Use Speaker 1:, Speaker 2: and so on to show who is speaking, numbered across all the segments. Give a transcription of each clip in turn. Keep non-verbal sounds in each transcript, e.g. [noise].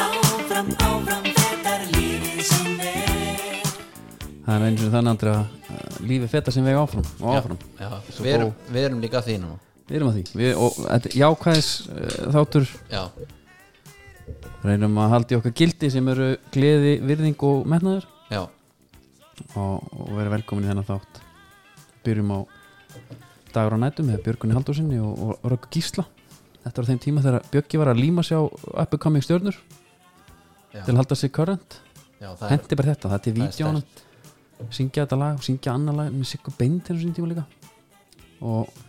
Speaker 1: áfram, áfram Þetta er lífið sem er
Speaker 2: Það er eins og þannig andri að uh, lífi feta sem vega áfram og áfram
Speaker 3: já, við, erum, við erum líka að því núna
Speaker 2: Við erum að því við, og þetta er jákvæðis uh, þáttur
Speaker 3: já,
Speaker 2: reynum að halda í okkar gildi sem eru gleði, virðing og metnaður
Speaker 3: já,
Speaker 2: og, og vera velkomin í þennan þátt Byrjum á dagur á nætum með Björgunni Haldursinni og, og Rögg Gísla Þetta var á þeim tíma þegar Björki var að líma sig á up and coming stjörnur
Speaker 3: já,
Speaker 2: til að halda sig current
Speaker 3: já það er,
Speaker 2: Hendi bara þetta, þetta er
Speaker 3: það er
Speaker 2: vídjónum syngja þetta lag og syngja annar lag með Siggu Beint hérna sín tíma líka og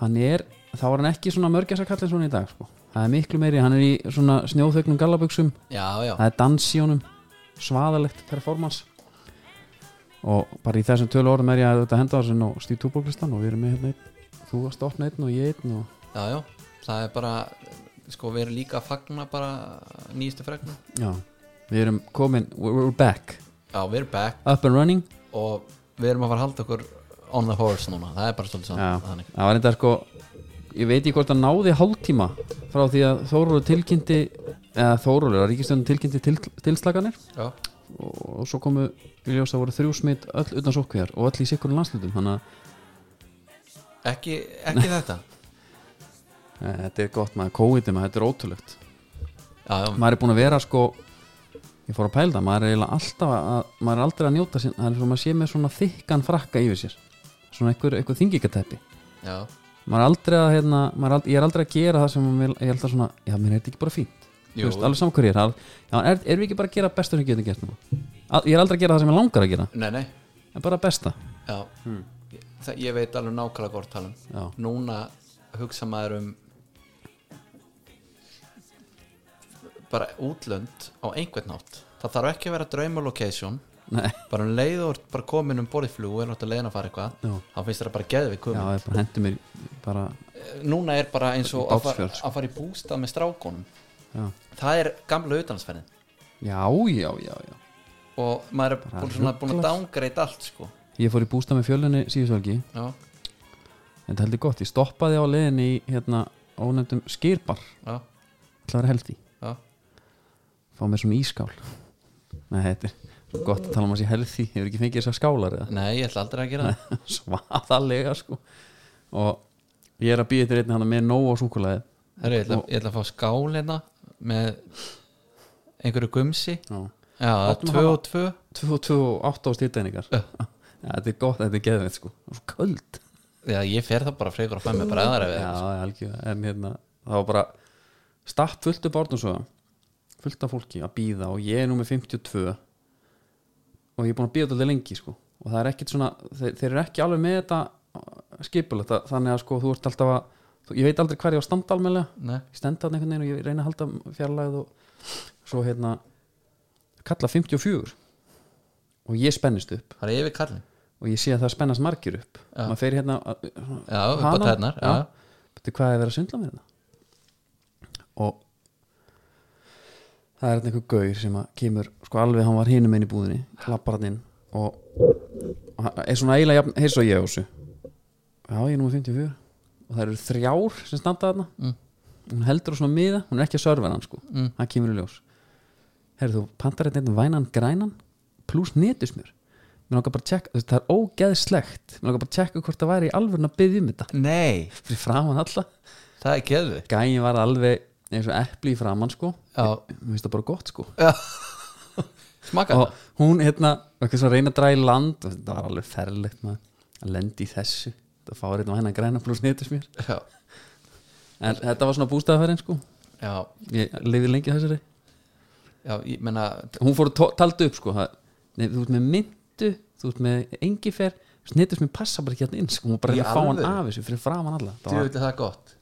Speaker 2: hann er þá er hann ekki svona mörgjasa kallið svona í dag sko. það er miklu meiri, hann er í svona snjóþögnum gallabuxum,
Speaker 3: já, já,
Speaker 2: það er dans í honum svaðalegt performance og bara í þessum tölu orðum er ég að þetta henda þessu og Stíð Túborglistan og við erum með hérna einn þú varst opna einn og ég einn og
Speaker 3: já, já það er bara, sko við erum líka að fagna bara nýjastu fregna
Speaker 2: já, við erum komin we're we're back,
Speaker 3: já, við erum back
Speaker 2: up and running
Speaker 3: og við erum að fara að halda okkur on the horse núna, það er bara svolítið
Speaker 2: Já,
Speaker 3: sann þannig,
Speaker 2: það var þetta sko ég veit ekki hvort að náði hálftíma frá því að Þórólur tilkynnti eða Þórólur, að ríkistjónin tilkynnti til, tilslaganir
Speaker 3: já,
Speaker 2: og, og svo komu í ljós að voru þrjú smitt öll utan sókvíðar og öll í sikkurum landslutum þannig að
Speaker 3: ekki,
Speaker 2: [laughs]
Speaker 3: ekki þetta
Speaker 2: e, þetta er gott maður, COVID maður, þetta er ótrúlegt
Speaker 3: já, já,
Speaker 2: maður er búin að vera sko ég fór að pæla það, maður er eiginlega alltaf að, maður er aldrei að njóta sín, það er svo maður sé með svona þykkan frakka yfir sér svona einhver, einhver þingikatæpi
Speaker 3: já,
Speaker 2: maður er aldrei að, hérna, maður er aldrei, ég er aldrei að gera það sem maður vil, ég er alltaf svona, já, mér er þetta ekki bara fínt Þú
Speaker 3: Jú.
Speaker 2: veist, alveg saman hverju ég er, það- já, er erum við ekki bara að gera besta sem við getum gert nú Al, ég er aldrei að gera það sem ég langar að gera
Speaker 3: nei, nei
Speaker 2: en bara besta,
Speaker 3: já, ég, það, ég veit alveg nákvæmlega hvort um- talum
Speaker 2: já, [laughs]
Speaker 3: núna hugsa maður um bara útlönd á einhvern nátt það þarf ekki að vera draumalocation
Speaker 2: nei,
Speaker 3: bara um leið og ert bara komin um borðflug og er náttúrulega leiðin að fara eitthvað
Speaker 2: Já.
Speaker 3: þá finnst þetta bara geðvik
Speaker 2: já,
Speaker 3: hugmynd.
Speaker 2: ég bara hendi mér í- bara,
Speaker 3: núna er bara eins og að fara,
Speaker 2: Bátsfjörð, sko.
Speaker 3: að fara í bústað með strákunum
Speaker 2: já
Speaker 3: það er gamla utalansferðin
Speaker 2: já, já, já, já
Speaker 3: og maður er búin, svona, búin að dángreita allt sko.
Speaker 2: ég fór í bústa með fjölunni síðusvelgi
Speaker 3: já,
Speaker 2: en þetta heldur gott, ég stoppaði á leiðinni í hérna, ónefndum skýrbar
Speaker 3: já,
Speaker 2: ætla að vera held í,
Speaker 3: já,
Speaker 2: fá mér svona ískál nei, þetta er svo gott að tala um að sé held í, hefur ekki fengið þessar skálar eða
Speaker 3: nei, ég ætla aldrei að gera það
Speaker 2: [laughs] svaðalega sko og ég er að býja eftir einni hann með nóg á súkulaði
Speaker 3: Herru, ég, ætla, ég ætla að fá skál hérna með einhverju gumsi Já, það er
Speaker 2: Látum
Speaker 3: tvö
Speaker 2: hafa-
Speaker 3: og tvö
Speaker 2: 22 og 8 á stýrtæningar
Speaker 3: Já.
Speaker 2: ja, þetta er gott, þetta er geðveit sko og svo köld
Speaker 3: Já, ég fer það bara frekar að fæ mig bara aðra
Speaker 2: já,
Speaker 3: við
Speaker 2: já, algjörlega. en hérna, það var bara statt fullt upp árnum svo fullt af fólki að býða og ég er nú með 52 og ég er búin að býða þetta lengi sko og það er ekkit svona, þeir, þeir eru ekki alveg með þetta skipulegt að- þannig að sko þú ert alltaf að, þú, ég veit aldrei hver ég á að standa almenlega
Speaker 3: Nei,
Speaker 2: ég stend þarna einhvern veginn og ég reyna að halda fjarlæð og svo hérna kalla 54 og ég spennist upp
Speaker 3: það er yfir kallin
Speaker 2: og ég sé að það spennast margir upp
Speaker 3: Já.
Speaker 2: maður fer hérna
Speaker 3: Já, upp á tærnar já.
Speaker 2: Beti, hvað er verið að sundla mér hérna og það er hérna einhver gaur sem að kemur sko alveg hann var hinum einn í búðinni klappar hann inn og, og hann er svona eiginlega jafn heils og ég á þessu já ég er númer 54 og það eru þrjár sem standa þarna
Speaker 3: Mm.
Speaker 2: hún heldur á svona miða, hún er ekki að serva hann sko
Speaker 3: Mm.
Speaker 2: hann kemur í ljós herru þú, pantar þetta einn vænan grænan pluss netusmjör mér langar bara að tjekka, þú veist, það er ógeðslegt mér langar bara að tjekka hvort það væri í alvörn að byggja um þetta
Speaker 3: Nei,
Speaker 2: fyrir framann alla
Speaker 3: það er geðvik
Speaker 2: gæin var alveg eins og epli í framann sko
Speaker 3: Já,
Speaker 2: mér finnst það bara gott sko
Speaker 3: [laughs] smaka
Speaker 2: og hún hérna, eitthvað svo að reyna að draga í land og þetta var alveg ferlegt maður að lendi í þessu, það fáir einn vænan grænan pluss netusmjör
Speaker 3: það Já,
Speaker 2: en þetta var svona bústæðaferðin sko
Speaker 3: já,
Speaker 2: ég lifið lengi á þessari
Speaker 3: já, ég menna
Speaker 2: hún fór að talda upp sko það, nei, þú ert með myndu, þú ert með engifer, snittus með passa bara ekki hérna inn sko, hún var bara
Speaker 3: Í
Speaker 2: reyna að fá hann
Speaker 3: alvöru?
Speaker 2: af þessu fyrir framan alla það var
Speaker 3: Djöfull er það gott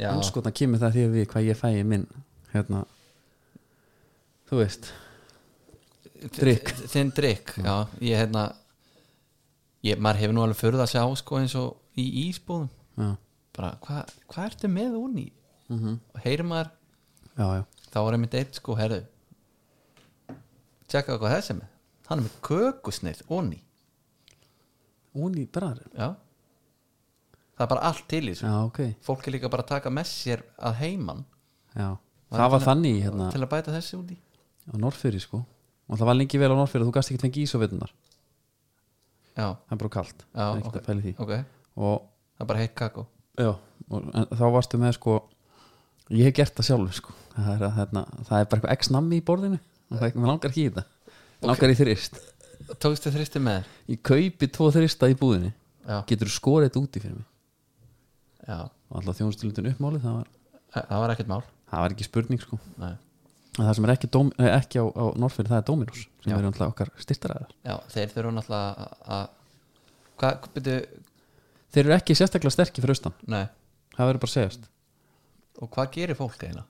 Speaker 3: Já,
Speaker 2: anskotan kemur það því að við hvað ég fæ í minn hérna þú veist, drykk.
Speaker 3: þ- Þinn drikk, já, ég hérna ég, Maður hefur nú alveg förð að sjá sko eins og í ísbúðum
Speaker 2: já,
Speaker 3: bara, hvað hva ertu með hún í og heyrir maður
Speaker 2: já, já
Speaker 3: þá var einmitt eitt sko, herðu tjekka hvað þessi er með hann er með kökusneið onni
Speaker 2: hún í bræður,
Speaker 3: já það er bara allt til í þessu
Speaker 2: já, ok
Speaker 3: fólk er líka bara að taka með sér að heiman
Speaker 2: já, það var
Speaker 3: til að-
Speaker 2: þannig í, hérna,
Speaker 3: til að bæta þessi út í
Speaker 2: á Norfyrir sko og það var lengi vel á Norfyrir þú gast ekki fengið ísofitunar
Speaker 3: já,
Speaker 2: það er bara kalt
Speaker 3: já,
Speaker 2: Það er ekkert
Speaker 3: ok,
Speaker 2: að pæla í því.
Speaker 3: ok það
Speaker 2: og,
Speaker 3: er bara heitt kakó
Speaker 2: já, og en, þá varstu með sko ég hef gert það sjálfur sko það er, að, hérna, það er bara eitthvað x-nammi í borðinu og það er ekki, mér langar ekki í þetta okay. langar í þrist
Speaker 3: tókstu þristi með þér
Speaker 2: ég kaupi tvo þrista í búðinni
Speaker 3: já,
Speaker 2: getur skorið þetta úti fyrir mig
Speaker 3: já,
Speaker 2: og alltaf þjónustulutin uppmálið það var,
Speaker 3: það var ekkert mál
Speaker 2: það var ekki spurning sko
Speaker 3: Nei.
Speaker 2: en það sem er ekki, dóm, eh, ekki á, á Norfyrir það er Dominos sem
Speaker 3: Já.
Speaker 2: eru alltaf okkar styrtaræðar
Speaker 3: já, þeir þurfa náttúrulega að- að hvað, byrju,
Speaker 2: þeir eru ekki sérstaklega sterkir fyrir austan
Speaker 3: nei
Speaker 2: það verður bara að segjast
Speaker 3: og hvað gerir fólk eiginlega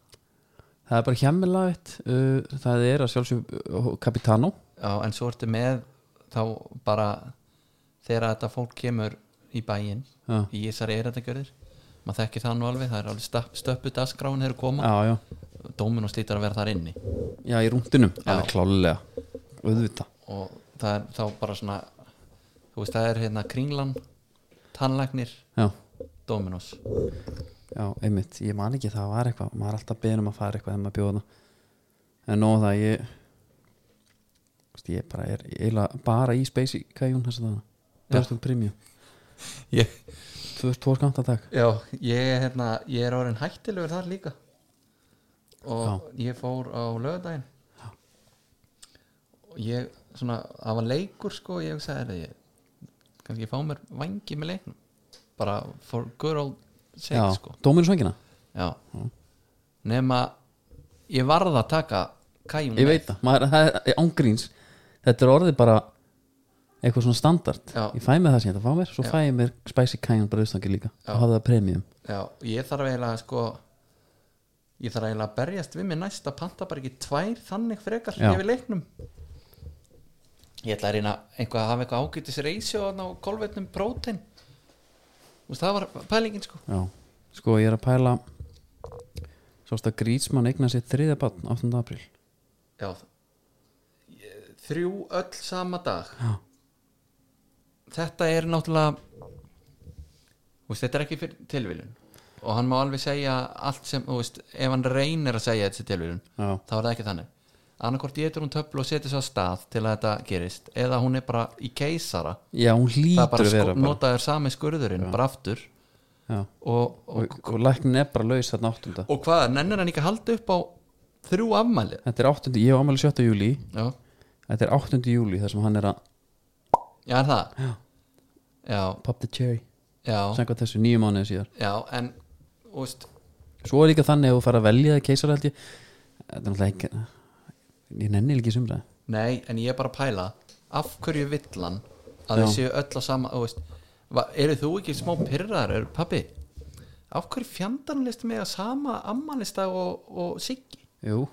Speaker 2: Það er bara hjemmelaðitt uh, Það er að sjálfsögum uh, Capitano
Speaker 3: já, en svo ertu með þá bara þegar þetta fólk kemur í bæinn
Speaker 2: Já,
Speaker 3: í þessari eirategjörðir maður þekki það nú alveg, það er alveg stöpp, stöppu dagskráin þegar koma,
Speaker 2: já, já,
Speaker 3: dómin og slítar að vera þar inni
Speaker 2: já í rúndinum Það er klálega Öðvita
Speaker 3: og það er þá bara svona þú veist, það er hérna kringlan tannlæknir,
Speaker 2: Já,
Speaker 3: Dominos
Speaker 2: já, einmitt Ég man ekki það var eitthvað Maður er alltaf beðin um að fara eitthvað þegar maður bjóða En nóg það ég þú veist, Ég bara er eiginlega bara í Space Cajun þess að það Börstum Premium
Speaker 3: ég,
Speaker 2: Tvö, tvo skamtatak
Speaker 3: já, ég er hérna ég er orðin hættilegur þar líka og ég fór á lögadaginn og ég svona, það var leikur sko, ég hugsaði er ég kannski ég fá mér vangi með leiknum bara for good old sake
Speaker 2: Já,
Speaker 3: sko
Speaker 2: Dóminu svangina
Speaker 3: já,
Speaker 2: Mm.
Speaker 3: nema ég varð að taka kæjum
Speaker 2: Ég veit það, maður, það er ángríns Þetta er orðið bara eitthvað svona standard
Speaker 3: Já.
Speaker 2: Ég fæ með það sem ég ætla að fá mér Svo fæ ég mér Spicy Cayenne bröðstangi líka
Speaker 3: Já.
Speaker 2: Og hafa það premium
Speaker 3: Já, ég þarf eiginlega sko ég þarf eiginlega að berjast við mér næst að panta bara ekki tvær þannig frekar
Speaker 2: Já.
Speaker 3: yfir leiknum ég ætla að reyna eitthvað að hafa eitthvað ágætis reysjó á kolvetnum prótein Þú veist, það var pælingin sko
Speaker 2: Já, sko ég er að pæla Sást að Grítsmann eigna sér þriðja barn 8. apríl
Speaker 3: Já Ég- þrjú öll sama dag
Speaker 2: Já.
Speaker 3: þetta er náttúrulega þú veist, þetta er ekki fyrir tilviljun og hann má alveg segja allt sem, þú veist, ef hann reynir að segja þetta er tilviljun
Speaker 2: Já,
Speaker 3: þá er það ekki þannig annarkvort getur hún töflu og setur svo að stað til að þetta gerist eða hún er bara í keisara
Speaker 2: Já hún
Speaker 3: það er
Speaker 2: hlýtur
Speaker 3: bara,
Speaker 2: að
Speaker 3: sko,
Speaker 2: vera bara.
Speaker 3: notaður sami skurðurinn bara aftur
Speaker 2: Já,
Speaker 3: og, og,
Speaker 2: og, og læknin er bara laus þarna 8.
Speaker 3: og hvað, nennir hann ekki að halda upp á þrjú afmæli
Speaker 2: Þetta er 8. Ég hef ámæli 7. júli
Speaker 3: já,
Speaker 2: Þetta er 8. júli þar sem hann er að
Speaker 3: já er það já, já,
Speaker 2: Pop the cherry
Speaker 3: já,
Speaker 2: Sækvað þessu nýju mánuði síðar
Speaker 3: já en þú veist,
Speaker 2: Svo er líka þannig að þú fara að velja það keisar held ég Þetta er náttúrulega ekki Ég nenni ekki sumra
Speaker 3: nei, en ég er bara að pæla af hverju villan
Speaker 2: Já.
Speaker 3: að þið séu öll að sama þú veist, va- eru þú ekki smá pyrrar, eru pappi af hverju fjandarn listu mig að sama ammalista og, og Siggi
Speaker 2: Jú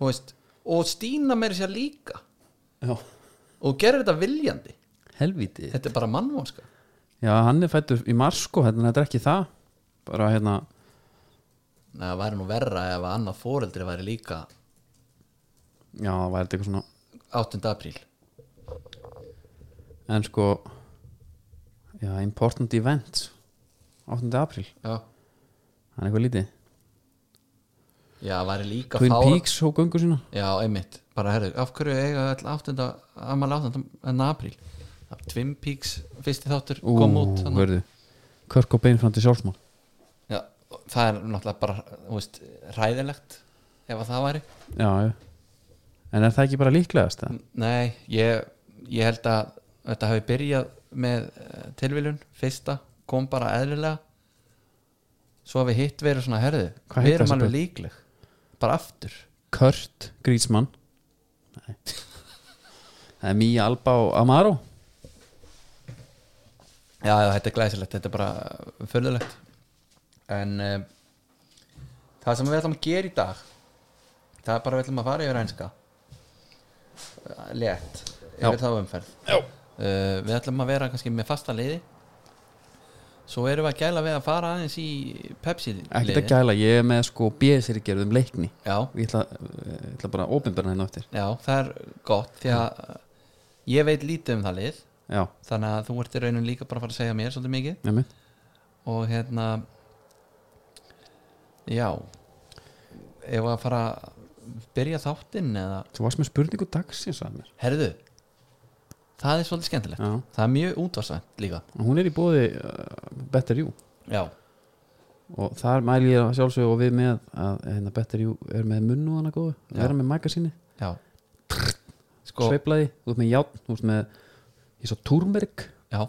Speaker 3: Þú veist, og Stína meiri sér líka
Speaker 2: Já
Speaker 3: og gerir þetta viljandi
Speaker 2: Helviti
Speaker 3: þetta er bara mannvonska
Speaker 2: Já hann er fættur í mars sko Hérna þetta er ekki það Bara hérna
Speaker 3: Nei, það væri nú verra ef að annað fóreldri væri líka
Speaker 2: Já það var þetta eitthvað svona
Speaker 3: 8. apríl
Speaker 2: En sko Já important event 8. apríl
Speaker 3: já,
Speaker 2: Hann er eitthvað lítið
Speaker 3: já það væri líka
Speaker 2: Twin
Speaker 3: fár-
Speaker 2: Peaks og göngu sína
Speaker 3: já, einmitt, bara herðu, af hverju eiga all 8. amal 8. en apríl Það- Twin Peaks, fyrsti þáttur
Speaker 2: Ú,
Speaker 3: kom út hérna. þarna.
Speaker 2: verðu Körk og bein fram til sjálfsmál
Speaker 3: já, það er náttúrulega bara þú veist, ræðilegt ef að það væri
Speaker 2: Já, já En er það ekki bara líklegast
Speaker 3: Mm.
Speaker 2: það?
Speaker 3: Nei, ég, ég held að þetta hafi byrjað með eh, tilviljun, fyrsta, kom bara eðlilega svo hafi hitt verið svona herðu
Speaker 2: Hvað
Speaker 3: við
Speaker 2: heita
Speaker 3: erum
Speaker 2: þessi
Speaker 3: alveg
Speaker 2: börn?
Speaker 3: líkleg, bara aftur
Speaker 2: Kurt Grísmann Það er Mía Alba og Amaro
Speaker 3: Já, já, þetta er glæsilegt, þetta er bara fölðulegt en uh, það sem við ætlum að gera í dag það er bara við ætlum að fara yfir einska létt yfir þá umferð uh, við ætlum að vera kannski með fasta liði svo erum við að gæla við að fara aðeins í Pepsi
Speaker 2: Ekkert að
Speaker 3: liði
Speaker 2: gæla, ég er með sko bíðsirgerð um leikni
Speaker 3: já,
Speaker 2: Ég ætla, ég ætla bara að opinberna hérna á eftir
Speaker 3: já, það er gott því að uh, ég veit lítið um það lið
Speaker 2: Já,
Speaker 3: þannig að þú ert í raunum líka bara að fara að segja mér svolítið mikið
Speaker 2: nefnir
Speaker 3: og hérna já ef að fara að byrja þáttinn eða
Speaker 2: Þú varst með spurningu dagsins að mér
Speaker 3: herðu það er svolítið skemmtilegt
Speaker 2: Já.
Speaker 3: það er mjög útvarsvænt líka
Speaker 2: Og Hún er í bóði uh, Better You
Speaker 3: já,
Speaker 2: og þar mæli ég að sjálfsögðu og við með að hérna, Better You er með munnu hana góðu
Speaker 3: Já.
Speaker 2: Það er með magasíni,
Speaker 3: já sko,
Speaker 2: sveiflaði Þú ert með játn, þú ert með ég svo túrmerk,
Speaker 3: já,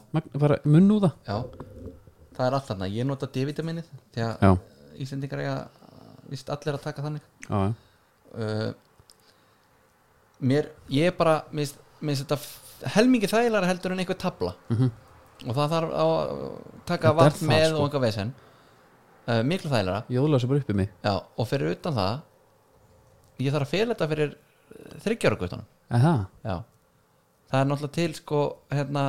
Speaker 2: munnu það
Speaker 3: já það er allt þarna, ég nota D-vitaminnið því að
Speaker 2: Já,
Speaker 3: Íslendingar eiga vist allir að taka þannig
Speaker 2: já, já.
Speaker 3: uh, mér, ég er bara minnst, minnst þetta f- helmingi þægilega heldur en einhver tabla
Speaker 2: Mhm.
Speaker 3: og það þarf að taka
Speaker 2: Þetta er
Speaker 3: vatn
Speaker 2: það,
Speaker 3: með
Speaker 2: sko.
Speaker 3: og einhver vesen uh, miklu þægilega
Speaker 2: Jóla sem bara uppi mig
Speaker 3: Já, og fyrir utan það ég þarf að fela þetta fyrir eh, þryggjára guttunum
Speaker 2: Aha.
Speaker 3: Já. það er náttúrulega til sko hérna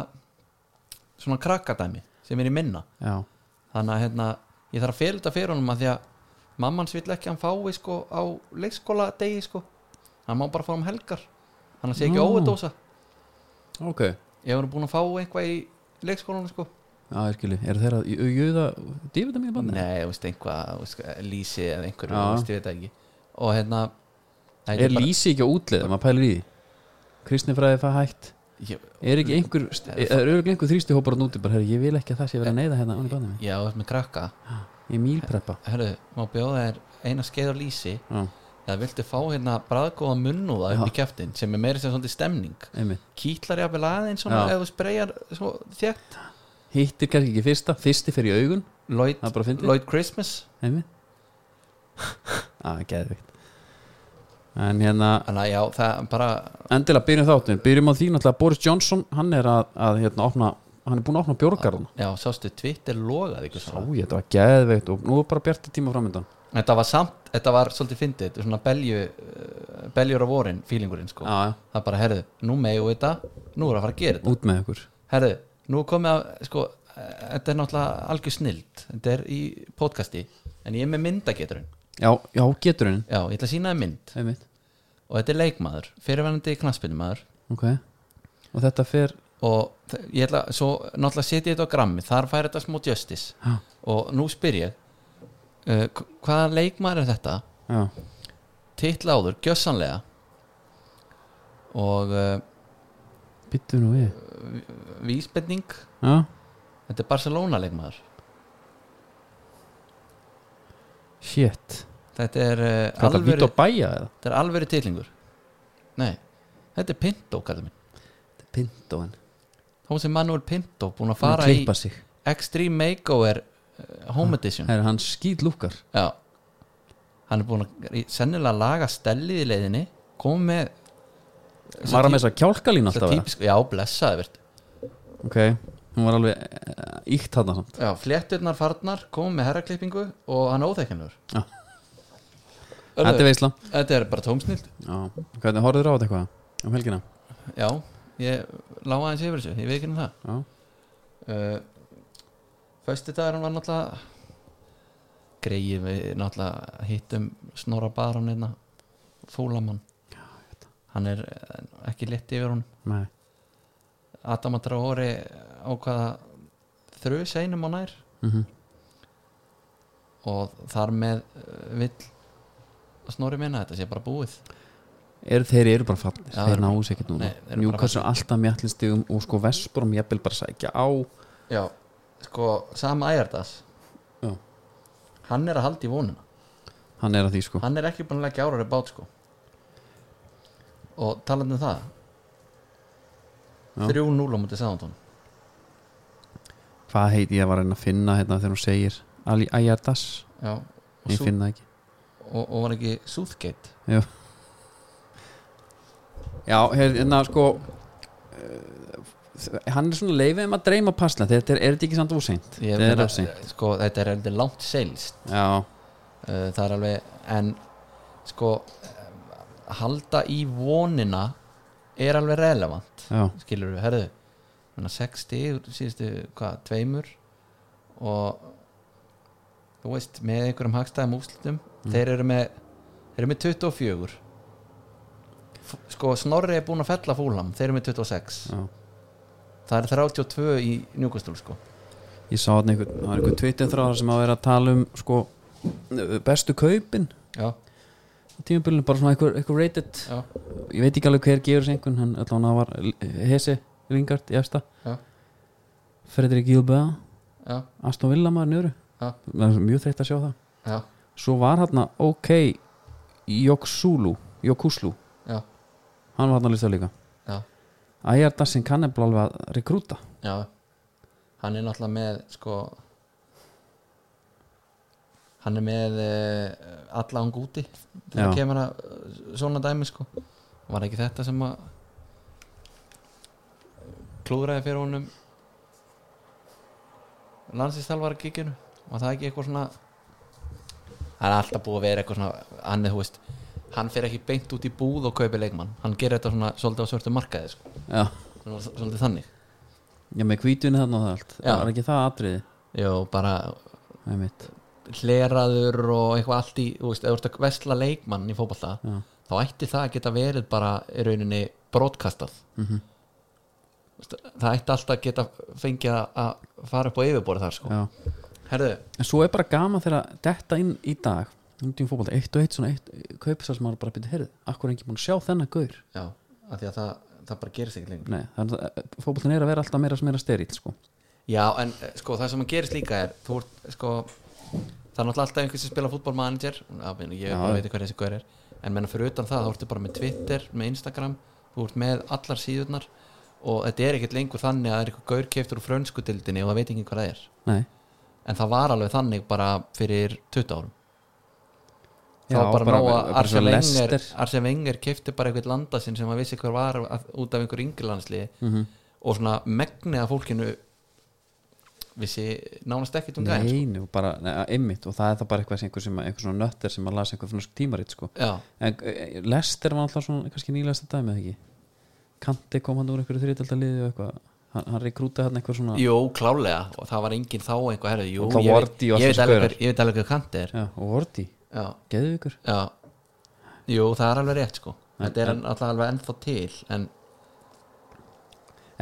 Speaker 3: svona krakkadæmi sem er í minna
Speaker 2: Já,
Speaker 3: þannig að hérna ég þarf að fela þetta fyrir honum að því að mamman svill ekki að hann fái sko á leikskóla degi sko hann má bara fá um helgar hann sé ekki
Speaker 2: Nú.
Speaker 3: óverdósa
Speaker 2: ok Já,
Speaker 3: ég hefur búin að fá eitthvað í leikskólanum sko
Speaker 2: ég skilji, er þeirra í auðjöða Dífita mér banni?
Speaker 3: nei, þú veist, einhvað þú veist, lýsi eða einhverju,
Speaker 2: Já.
Speaker 3: þú veist, ég veit það ekki og hérna þetta
Speaker 2: Er
Speaker 3: bara-
Speaker 2: lýsi ekki á útleið, ef maður pælir í því Kristnifræði það hægt
Speaker 3: Ég-
Speaker 2: Er ekki einhver,
Speaker 3: er
Speaker 2: er örgulega einhver þrýsti hópar að núti bara, herri, ég vil ekki að það sé verið að neyða hérna án í banni
Speaker 3: Já, þú ert með krakka
Speaker 2: Ég mýlpreppa
Speaker 3: Herru, má bjóða þér eina skeið á lýsi
Speaker 2: Já,
Speaker 3: eða viltu fá hérna bræðgóða munnúða upp í kjæftin sem er meira sem svona stemning
Speaker 2: einmitt
Speaker 3: kýtlar jafnvel aðeins svona
Speaker 2: Já.
Speaker 3: ef þú spreyjar svo þjægt
Speaker 2: Hittir kannski ekki fyrsta, fyrsti fyrir augun
Speaker 3: Lloyd,
Speaker 2: Það er bara fyndið.
Speaker 3: Lloyd Christmas
Speaker 2: Einmitt [laughs] Það er geðvikt En hérna,
Speaker 3: Þannig að já, það er bara
Speaker 2: endilega byrjum þáttum Byrjum á því náttúrulega Boris Johnson Hann er að, að hérna, opna, hann er búin að opna bjórgarðan
Speaker 3: já, sástu, Twitter logað ykkur
Speaker 2: Sá
Speaker 3: svona
Speaker 2: ég, þetta var geðveikt og nú er bara bjarti tíma framöndan
Speaker 3: Þetta var samt, þetta var svolítið fyndið þetta er svona belju, uh, beljur á vorin fílingurinn sko,
Speaker 2: Já, já.
Speaker 3: það er bara, herru, nú megu þetta nú er að fara að gera þetta
Speaker 2: Út með ykkur
Speaker 3: Herðu, nú er komið að sko, eh, þetta er náttúrulega algjör snild þetta er í podcasti en ég er með myndageturinn
Speaker 2: Já, já getur henni
Speaker 3: Já, ég ætla að sína það mynd
Speaker 2: Einmitt
Speaker 3: og þetta er leikmaður, fyrirvænandi knassbyrnumaður
Speaker 2: Ok Og þetta fer
Speaker 3: og þ- ég ætla, svo náttúrulega setja ég þetta á grammi þar fær þetta smó justice
Speaker 2: Já,
Speaker 3: og nú spyr ég uh, k- hvaða leikmaður er þetta
Speaker 2: já
Speaker 3: titla áður, gjössanlega og uh,
Speaker 2: Byttu nú við
Speaker 3: vísbending
Speaker 2: Já
Speaker 3: þetta er Barcelona leikmaður
Speaker 2: Shit
Speaker 3: þetta er uh,
Speaker 2: Hvað það
Speaker 3: alvöru
Speaker 2: vít og bæja eða?
Speaker 3: Þetta er alvöru titlingur Nei, þetta er Pinto kallið minn
Speaker 2: Þetta er Pintóin
Speaker 3: Þá sem Manuel Pinto búin að
Speaker 2: Fara
Speaker 3: fara
Speaker 2: að
Speaker 3: í
Speaker 2: klippa sig
Speaker 3: Extreme Makeover uh, Home Edition
Speaker 2: Það er hann skýt lúkar
Speaker 3: Já Hann er búin að í- sennilega laga stellið í leiðinni Komið með
Speaker 2: Var
Speaker 3: þessa
Speaker 2: hann
Speaker 3: tí-
Speaker 2: með þess að kjálkalín
Speaker 3: þessa
Speaker 2: alltaf eða?
Speaker 3: típisk, Já, blessaði verð
Speaker 2: Ok, hún var alveg eh, íkt hann samt
Speaker 3: Já, flétturnar farnar, komið með herraklippingu og hann óþekkanur
Speaker 2: Já. Þetta er veisla
Speaker 3: Þetta er bara tómsnild
Speaker 2: Já, hvernig horfður á þetta eitthvað um helgina?
Speaker 3: Já, ég lága aðeins yfir þessu, ég veit ekki um það
Speaker 2: Já,
Speaker 3: uh, Föstudagurinn var náttúrulega greið við náttúrulega hittum Snorra Baron einna fúlamann hann er eh, ekki létt yfir hún
Speaker 2: nei,
Speaker 3: Adam að draga orði á hvaða þrjú seinum á nær
Speaker 2: mhm,
Speaker 3: og þar með eh, vill Snorri minna þetta sé bara búið
Speaker 2: er, þeir eru bara fallið,
Speaker 3: Já,
Speaker 2: þeir
Speaker 3: þeir-
Speaker 2: náu sér ekki núna
Speaker 3: nei, þeir eru bara
Speaker 2: Newcastle er alltaf mjallin stigum og sko Vesprum jafnvel bara sækja á
Speaker 3: Já, sko, sama ægjardas
Speaker 2: Já.
Speaker 3: hann er að halda í vonuna
Speaker 2: hann er að því sko
Speaker 3: hann er ekki búin að leggja árar í bát sko og talandi um það
Speaker 2: Já.
Speaker 3: 3-0 á mútið Sáðantón
Speaker 2: hvað heiti ég var að reyna að finna hérna þegar hún segir Ali Ayardas,
Speaker 3: já og,
Speaker 2: ég
Speaker 3: sú,
Speaker 2: finn það ekki
Speaker 3: og, og var ekki Southgate
Speaker 2: Já Já, hérna sko eh, hann er svona leifið um að dreyma pasla þetta er, er þetta ekki samt óseint
Speaker 3: Ég
Speaker 2: þetta er
Speaker 3: meina,
Speaker 2: óseint
Speaker 3: sko, þetta er heldur langt seilst
Speaker 2: Já,
Speaker 3: uh, það er alveg en sko eh, halda í vonina er alveg relevant
Speaker 2: já,
Speaker 3: skilur við, herðu þannig að 60 úr síðustu, hvað, tveimur og þú veist, með einhverjum hagstæðum úslutum, þeir eru með þeir eru með 24 F sko, Snorri er búin að fella fúlam, þeir eru með 26
Speaker 2: já
Speaker 3: það er 32 í njúkastúl, sko
Speaker 2: Ég sá hann einhvern, það var einhvern tvittin þráðar sem að vera að tala um sko bestu kaupin
Speaker 3: já,
Speaker 2: tímubilinu bara svona eitthvað, eitthvað rated
Speaker 3: já,
Speaker 2: ég veit ekki alveg hver gefur sér einhvern en allan það var Hesi Ringard í efsta
Speaker 3: Já.
Speaker 2: Fredrik Gilbea
Speaker 3: já,
Speaker 2: Aston Villa maður njöru
Speaker 3: Já.
Speaker 2: það er mjög þreytt að sjá það
Speaker 3: já,
Speaker 2: svo var hérna OK Joksulu Jokuslu
Speaker 3: já,
Speaker 2: hann var hérna listað líka
Speaker 3: Já.
Speaker 2: Æjar Dassin kann er alveg að rekrúta
Speaker 3: já hann er náttúrulega með sko hann er með uh, alla án gúti
Speaker 2: Já.
Speaker 3: þegar kemur að eh, svona dæmi sko var ekki þetta sem að klúðraði fyrir honum landsýstalvara kikinu var það ekki eitthvað svona það er alltaf búið að vera eitthvað svona hann er þú veist hann fer ekki beint út í búð og kaupi leikmann hann gerir þetta svona svolítið á svörtu markaði sko
Speaker 2: já,
Speaker 3: Svona- svolítið þannig
Speaker 2: já með hvítunni þarna og það allt
Speaker 3: Já.
Speaker 2: var ekki það atriði
Speaker 3: já, bara
Speaker 2: það er mitt
Speaker 3: hleraður og eitthvað allt í þú veist, ef þú ert að vesla leikmann í fótballta
Speaker 2: já,
Speaker 3: þá ætti það að geta verið bara í rauninni brotkastað
Speaker 2: mm
Speaker 3: Þú veist, það ætti alltaf að geta fengið að- að fara upp á yfirborð þar sko
Speaker 2: já.
Speaker 3: herðu,
Speaker 2: en svo er bara gaman þegar að detta inn í dag undjum fótbolta, eitt og eitt svona eitt, kaupisar sem maður bara byrja herrið, akkur er ekki búin að sjá þennan gaur
Speaker 3: já, af því að það, það bara gerist ekki lengur
Speaker 2: nei, þannig að fótboltin er að vera alltaf meira sem er að steril sko.
Speaker 3: já, en eh, sko, það sem að gerist líka er þú ert, sko það er náttúrulega alltaf einhvers sem spila fútbolmanager
Speaker 2: Já.
Speaker 3: ég já. bara veit ekki hvað þessi hver er en menna fyrir utan það, þá ertu bara með Twitter með Instagram, þú ert með allar síðurnar og þetta er ekkert lengur þannig að það er eitthvað gaurkeiftur úr frönskudildinni og það veit ekki hvað það er
Speaker 2: nei,
Speaker 3: en það var alveg þannig bara fyrir 20 árum
Speaker 2: Já,
Speaker 3: það var bara,
Speaker 2: bara-
Speaker 3: nóg
Speaker 2: bara
Speaker 3: að
Speaker 2: svo
Speaker 3: Arsene Wenger,
Speaker 2: Leicester.
Speaker 3: Arsene Wenger keifti bara eitthvað landasinn sem að vissi hver var að, út af einhver yngirlandsli
Speaker 2: mm
Speaker 3: og svona megnið af fólkinu vissi nánast ekkert um gæðin
Speaker 2: nei, nú, bara nei, einmitt og það er það bara eitthvað sem einhver, sem, einhver svona nöttir sem að lasa einhver fransk tímarit sko.
Speaker 3: já,
Speaker 2: en eh, Lester var alltaf svona kannski nýlæsta dæmi eða ekki Kanti kom hann úr einhverju þriðdeldaliði og eitthvað hann, hann rekrútaði hann einhver svona
Speaker 3: Jú, klálega og það var enginn þá einhver herri, jú,
Speaker 2: Og þá
Speaker 3: ég, veit,
Speaker 2: Vardy og
Speaker 3: ég,
Speaker 2: allir
Speaker 3: veit alveg
Speaker 2: skaurar.
Speaker 3: hver, ég veit alveg hver kant er
Speaker 2: já, og Vorti,
Speaker 3: já,
Speaker 2: geðu ykkur
Speaker 3: já. Jú, það er alveg rétt sko
Speaker 2: En-
Speaker 3: þetta er alltaf alveg ennþá til en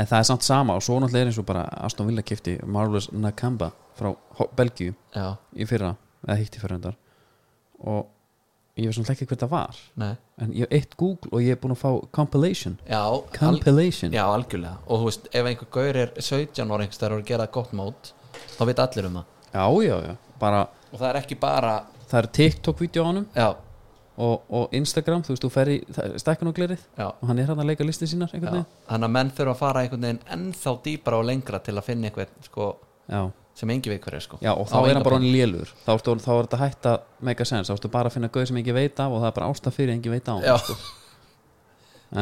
Speaker 2: en það er samt sama og svo náttúrulega er eins og bara Aston Villa kifti Marvelous Nakamba frá Ho- Belgíu
Speaker 3: já,
Speaker 2: í fyrra eða hitti fyrra undar og ég veist náttúrulega ekki hver það var
Speaker 3: nei,
Speaker 2: en ég hef eitt Google og ég hef búin að fá compilation
Speaker 3: já al-
Speaker 2: compilation
Speaker 3: Já, algjörlega og þú veist, ef einhver gaur er 17 ára einhvers þar og er að gera gott mót þá veit allir um það
Speaker 2: já, já, já. bara
Speaker 3: og það er ekki bara
Speaker 2: það er TikTok-vídeó á honum
Speaker 3: já,
Speaker 2: og, og Instagram, þú veist, þú fer í stækkun og glerið
Speaker 3: já,
Speaker 2: og hann er hann að leika listin sínar
Speaker 3: já.
Speaker 2: einhvern veginn
Speaker 3: þannig að menn þurfa að fara einhvern veginn ennþá dýpra og lengra til að finna einhvern sko,
Speaker 2: já.
Speaker 3: sem engi veit hver er sko.
Speaker 2: já, og þá er
Speaker 3: Á engan
Speaker 2: hann bara
Speaker 3: bót.
Speaker 2: hann lélur þá, ertu, þá er þetta hætt að make a sense þá ertu bara að finna gauð sem ekki veit af og það er bara ástaf fyrir engin veit á
Speaker 3: já,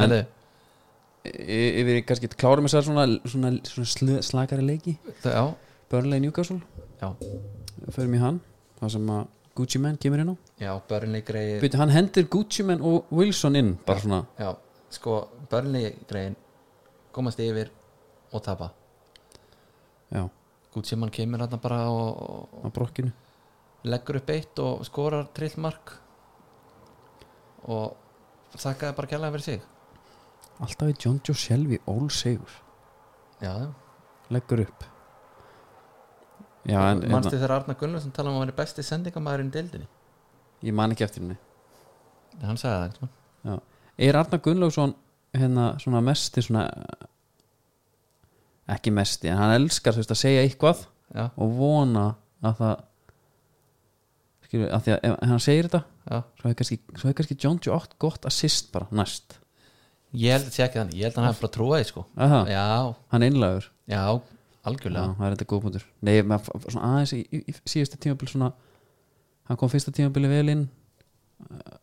Speaker 2: en
Speaker 3: en,
Speaker 2: y- yfir í kannski klárum þessar svona, svona, svona sl slagari leiki
Speaker 3: já,
Speaker 2: Burnley Newcastle,
Speaker 3: já,
Speaker 2: förum í hann það sem að Gucci Man kemur inn á
Speaker 3: já Burnley greið
Speaker 2: Byrju, hann hendir Gucci Man og Wilson inn bara svona,
Speaker 3: já, sko, Burnley greiðin komast yfir og tapa
Speaker 2: já,
Speaker 3: Gucci mann kemur hann bara og,
Speaker 2: á brokkinu
Speaker 3: leggur upp eitt og skorar trillmark og þakkaði bara kærlega fyrir sig
Speaker 2: alltaf í John Joe Shelby all save,
Speaker 3: já,
Speaker 2: leggur upp já, en hérna,
Speaker 3: mannstu þegar Arnar Gunnlaugsson talaði um að hann er besti sendingamæðurinn í deildinni
Speaker 2: ég man ekki eftir henni
Speaker 3: hann sagði það sko. einhvern tímann.
Speaker 2: Já. Er Arnar Gunnlaugsson hérna svona mesti svona ekki mesti en hann elskar þú veist að segja eitthvað
Speaker 3: já,
Speaker 2: og vona að það skilur að því að ef hann segir þetta
Speaker 3: já.
Speaker 2: svo hefur kannski, svo hefur kannski John Joe 8 gott assist bara næst
Speaker 3: ég held að sé ekki þannig, ég held að hann hafi bara trúið sko.
Speaker 2: Aha,
Speaker 3: já,
Speaker 2: hann er einlægur
Speaker 3: já,
Speaker 2: Já,
Speaker 3: algjörlega
Speaker 2: það er þetta góðbúndur Nei, maður f- svona aðeins í, í, í síðustu tímabil svona hann kom fyrsta tímabili vel inn uh,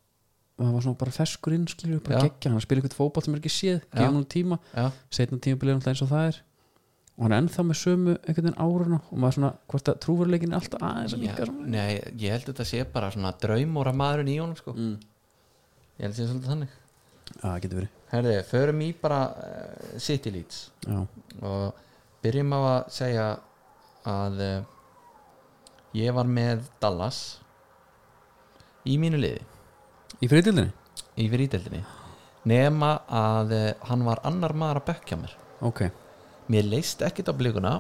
Speaker 2: hann var svona bara ferskur inn skilur bara
Speaker 3: Já.
Speaker 2: geggja, hann spila eitthvað fótball sem er ekki séð
Speaker 3: Já.
Speaker 2: gefa hann tíma
Speaker 3: já,
Speaker 2: setna tímabilið er náttúrulega eins og það er og hann er ennþá með sömu einhvern veginn áruna og maður svona hvort að trúveruleikin er alltaf aðeins að líka
Speaker 3: já. Nei, ég held að þetta sé bara svona draumóra maðurinn í honum sko.
Speaker 2: mm.
Speaker 3: ég held að sé svolítið þannig
Speaker 2: það getur verið
Speaker 3: herði, förum í bara uh, City Leeds
Speaker 2: já,
Speaker 3: og byrjum á að segja að eh, ég var með Dallas í mínu liði
Speaker 2: í friðildinni,
Speaker 3: í fyriríteldinni nema að eh, hann var annar maður að bekka mér
Speaker 2: ok
Speaker 3: mér leist ekkit á blíkuna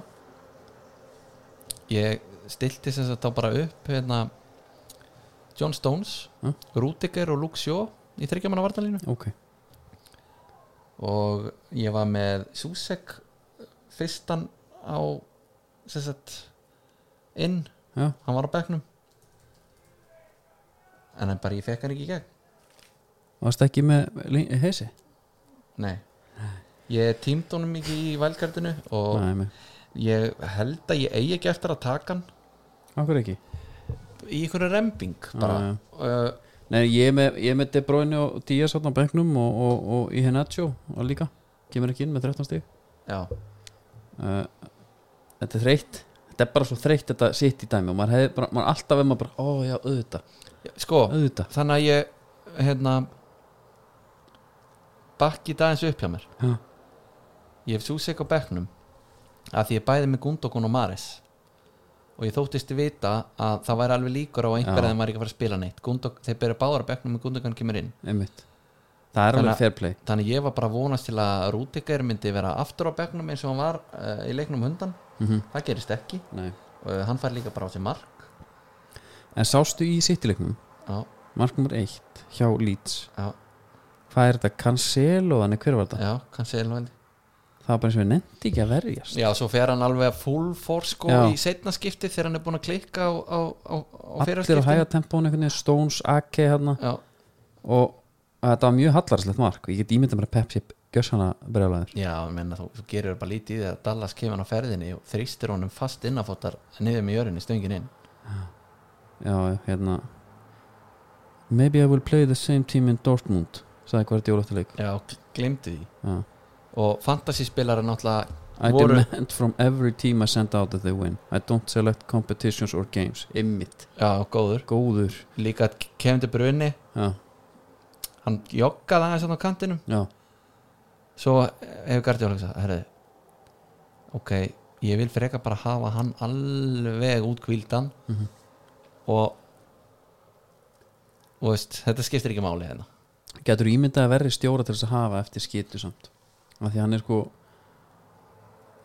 Speaker 3: ég stilti sem sagt þá bara upp hérna John Stones,
Speaker 2: Mm.
Speaker 3: Rúdiger og Luke Shaw í þryggjamanna vartalínu
Speaker 2: ok
Speaker 3: og ég var með Susek fyrstan á sem sagt inn,
Speaker 2: Já.
Speaker 3: hann var á bekknum en hann bara ég fekk hann ekki í gegn
Speaker 2: varst ekki með lin- heisi?
Speaker 3: nei, ég tímd honum ekki í vælgardinu og
Speaker 2: Nei, með
Speaker 3: ég held að ég eigi ekki eftir að taka hann
Speaker 2: Akkur ekki
Speaker 3: í einhverju rembing bara
Speaker 2: Já, já.
Speaker 3: uh,
Speaker 2: Nei, ég er með, ég er með De Bruyne og Díaz á bekknum og, og, og í Hennacho og líka, kemur ekki inn með 13 stík
Speaker 3: já,
Speaker 2: uh, Þetta er þreytt Þetta er bara svo þreytt þetta sitt í dæmi og maður hefði bara, maður alltaf er maður bara, ó já, auðvitað
Speaker 3: sko
Speaker 2: auðvitað,
Speaker 3: þannig að ég hérna bakki dagins upp hjá mér
Speaker 2: Já.
Speaker 3: ég hef súsek á bekknum að því ég bæði með Gundogun og Maris og ég þóttist vita að það væri alveg líkur á að
Speaker 2: Já.
Speaker 3: einhverja þeim var ekki að fara að spila neitt Gundog, þeir byrja báðar á bekknum og Gundogun kemur inn
Speaker 2: einmitt Það er
Speaker 3: Þannig
Speaker 2: alveg
Speaker 3: að-
Speaker 2: fair play
Speaker 3: þannig að ég var bara að vonast til að Rúdikar myndi vera aftur á bekknum eins og hann var uh, í leiknum hundan
Speaker 2: mm
Speaker 3: það gerist ekki
Speaker 2: Nei.
Speaker 3: og eh, hann fær líka bara á sér mark
Speaker 2: En sástu í sittileiknum,
Speaker 3: já,
Speaker 2: marknumur 1 hjá Leeds,
Speaker 3: já,
Speaker 2: hvað er þetta Cancelo, þannig hver var þetta?
Speaker 3: já, kannski elvæl
Speaker 2: Það var bara eins og við nefndi ekki að verjast
Speaker 3: Já, svo fer hann alveg að full force sko
Speaker 2: Já.
Speaker 3: í setna skipti þegar hann er búin að klikka á, á, á, á fyrra
Speaker 2: Allir á hæga tempónu einhvern veginn, Stones, AK hérna
Speaker 3: Já,
Speaker 2: og þetta var mjög hallarslegt mark og ég get ímyndað mér að Pepsi gjössana brjálæður
Speaker 3: já ég menna þú, þú gerir bara lítið í því að Dallas kemur á ferðinni og þrýstir honum fast innafóttar niður með jörðinni stöngin inn
Speaker 2: já, hérna maybe I will play the same team in Dortmund sagði hvert jólóttileik
Speaker 3: Já, gl- gleymdu því
Speaker 2: Já.
Speaker 3: Og fantasyspilar er náttúrulega
Speaker 2: I
Speaker 3: Voru-
Speaker 2: demand from every team I send out that they win I don't select competitions or games ymmit,
Speaker 3: já, góður
Speaker 2: góður
Speaker 3: Líka að kemur til brunni
Speaker 2: já,
Speaker 3: Hann joggaði aðeins hann á kantinum
Speaker 2: já,
Speaker 3: Svo hefur Gardjól hugsað Herðu, ok Ég vil freka bara hafa hann alveg útkvíldan
Speaker 2: Mhm.
Speaker 3: og og veist, þetta skiptir ekki máli hérna
Speaker 2: getur ímyndað að verri stjóra til þess að hafa eftir skitu samt af því hann er sko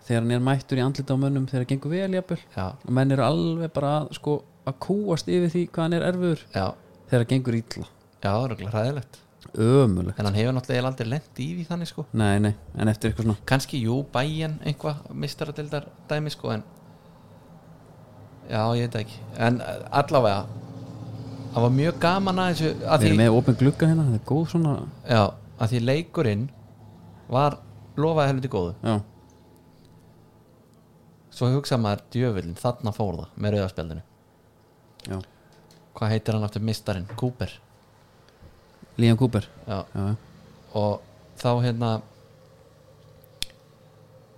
Speaker 2: þegar hann er mættur í andlita á mönnum þegar það gengur vel jafnvel
Speaker 3: já,
Speaker 2: og menn eru alveg bara að, sko að kúast yfir því hvað hann er erfur
Speaker 3: já,
Speaker 2: þegar það gengur illa
Speaker 3: já, það er okkur hræðilegt
Speaker 2: ömulegt
Speaker 3: en hann hefur náttúrulega aldrei lent í því þannig sko
Speaker 2: nei, nei, en eftir eitthvað svona
Speaker 3: kannski jú bæjan einhvað mistaradildar dæmi sko en já, ég veit það ekki en eh, allavega það var mjög gaman að þessu að
Speaker 2: við erum
Speaker 3: því,
Speaker 2: með opin glugga hérna, það er góð svona
Speaker 3: já, að því leikurinn var lofaði helviti góðu
Speaker 2: já,
Speaker 3: svo hugsa maður djöfullin, þarna fór það með rauðarspjaldinu
Speaker 2: já,
Speaker 3: hvað heitir hann aftur mistarinn, Cooper
Speaker 2: Líðan Kúper
Speaker 3: já,
Speaker 2: já, já.
Speaker 3: og þá hérna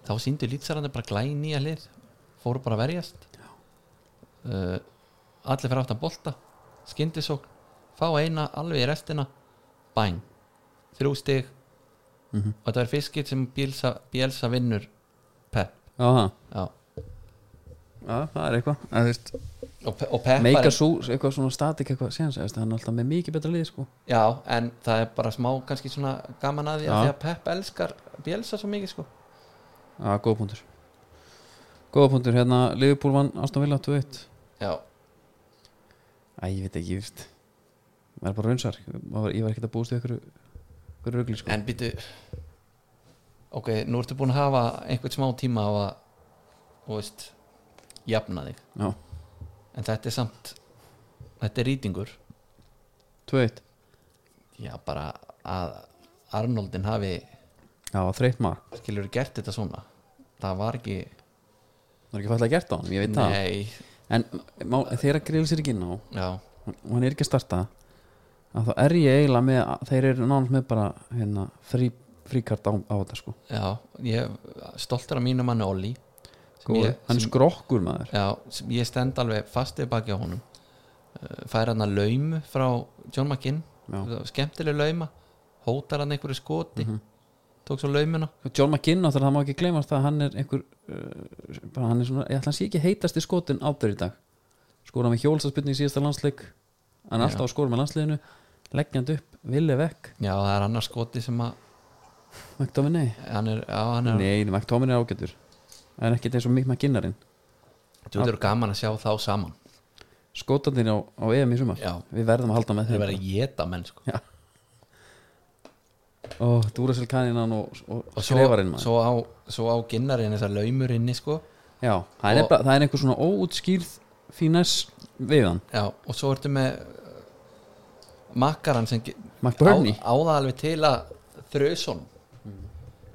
Speaker 3: þá síndu lýtsarandi bara glæn nýja hlið fóru bara að verjast uh, allir fyrir aftan bolta skyndisókn, fá eina alveg í restina, bæn þrjú stig
Speaker 2: Mhm.
Speaker 3: og þetta er fiskit sem Bielsa, Bielsa vinnur Pep
Speaker 2: já, það.
Speaker 3: já.
Speaker 2: já, það er eitthvað En þú veist,
Speaker 3: og, Pe- og Pep
Speaker 2: meika
Speaker 3: er,
Speaker 2: svo, eitthvað svona statik eitthvað séðan, veist, hann er alltaf með mikið betra lið sko.
Speaker 3: já, en það er bara smá kannski svona gaman að því
Speaker 2: Já.
Speaker 3: að því að Pep elskar Bielsa svo mikið sko
Speaker 2: já, góða punktur góða punktur, hérna, Liverpool vann Aston Villa 2-1
Speaker 3: já,
Speaker 2: æ, ég veit ekki, ég veist maður er bara raunsar, Maður- ég var ekkert að búast í ykkur ykkur rugli, sko
Speaker 3: En býtu Ok, nú ertu búin að hafa einhvern smá tíma á að þú veist, jafna þig
Speaker 2: já,
Speaker 3: en þetta er samt þetta er rýtingur
Speaker 2: 2-1,
Speaker 3: já, bara að Arnoldin hafi
Speaker 2: já, þreytt maður
Speaker 3: skilur gert þetta svona það var ekki
Speaker 2: það er ekki fallega gert á hann, ég veit það
Speaker 3: Nei,
Speaker 2: En má, þegar grill sér ekki inn á
Speaker 3: já,
Speaker 2: og hann er ekki að starta að þá er ég eiginlega með þeir eru nánast með bara hérna, frí, fríkart á, á þetta sko
Speaker 3: já ég stoltar af mínu manni Olli sem
Speaker 2: Góður.
Speaker 3: ég,
Speaker 2: hann er skrokkur maður
Speaker 3: já, sem ég stend alveg fastið baki á honum Eh, fær hann að laumu frá John McKinn
Speaker 2: Já. Mhm.
Speaker 3: skemmtileg lauma hótar hann einhverju skoti tók svo laumuna
Speaker 2: John McKinn áttur, það má ekki gleymast að hann er einhver uh, bara hann er svona, ég ætla hann sé ekki heitast í skotin áttur í dag skora með hjólstaspilni í síðasta landsleik hann er
Speaker 3: Já.
Speaker 2: alltaf að skora með landsleikinu leggjandi upp, villi vekk
Speaker 3: já það er annar skoti sem að
Speaker 2: McTominay,
Speaker 3: hann er, já hann er,
Speaker 2: nei, McTominay er ágætur það er ekkert eins og mikk McKinnarinn
Speaker 3: þú veður gaman að sjá þá saman
Speaker 2: skótandir á, á EM í sumar
Speaker 3: Já.
Speaker 2: við verðum að halda með
Speaker 3: þeir
Speaker 2: þeim
Speaker 3: verða að geta menn sko.
Speaker 2: og Duracell kaninan og, og,
Speaker 3: og svo,
Speaker 2: skrefarinn maður
Speaker 3: svo á, svo á ginnarinn þessar laumur inni sko.
Speaker 2: já, það er,
Speaker 3: og-
Speaker 2: nefnilega- það er einhver svona óútskýrð fínes við hann
Speaker 3: Já, og svo ertu með uh, makkaran sem ge-
Speaker 2: McBurney,
Speaker 3: á, áða alveg til að þrjuson
Speaker 2: Mhm.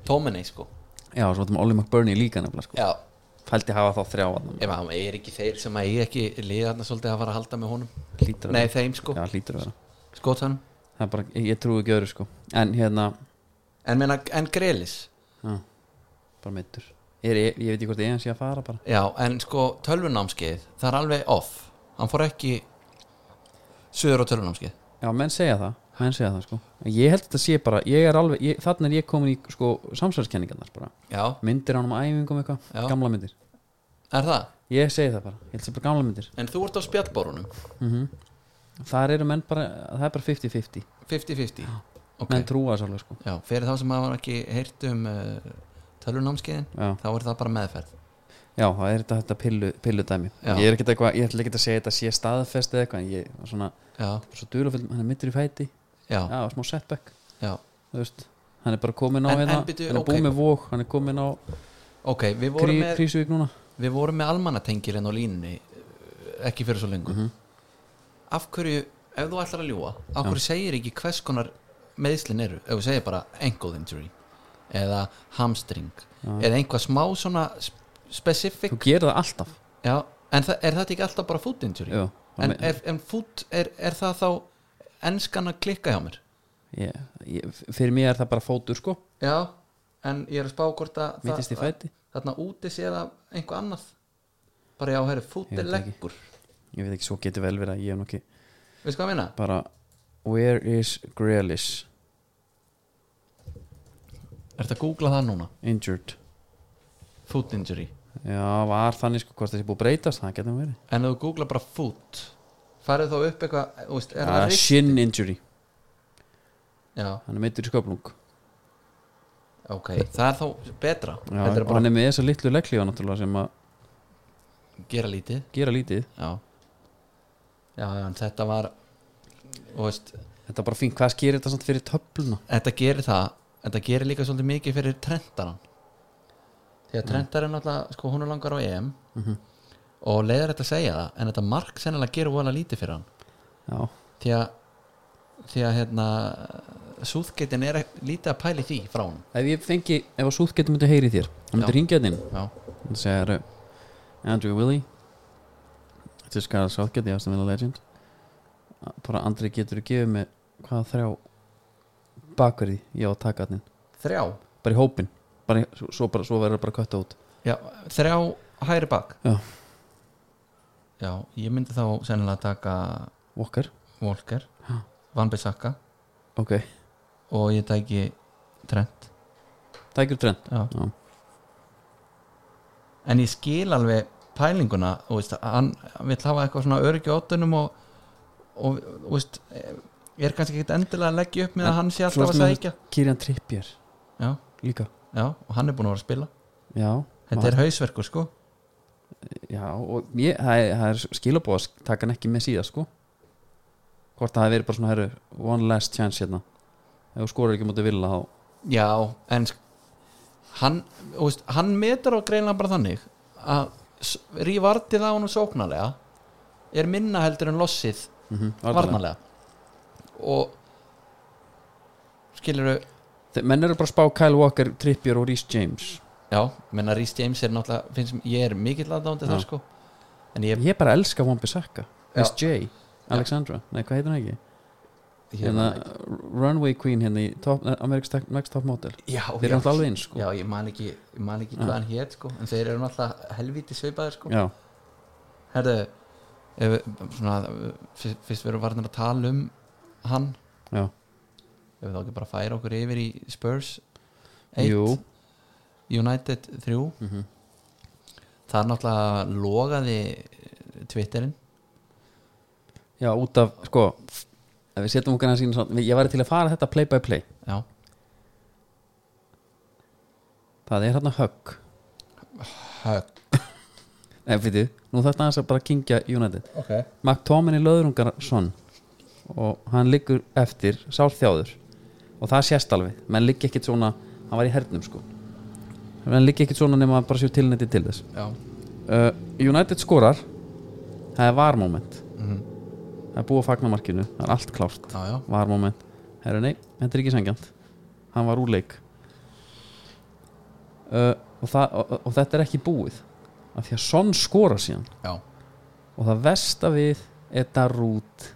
Speaker 3: Tóminei sko
Speaker 2: já, svo vartum Olli McBurney líka nefnilega sko.
Speaker 3: Já,
Speaker 2: fældi hafa þá þrjá hann
Speaker 3: ef hann er ekki þeir sem að ég ekki liðarna svolítið að fara að halda með honum
Speaker 2: hlýtur að
Speaker 3: Nei,
Speaker 2: vera.
Speaker 3: þeim sko,
Speaker 2: já, hlýtur að vera
Speaker 3: skotan
Speaker 2: það er bara, ég, ég trúi ekki öðru sko en hérna,
Speaker 3: En, meina, en Grelis
Speaker 2: já, bara meittur ég, ég, ég veit ekki hvort ég eins ég að fara bara
Speaker 3: Já, en sko tölvunámskeið Það er alveg off Hann fór ekki Suður á tölvunámskeið
Speaker 2: já, menn segja það menn segja það sko ég held að þetta sé bara, ég er alveg ég, þannig er ég komin í sko samsverðskenningarnar bara
Speaker 3: Já,
Speaker 2: myndir á hann um æfingum eitthvað,
Speaker 3: Já.
Speaker 2: gamla myndir
Speaker 3: er það?
Speaker 2: ég segi það bara, ég held að sé bara gamla myndir
Speaker 3: En þú ert á spjallbórunum
Speaker 2: Mhm. þar eru menn bara, það er bara 50-50
Speaker 3: 50-50 Ok.
Speaker 2: menn trúa þess alveg sko
Speaker 3: Já, fyrir þá sem hafa ekki heyrt um uh, tölvunámskeiðin
Speaker 2: já,
Speaker 3: þá er það bara meðferð
Speaker 2: já það er þetta, þetta pillu, pillu dæmi
Speaker 3: Já.
Speaker 2: ég er ekkert eitthvað, ég ætla ekki að segja þetta sé staðfest eða eitthvað, en ég var svona
Speaker 3: Já,
Speaker 2: svo duðlufell, hann er mittur í fæti
Speaker 3: já,
Speaker 2: já, smá setback,
Speaker 3: já
Speaker 2: þú veist hann er bara komin á
Speaker 3: En-
Speaker 2: hérna,
Speaker 3: en byrju,
Speaker 2: hann er
Speaker 3: ok.
Speaker 2: búið með vók hann er komin á
Speaker 3: Ok, við vorum
Speaker 2: krí,
Speaker 3: með,
Speaker 2: krísuvík núna
Speaker 3: við vorum með almannatengilin á línunni eh, ekki fyrir svo lengur
Speaker 2: Mhm.
Speaker 3: Af hverju, ef þú ætlar að ljúga af hverju segir ekki hvers konar meðslin eru, ef þú segir bara ankle injury eða hamstring eða einhvað smá svona sp- specific,
Speaker 2: þú gerir það alltaf
Speaker 3: já, en það, er þetta ekki alltaf bara foot injury?
Speaker 2: Jú, það
Speaker 3: en,
Speaker 2: með-
Speaker 3: er, en foot, er, er það þá enskan að klikka hjá mér?
Speaker 2: ég, ég, fyrir mér er það bara fótur sko
Speaker 3: Já, en ég er að spá hvort að
Speaker 2: mittist í
Speaker 3: það-
Speaker 2: fæti,
Speaker 3: þarna úti sé það einhver annað bara já, herri, fút
Speaker 2: Ég
Speaker 3: er
Speaker 2: veit ekki.
Speaker 3: leggur
Speaker 2: ég veit ekki, svo getur vel verið að ég hef nokki
Speaker 3: veistu hvað ég meina?
Speaker 2: bara, where is Grealish
Speaker 3: Er þetta að googla það núna?
Speaker 2: injured
Speaker 3: Foot injury
Speaker 2: já, var þannig sko, hvort þessi búið að breytast það getur verið,
Speaker 3: En ef þú googla bara foot farið þá upp eitthvað, þú veist, er
Speaker 2: það
Speaker 3: það
Speaker 2: er
Speaker 3: rist?
Speaker 2: shin injury
Speaker 3: Já,
Speaker 2: hann er mittur í sköflung
Speaker 3: ok, það er þá betra
Speaker 2: já,
Speaker 3: Þetta er
Speaker 2: og
Speaker 3: bara
Speaker 2: hann er með þessa litlu legglífa náttúrulega sem að
Speaker 3: að gera lítið
Speaker 2: gera lítið
Speaker 3: Já Já, já, en þetta var þú veist,
Speaker 2: þetta er bara fínt, hvað sker þetta samt fyrir töfluna
Speaker 3: þetta gerir það þetta gerir líka svolítið mikið fyrir trentaran því að trentarinn alltaf sko hún er langar á EM og leiðar þetta að segja það en þetta mark sennilega gerir vola lítið fyrir hann
Speaker 2: já,
Speaker 3: því að því að hérna súðgeitin er ek- lítið að pæli því frá hann
Speaker 2: ef ég fengi, ef að súð getur myndi heyri þér hann myndi
Speaker 3: Já.
Speaker 2: ringja þinn
Speaker 3: já,
Speaker 2: hann segir uh, Andrew Willey This guy is Southgate, the Aston Villa legend Uh, bara Andri getur að gefa mig hvaða þrjá bakverði ég á að taka hann
Speaker 3: þrjá
Speaker 2: bara í hópin bara, í- svo, svo, bara, svo verður bara kötta út
Speaker 3: já, þrjá hægri bak
Speaker 2: Já.
Speaker 3: já, ég myndi þá sennilega taka
Speaker 2: Walker,
Speaker 3: Volker,
Speaker 2: Já.
Speaker 3: Van Bissaka
Speaker 2: ok,
Speaker 3: og ég tæki Trent
Speaker 2: tækjur trend
Speaker 3: já
Speaker 2: já,
Speaker 3: en ég skil alveg pælinguna þú veist, að hann vil hafa eitthvað svona öryggi á ottunum og, og þú veist, ég er kannski ekkit endilega að leggja upp með
Speaker 2: En
Speaker 3: að hann sé
Speaker 2: svo
Speaker 3: alltaf að
Speaker 2: ertu með-
Speaker 3: sækja
Speaker 2: Kirian Trippier
Speaker 3: já,
Speaker 2: líka
Speaker 3: já, og hann er búin að vera að spila
Speaker 2: já,
Speaker 3: þetta er hausverkur sko
Speaker 2: já og ég, það er, það er skilabóð að taka hann ekki með síða sko hvort það hefur verið bara svona heru, one last chance hérna ef þú skorar ekki mútið vilja þá
Speaker 3: já, en sk- hann, þú veist, hann metur á greinlega bara þannig að s- rívartið á hann sóknarlega er minna heldur en lossið
Speaker 2: mm -hmm,
Speaker 3: varnarlega og skilur
Speaker 2: Þe- menn eru bara að spá Kyle Walker, Trippier og Rhys James
Speaker 3: Já, menna Rhys James er náttúrulega finnst, ég er mikill aðdándi
Speaker 2: Já.
Speaker 3: þar sko en ég,
Speaker 2: ég bara elska Wambi Saka
Speaker 3: Já.
Speaker 2: SJ, Alexandra, nei hvað heitir hann ekki
Speaker 3: ég
Speaker 2: hérna, Runway Queen hérna í top, eh, America's Top- Next Top Model
Speaker 3: já,
Speaker 2: þeir
Speaker 3: já,
Speaker 2: eru alltaf alveg eins sko
Speaker 3: já, ég man ekki, ég man ekki hvað hann hét sko en þeir eru náttúrulega helvíti sveipaðir sko
Speaker 2: Já,
Speaker 3: herðu ef, svona, fyrst, fyrst við erum varðin að tala um hann
Speaker 2: já.
Speaker 3: ef við þá ekki bara færa okkur yfir í Spurs 1,
Speaker 2: Jú,
Speaker 3: United 3 það er náttúrulega logaði Twitterinn
Speaker 2: já, út af sko, ef við setjum okkar að sína svona, ég væri til að fara þetta play by play
Speaker 3: já,
Speaker 2: það er hérna högg
Speaker 3: högg
Speaker 2: Nei, fyrir, nú þarf þetta að bara kingja United
Speaker 3: ok
Speaker 2: McTominay Löðrungarsson og hann liggur eftir sálþjáður og það sést alveg menn liggi ekkit svona, hann var í hernum sko menn liggi ekkit svona nema bara séu tilnætti til þess
Speaker 3: já,
Speaker 2: uh, United skorar það er varmoment
Speaker 3: Mhm.
Speaker 2: það er búið að fagna markinu, það er allt klárt
Speaker 3: já, já.
Speaker 2: varmoment, herru nei, þetta er ekki sengjant hann var úr leik uh, og, það, og, og þetta er ekki búið af því að Son skorar síðan
Speaker 3: já.
Speaker 2: og það versta við er Darút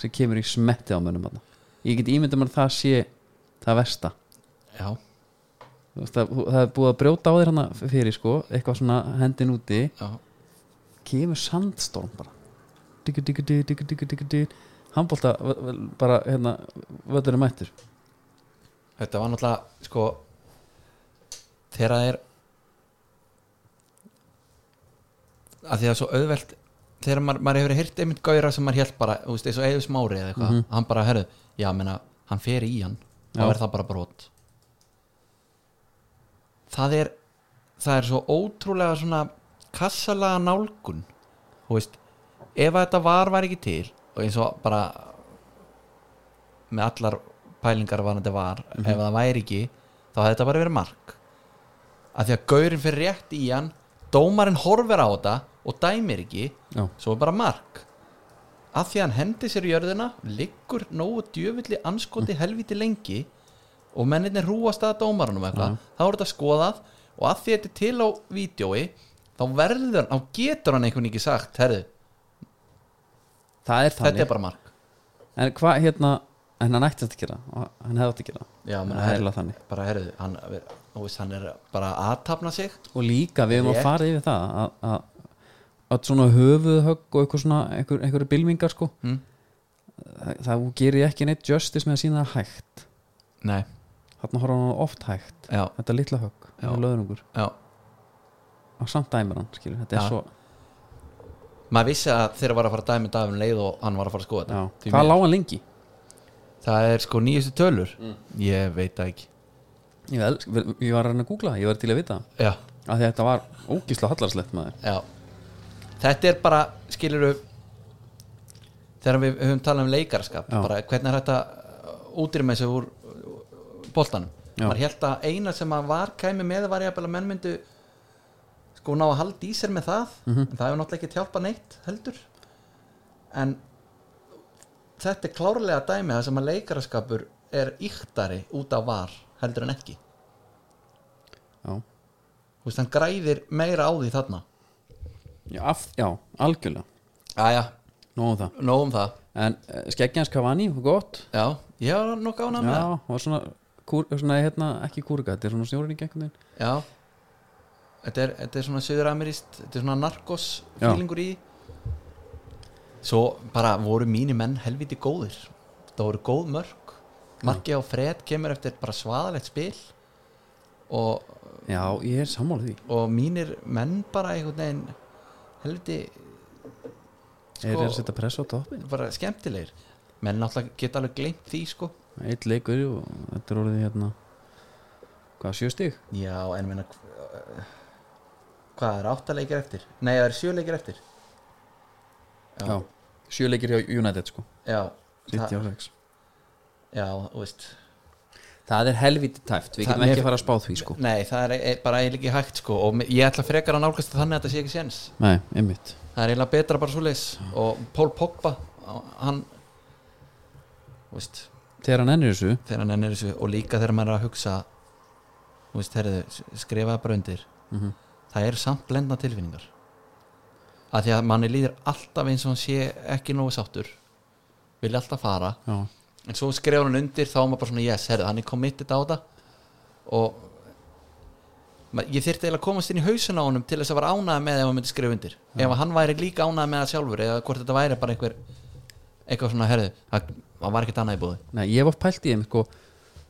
Speaker 2: sem kemur í smetti á mönnum þarna. ég get ímyndað mér að það sé það versta
Speaker 3: já.
Speaker 2: Þú veist, það, það er búið að brjóta á þér hana fyrir sko, eitthvað svona hendin úti
Speaker 3: já.
Speaker 2: kemur sandstorm bara diggu diggu diggu diggu diggu diggu diggu handbólta bara hérna völlur er mættur
Speaker 3: þetta var náttúrulega sko þegar það er að því að svo auðvelt þegar maður, maður hefur heyrt einmitt gauðra sem maður held bara, þú veist, eins og eigið smári eða eitthvað hann bara, herðu, já, menna, hann fer í hann þá
Speaker 2: Já.
Speaker 3: er það bara brot það er það er svo ótrúlega svona kassalega nálgun þú veist, ef að þetta var var ekki til og eins og bara með allar pælingar var þetta var ef það væri ekki, þá hefði þetta bara verið mark að því að gaurinn fyrir rétt í hann dómarinn horfir á þetta og dæmir ekki
Speaker 2: já,
Speaker 3: svo er bara mark að því að hann hendi sér í jörðina liggur nógu djöfulli anskoti helviti lengi og menninni rúast að dómarunum eitthvað, þá er þetta skoðað og að því þetta er til á vídjói þá verður hann, þá getur hann einhvern ekki sagt, herðu,
Speaker 2: það er
Speaker 3: þetta
Speaker 2: þannig
Speaker 3: er bara mark
Speaker 2: en hvað hérna, en hann ætti þetta ekki að gera og hann hefði þetta ekki að gera
Speaker 3: Já, menn,
Speaker 2: Það er eiginlega þannig
Speaker 3: bara herðu, hann, þú veist, hann er bara að aðtapna sig
Speaker 2: og líka við erum að
Speaker 3: Rétt.
Speaker 2: fara yfir það að, að, að svona höfuðhögg og eitthvað svona, einhver, einhverju bylmingar sko
Speaker 3: Mm.
Speaker 2: það, það gerir ekki neitt justice með að sína það hægt
Speaker 3: Nei,
Speaker 2: þarna horfa hann á oft hægt
Speaker 3: já,
Speaker 2: þetta litla högg,
Speaker 3: Já.
Speaker 2: löðunungur
Speaker 3: já
Speaker 2: og samt dæmir hann, skilur, þetta er
Speaker 3: Já.
Speaker 2: svo
Speaker 3: maður vissi að þeirra var að fara að dæmi dæmi leið og hann var að fara að skoða
Speaker 2: já.
Speaker 3: þetta Því
Speaker 2: hvað
Speaker 3: miður.
Speaker 2: lá hann lengi?
Speaker 3: það er sko nýjustu tölur
Speaker 2: Mm.
Speaker 3: ég veit það ekki
Speaker 2: Ég, vel, ég var að reyna að googla, það, ég var til að vita það.
Speaker 3: já,
Speaker 2: af því að þetta var ógísla hallarslegt maður
Speaker 3: já. þetta er bara, skilur þegar við höfum talað um leikarskap
Speaker 2: Já.
Speaker 3: bara, hvernig er þetta útrýma þessu úr boltanum
Speaker 2: Já.
Speaker 3: maður held að eina sem að var kæmi með var ég að menn myndu sko ná að halda í sér með það
Speaker 2: Mhm.
Speaker 3: en það hefur náttúrulega ekki hjálpa neitt heldur en þetta er klárlega dæmi það sem að leikaraskapur er yktari út af var heldur en ekki
Speaker 2: já.
Speaker 3: Þú veist, hann græðir meira á því þarna
Speaker 2: Já, af, já, algjörlega,
Speaker 3: Æja,
Speaker 2: nóg um það
Speaker 3: nóg um það
Speaker 2: en skeggjans Cavani, gott
Speaker 3: Já, ég var nokk ánað með það
Speaker 2: já, og svona, kúr, svona hérna, ekki kúrga, þetta er svona snjórinning einhvern veginn
Speaker 3: Já Þetta er, þetta er svona söðuramerist Þetta er svona narkos
Speaker 2: Já.
Speaker 3: fílingur í því. Svo bara voru mínir menn helviti góðir Það voru góð mörg Marki á fred kemur eftir bara svaðalegt spil og,
Speaker 2: já, ég er sammálið því
Speaker 3: og mínir menn bara einhvern veginn helviti
Speaker 2: sko, er að setja press á toppin
Speaker 3: bara skemmtilegir menn náttúrulega geta alveg gleymt því sko
Speaker 2: eitt leikur og þetta er orðið hérna hvað, sjö stig?
Speaker 3: Já, en meina Hvað er áttaleikir eftir? Nei, það er sjöleikir eftir Já.
Speaker 2: sjö leikir hjá United sko
Speaker 3: Já, það,
Speaker 2: 76
Speaker 3: já þú veist
Speaker 2: það er helvítið tæft, við
Speaker 3: Það-
Speaker 2: getum
Speaker 3: mér-
Speaker 2: ekki að fara að spá því sko
Speaker 3: Nei, það er e- bara eiginlega ekki hægt sko og me- ég ætla frekar að nálgast það þannig að þetta sé ekki séns
Speaker 2: nei, einmitt
Speaker 3: Það er eiginlega betra bara svoleiðis og Pól Pogba, hann þú veist,
Speaker 2: þegar hann ennir þessu,
Speaker 3: þegar hann ennir þessu og líka þegar maður er að hugsa þú veist, herriðu, s- skrifaðu bara undir
Speaker 2: Mhm.
Speaker 3: það eru samt blendna tilfinningar að því að manni líður alltaf eins og hann sé ekki nógu sáttur vilja alltaf fara
Speaker 2: já,
Speaker 3: en svo skrifar hann undir þá er maður bara svona yes, herrðu, hann er committed á það og ma- ég þyrfti eiginlega að komast inn í hausun á honum til þess að vera ánæða með ef hann myndi skrifa undir ef hann væri líka ánæða með það sjálfur eða hvort þetta væri bara einhver eitthvað svona, herðu, það það var ekkert annað í búði
Speaker 2: nei, ég var pælt í þeim sko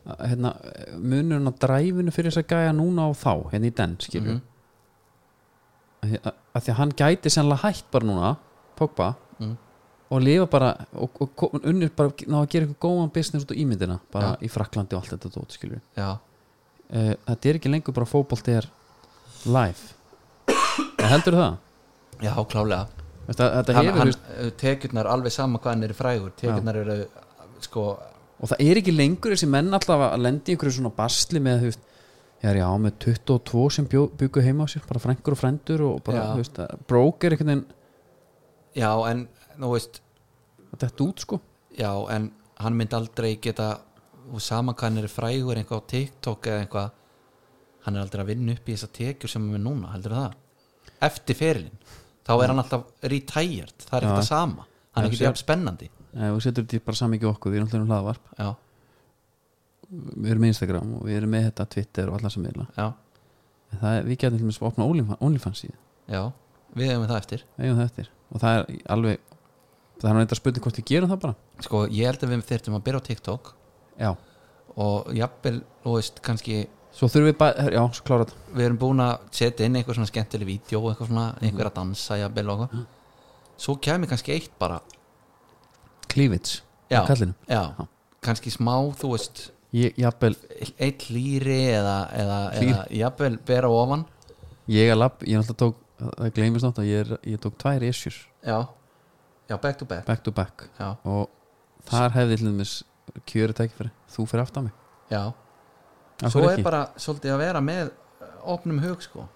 Speaker 2: að, hérna, munurinn á dræfinu fyrir þess að gæja núna og þá, hérna í den
Speaker 3: Mhm.
Speaker 2: skilju mm -hmm. að því að hann gæti sennilega hætt bara núna Pogba
Speaker 3: Mhm.
Speaker 2: og lifa bara og, og, og unnur bara ná að gera eitthvað góðan business út á ímyndina bara í Fraklandi og allt þetta dót Eh, skilju
Speaker 3: já,
Speaker 2: [coughs] uh, þetta er ekki lengur bara fótbolti er live en heldur það?
Speaker 3: já, klálega
Speaker 2: þetta, þetta
Speaker 3: hann,
Speaker 2: hefur,
Speaker 3: hann, eh,
Speaker 2: veist,
Speaker 3: tekjurnar alveg sama hvað hann er frægur tekjurnar eru sko
Speaker 2: og það er ekki lengur þessi menn alltaf að lendi ykkur svona basli með þú veist, ég er já með 22 sem bjó, byggu heima á sér bara frængur og frændur og bara,
Speaker 3: Já.
Speaker 2: þú veist, að brók er einhvern veginn
Speaker 3: já en, þú veist,
Speaker 2: að þetta út sko
Speaker 3: já, en hann myndi aldrei geta og sama hvað hann er frægur eitthvað á TikTok eða eitthvað hann er aldrei að vinna upp í þessa tekjur sem hann er núna, heldur það eftir ferilinn, þá er hann alltaf retired, það er
Speaker 2: Já.
Speaker 3: ekki það sama
Speaker 2: Já,
Speaker 3: hann er ekki
Speaker 2: sér-
Speaker 3: jafn spennandi
Speaker 2: Nei, Eh, og setur þetta í bara samingi okkur, við erum alltaf um hlaðvarp
Speaker 3: já,
Speaker 2: við erum með Instagram og við erum með þetta Twitter og alla sem vilja
Speaker 3: já,
Speaker 2: en það er, við getum til dæmis að opna Onlyfans- OnlyFans síðu,
Speaker 3: já, við hefum það eftir
Speaker 2: eigum það eftir og það er alveg það er nú eitthvað spurning hvort við gerum það bara
Speaker 3: sko, ég held að við þyrftum að byrja á TikTok
Speaker 2: já,
Speaker 3: og jafnvel, þú veist, kannski
Speaker 2: svo þurfum við bara, já, svo klára þetta
Speaker 3: við erum búin að setja inn einhver svona skemmtileg vídeo og eitthvað svona, einhver að dansa jafnvel og eitthvað svo kemur kannski eitt bara
Speaker 2: Cleavage,
Speaker 3: já,
Speaker 2: á kallinu
Speaker 3: já,
Speaker 2: Já.
Speaker 3: kannski smá þú veist,
Speaker 2: ég, jafnvel,
Speaker 3: eitt hlýri eða, eða,
Speaker 2: Hlýr.
Speaker 3: eða jafnvel bera ofan
Speaker 2: ég er lapp ég er alltaf tók, það gleymist nátt að ég, er, ég tók tvær esjur,
Speaker 3: já, já, back to back
Speaker 2: back to back
Speaker 3: já,
Speaker 2: og þar hefði til dæmis kjöri tækifæri, þú fyrir aftan mig
Speaker 3: já,
Speaker 2: Af
Speaker 3: svo
Speaker 2: hverju
Speaker 3: er
Speaker 2: ekki?
Speaker 3: bara svolítið að vera með eh, opnum hug sko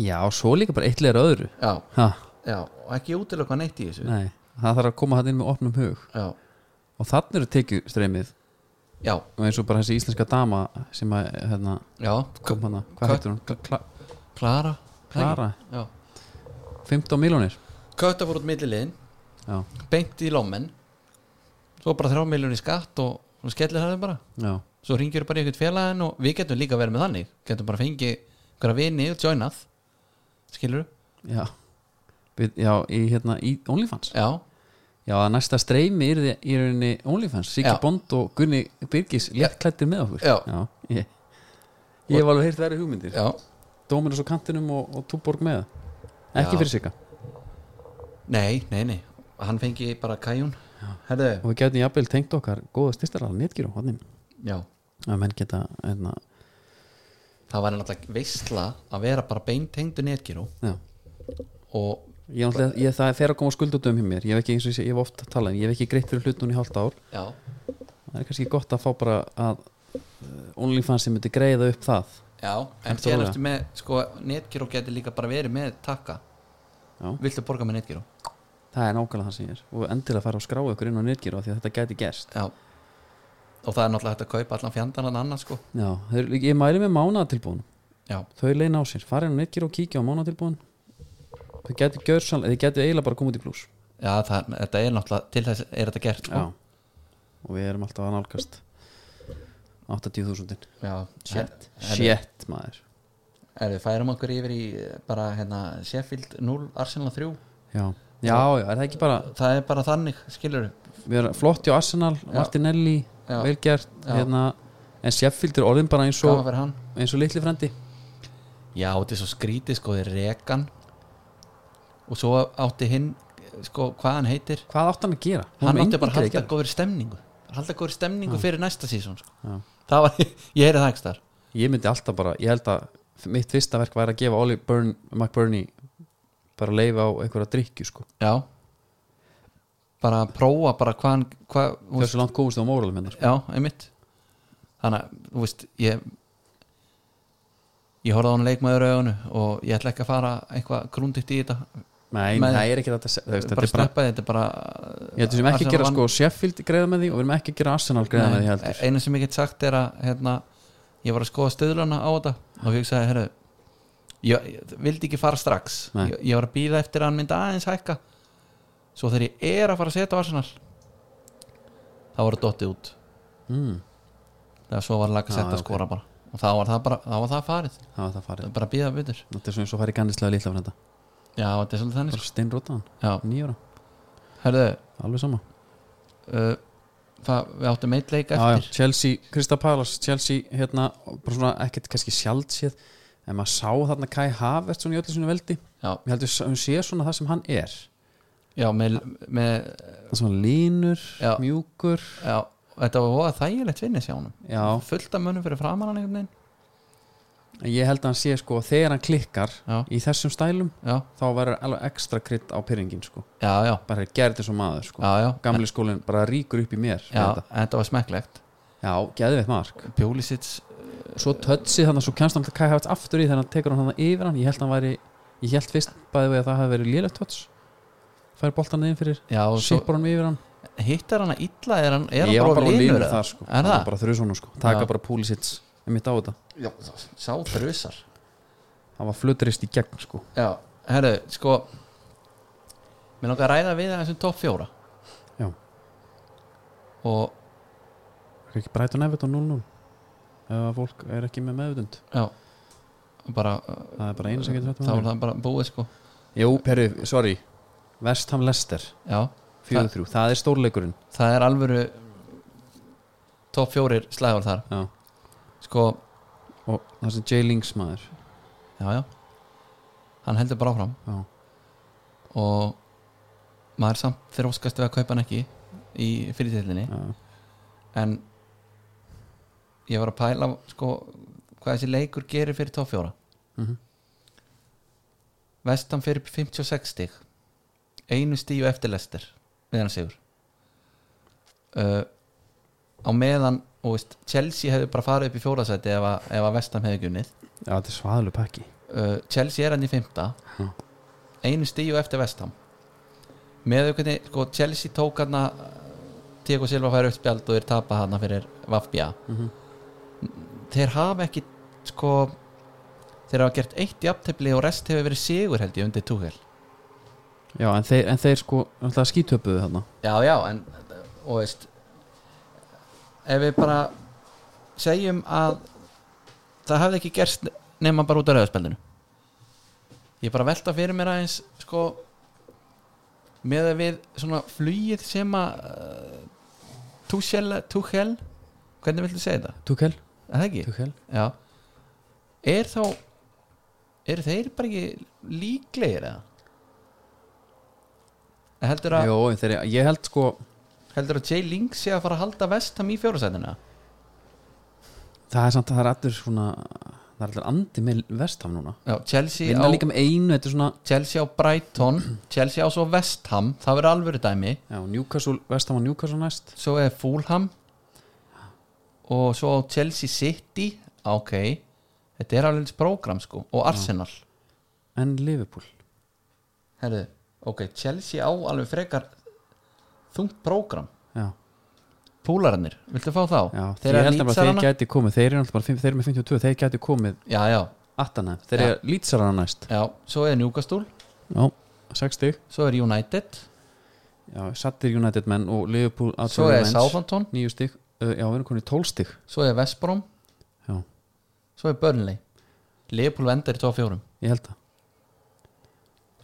Speaker 2: já, svo líka bara eitt leir öðru
Speaker 3: já,
Speaker 2: ha,
Speaker 3: já, og ekki útilega neitt í þessu
Speaker 2: nei, það þarf að koma það inn með opnum hug
Speaker 3: já,
Speaker 2: og þannig eru tekjustreymið
Speaker 3: já,
Speaker 2: og eins og bara þessi íslenska dama sem að, hérna,
Speaker 3: já
Speaker 2: kom hana hvað
Speaker 3: Hva-
Speaker 2: heitir hún? Kla
Speaker 3: Klara
Speaker 2: Klara,
Speaker 3: já,
Speaker 2: 15 miljónir
Speaker 3: kötta fór út milliliðin
Speaker 2: já,
Speaker 3: beint í lommen svo bara þrjá miljónu í skatt og, og skellir það bara
Speaker 2: já,
Speaker 3: svo ringir bara í eitthvað félagin og við getum líka verið með þannig getum bara fengið einhverja vini og joinað skilur
Speaker 2: já Við, já, í hérna, í OnlyFans
Speaker 3: já,
Speaker 2: já, að næsta streymi er því í rauninni OnlyFans, Siggi
Speaker 3: Já.
Speaker 2: Bond og Gunni Birgis léttklættir með okkur
Speaker 3: Já.
Speaker 2: ég, ég hef alveg heyrt verið hugmyndir
Speaker 3: já,
Speaker 2: Dóminus á kantinum og, og Túborg með ekki
Speaker 3: Já.
Speaker 2: fyrir Sigga
Speaker 3: nei, nei, nei hann fengi bara kæjun herðu,
Speaker 2: og við getum jafnvel tengt okkar góða styrstara netgíru hodnin
Speaker 3: já,
Speaker 2: að menn geta, hérna,
Speaker 3: það var náttúrulega veistla að vera bara beintengdu netgíru
Speaker 2: já
Speaker 3: og
Speaker 2: Ég, náttúrulega- ég, það er þegar að koma skuldutum hjá mér ég hef ekki, eins og ég, sé- ég hef oft talað, um, ég hef ekki greitt fyrir hlut núna í hálft ár
Speaker 3: já,
Speaker 2: það er kannski gott að fá bara að uh, OnlyFans sem myndi greiða upp það
Speaker 3: já en
Speaker 2: Hægt og
Speaker 3: sér
Speaker 2: rólega.
Speaker 3: eftir með, sko, netgíru getur líka bara verið með takka
Speaker 2: Já.
Speaker 3: viltu borga með netgíru
Speaker 2: það er nákvæmlega það sem ég er og endilega fara að skráa ykkur inn á nýrgjöru því að þetta gæti gerst
Speaker 3: já og það er náttúrulega hægt að kaupa allan fjandan að annars sko
Speaker 2: Já, þeir, ég mæli með mánatilbúin
Speaker 3: já,
Speaker 2: þau leina á sér, fara inn á nýrgjöru og kíkja á mánatilbúin þau gæti gjörsal þau gæti eiginlega bara komið í pluss
Speaker 3: já það, þetta er náttúrulega til þess er þetta gert sko
Speaker 2: Já, og við erum alltaf að nálgast 80.000
Speaker 3: Já, shit
Speaker 2: Sjett maður
Speaker 3: Er við færum okkur yfir í eh, bara hérna Sheffield 0, Arsenal 3
Speaker 2: Já, já, já, er það ekki bara
Speaker 3: Það er bara þannig, skilur
Speaker 2: við erum flott hjá Arsenal, Martinelli
Speaker 3: Já.
Speaker 2: vel gert,
Speaker 3: Já.
Speaker 2: hérna en Sheffield er orðin bara eins
Speaker 3: Gaman
Speaker 2: og,
Speaker 3: fyrir hann
Speaker 2: eins og litli frendi
Speaker 3: Já, þetta er svo skrítið sko, þeir rekan Og svo átti hinn eh, sko, hvað hann heitir
Speaker 2: hvað átt hann að gera? Hún
Speaker 3: Hann
Speaker 2: var
Speaker 3: átti bara að
Speaker 2: engin
Speaker 3: halda
Speaker 2: greið
Speaker 3: góður stemningu Halda góður stemningu fyrir næsta sísón sko.
Speaker 2: Já.
Speaker 3: Það var, [laughs] ég heyri það ekki þar
Speaker 2: gerð. ég myndi alltaf bara, ég held að mitt fyrsta verk væri að gefa Oli Burn, McBurney bara að leifa á einhverja drikju sko
Speaker 3: Já Bara að prófa bara hvað hann hvað, þú veist,
Speaker 2: hversu langt komist þú á móralum hennar sko.
Speaker 3: Já, einmitt Þannig að, þú veist, ég ég horfði á hann leikmaður auðunu og ég ætla ekki að fara eitthvað grúnditt í þetta
Speaker 2: nei,
Speaker 3: Nei.
Speaker 2: það er ekki þetta að se- þú veist, þetta er
Speaker 3: bara
Speaker 2: bara,
Speaker 3: sleppa þetta bara
Speaker 2: ég held að við sem ekki
Speaker 3: Arsenal
Speaker 2: að gera
Speaker 3: vann-
Speaker 2: sko Sheffield greiða með því og við erum ekki að gera Arsenal greiða með því
Speaker 3: Nei,
Speaker 2: heldur
Speaker 3: eina sem ég get sagt er að hérna, ég var að skoða stöðlana á þetta og ég sagði, herru ég, ég vildi ekki fara strax
Speaker 2: Nei.
Speaker 3: ég, ég var að býða eftir að hann myndi aðeins hækka svo þegar ég er að fara að setja á Arsenal þá var það dottið út
Speaker 2: mm,
Speaker 3: þegar svo var laga
Speaker 2: Já,
Speaker 3: að setja
Speaker 2: ok.
Speaker 3: að skora bara og þá var það, bara, þá var það farið
Speaker 2: það var það farið
Speaker 3: bara að býða byttur
Speaker 2: þetta er svona eins og farið gannislega litla frenda
Speaker 3: Já, þetta er svolítið þannig sko.
Speaker 2: bara steinrótaðan,
Speaker 3: Já,
Speaker 2: nýjóra,
Speaker 3: herðu
Speaker 2: alveg sama
Speaker 3: uh, það, Við áttum eitt leik
Speaker 2: já, já,
Speaker 3: eftir
Speaker 2: Chelsea, Krista Palace Chelsea, hérna, bara svona ekkert kannski sjálfséð, en maður sá þarna Kai Havert svona í öllu svona veldi
Speaker 3: Já,
Speaker 2: ég heldur hún sé svona það sem hann er
Speaker 3: já, með, með
Speaker 2: það sem hann línur,
Speaker 3: Já.
Speaker 2: mjúkur
Speaker 3: já, Þetta var voða þægilegt vinnis hjá honum
Speaker 2: já,
Speaker 3: Fullt af mönnum fyrir framan hann einhvern veginn
Speaker 2: en ég held að hann sé sko þegar hann klikkar
Speaker 3: Já.
Speaker 2: í þessum stælum
Speaker 3: já,
Speaker 2: þá verður alveg ekstra krydd á pyrringin sko
Speaker 3: já, já,
Speaker 2: bara gerði þessu maður sko
Speaker 3: já, já.
Speaker 2: gamli skólinn bara rýkur upp í mér fyrir
Speaker 3: já
Speaker 2: þetta.
Speaker 3: en þetta var smekklegt
Speaker 2: já geðveitt mark
Speaker 3: Pjólisits,
Speaker 2: svo tötsi þannig að svo kemst hann til Kai Havertz aftur í þegar hann tekur hann hann yfir hann ég held hann væri ég held fyrst bæði vegi að það hefði verið lélegt töts fær boltan inn fyrir
Speaker 3: já, og svo
Speaker 2: sipur hann yfir hann
Speaker 3: hittar hana illa er hann, er hann
Speaker 2: ég
Speaker 3: bara,
Speaker 2: var bara
Speaker 3: bara
Speaker 2: línur
Speaker 3: línur
Speaker 2: þar sko
Speaker 3: er
Speaker 2: Hann var
Speaker 3: það?
Speaker 2: bara þrjusónu sko taka
Speaker 3: Já.
Speaker 2: bara púlisits mitt á þetta
Speaker 3: Já, sá þrjusar
Speaker 2: hann var fluturist í gegn sko
Speaker 3: já, herru, sko mér langar að ræða við þessum topp fjóra
Speaker 2: Já.
Speaker 3: og,
Speaker 2: ekki Brighton Everton 0-0 ef að fólk er ekki með meðvutund
Speaker 3: já og bara,
Speaker 2: það er bara einu sem getur
Speaker 3: þá er
Speaker 2: þetta
Speaker 3: það bara búið sko
Speaker 2: jú, perri, sorry Vestham Lester
Speaker 3: já,
Speaker 2: 4-3 það er stórleikurinn
Speaker 3: það er alvöru topp fjórir slægur þar
Speaker 2: já.
Speaker 3: sko,
Speaker 2: og það sem Jay Links maður
Speaker 3: já, já hann heldur bara áfram
Speaker 2: já.
Speaker 3: og maður samt fyrir óskast við að kaupa hann ekki í fyrirtillinni
Speaker 2: Já.
Speaker 3: en ég var að pæla sko, hvað þessi leikur gerir fyrir topp fjóra
Speaker 2: Mhm.
Speaker 3: vestan fyrir 56 stig einu stíu eftir lestir við hann sigur uh, á meðan og veist, Chelsea hefði bara farið upp í fjórasæti ef að, ef að vestan hefði gunnið
Speaker 2: já, þetta er svaðalu pakki
Speaker 3: uh, Chelsea er hann í fymta
Speaker 2: Já.
Speaker 3: einu stíu eftir vestam með auðvitað sko, Chelsea tók hann að Tíko Silva færi upp spjald og þeir tapa hann fyrir Vafbja þeir hafa ekki sko þeir hafa gert eitt jafntefli og rest hefur verið sigur held ég undir túhel
Speaker 2: já, en þeir, en þeir sko alltaf skítöpuðu þarna
Speaker 3: já já en og veist ef við bara segjum að það hafði ekki gerst nema bara út af rauðspjaldinu ég er bara að velta fyrir mér aðeins sko með að við svona flugið sem að uh, túhel, túhel hvernig viltu segja þetta?
Speaker 2: Tukel,
Speaker 3: Er það ekki?
Speaker 2: Tukel.
Speaker 3: Já Er þá Er þeir bara ekki líklegir eða? En Heldur að,
Speaker 2: Jó, en þeir, ég held sko
Speaker 3: heldur að Jay Link sé að fara að halda vestam í fjórasætina?
Speaker 2: það er samt að það er allir svona það er allir andi með Vestham núna
Speaker 3: Já, Chelsea
Speaker 2: vinna
Speaker 3: á,
Speaker 2: líka með einu, þetta er svona
Speaker 3: Chelsea á Brighton [clears throat] Chelsea á svo Vestham, það verður alvöru dæmi
Speaker 2: já, Newcastle, Vestham og Newcastle næst
Speaker 3: Svo er Fulham Og svo á Chelsea City Ok Þetta er alveg eins prógram sko Og Arsenal
Speaker 2: en Liverpool
Speaker 3: Herðu, ok, Chelsea á alveg frekar Þungt prógram
Speaker 2: já,
Speaker 3: Púlararnir, viltu fá þá?
Speaker 2: já,
Speaker 3: þeir
Speaker 2: ég
Speaker 3: eru
Speaker 2: held að bara þeir
Speaker 3: lýtsarana
Speaker 2: gæti komið þeir eru alltaf bara, fimm- þeir eru með 52, þeir gæti komið
Speaker 3: Já, já,
Speaker 2: attana, þeir eru lýtsarana næst
Speaker 3: já, svo er Newcastle
Speaker 2: já, 60,
Speaker 3: Svo er United
Speaker 2: já, Sattir United menn og Liverpool,
Speaker 3: Svo er Southampton
Speaker 2: 9 stig, uh, já, við erum konið 12 stig
Speaker 3: Svo er West Brom
Speaker 2: já,
Speaker 3: Svo er Burnley Leopold vendar í 2-4
Speaker 2: ég held það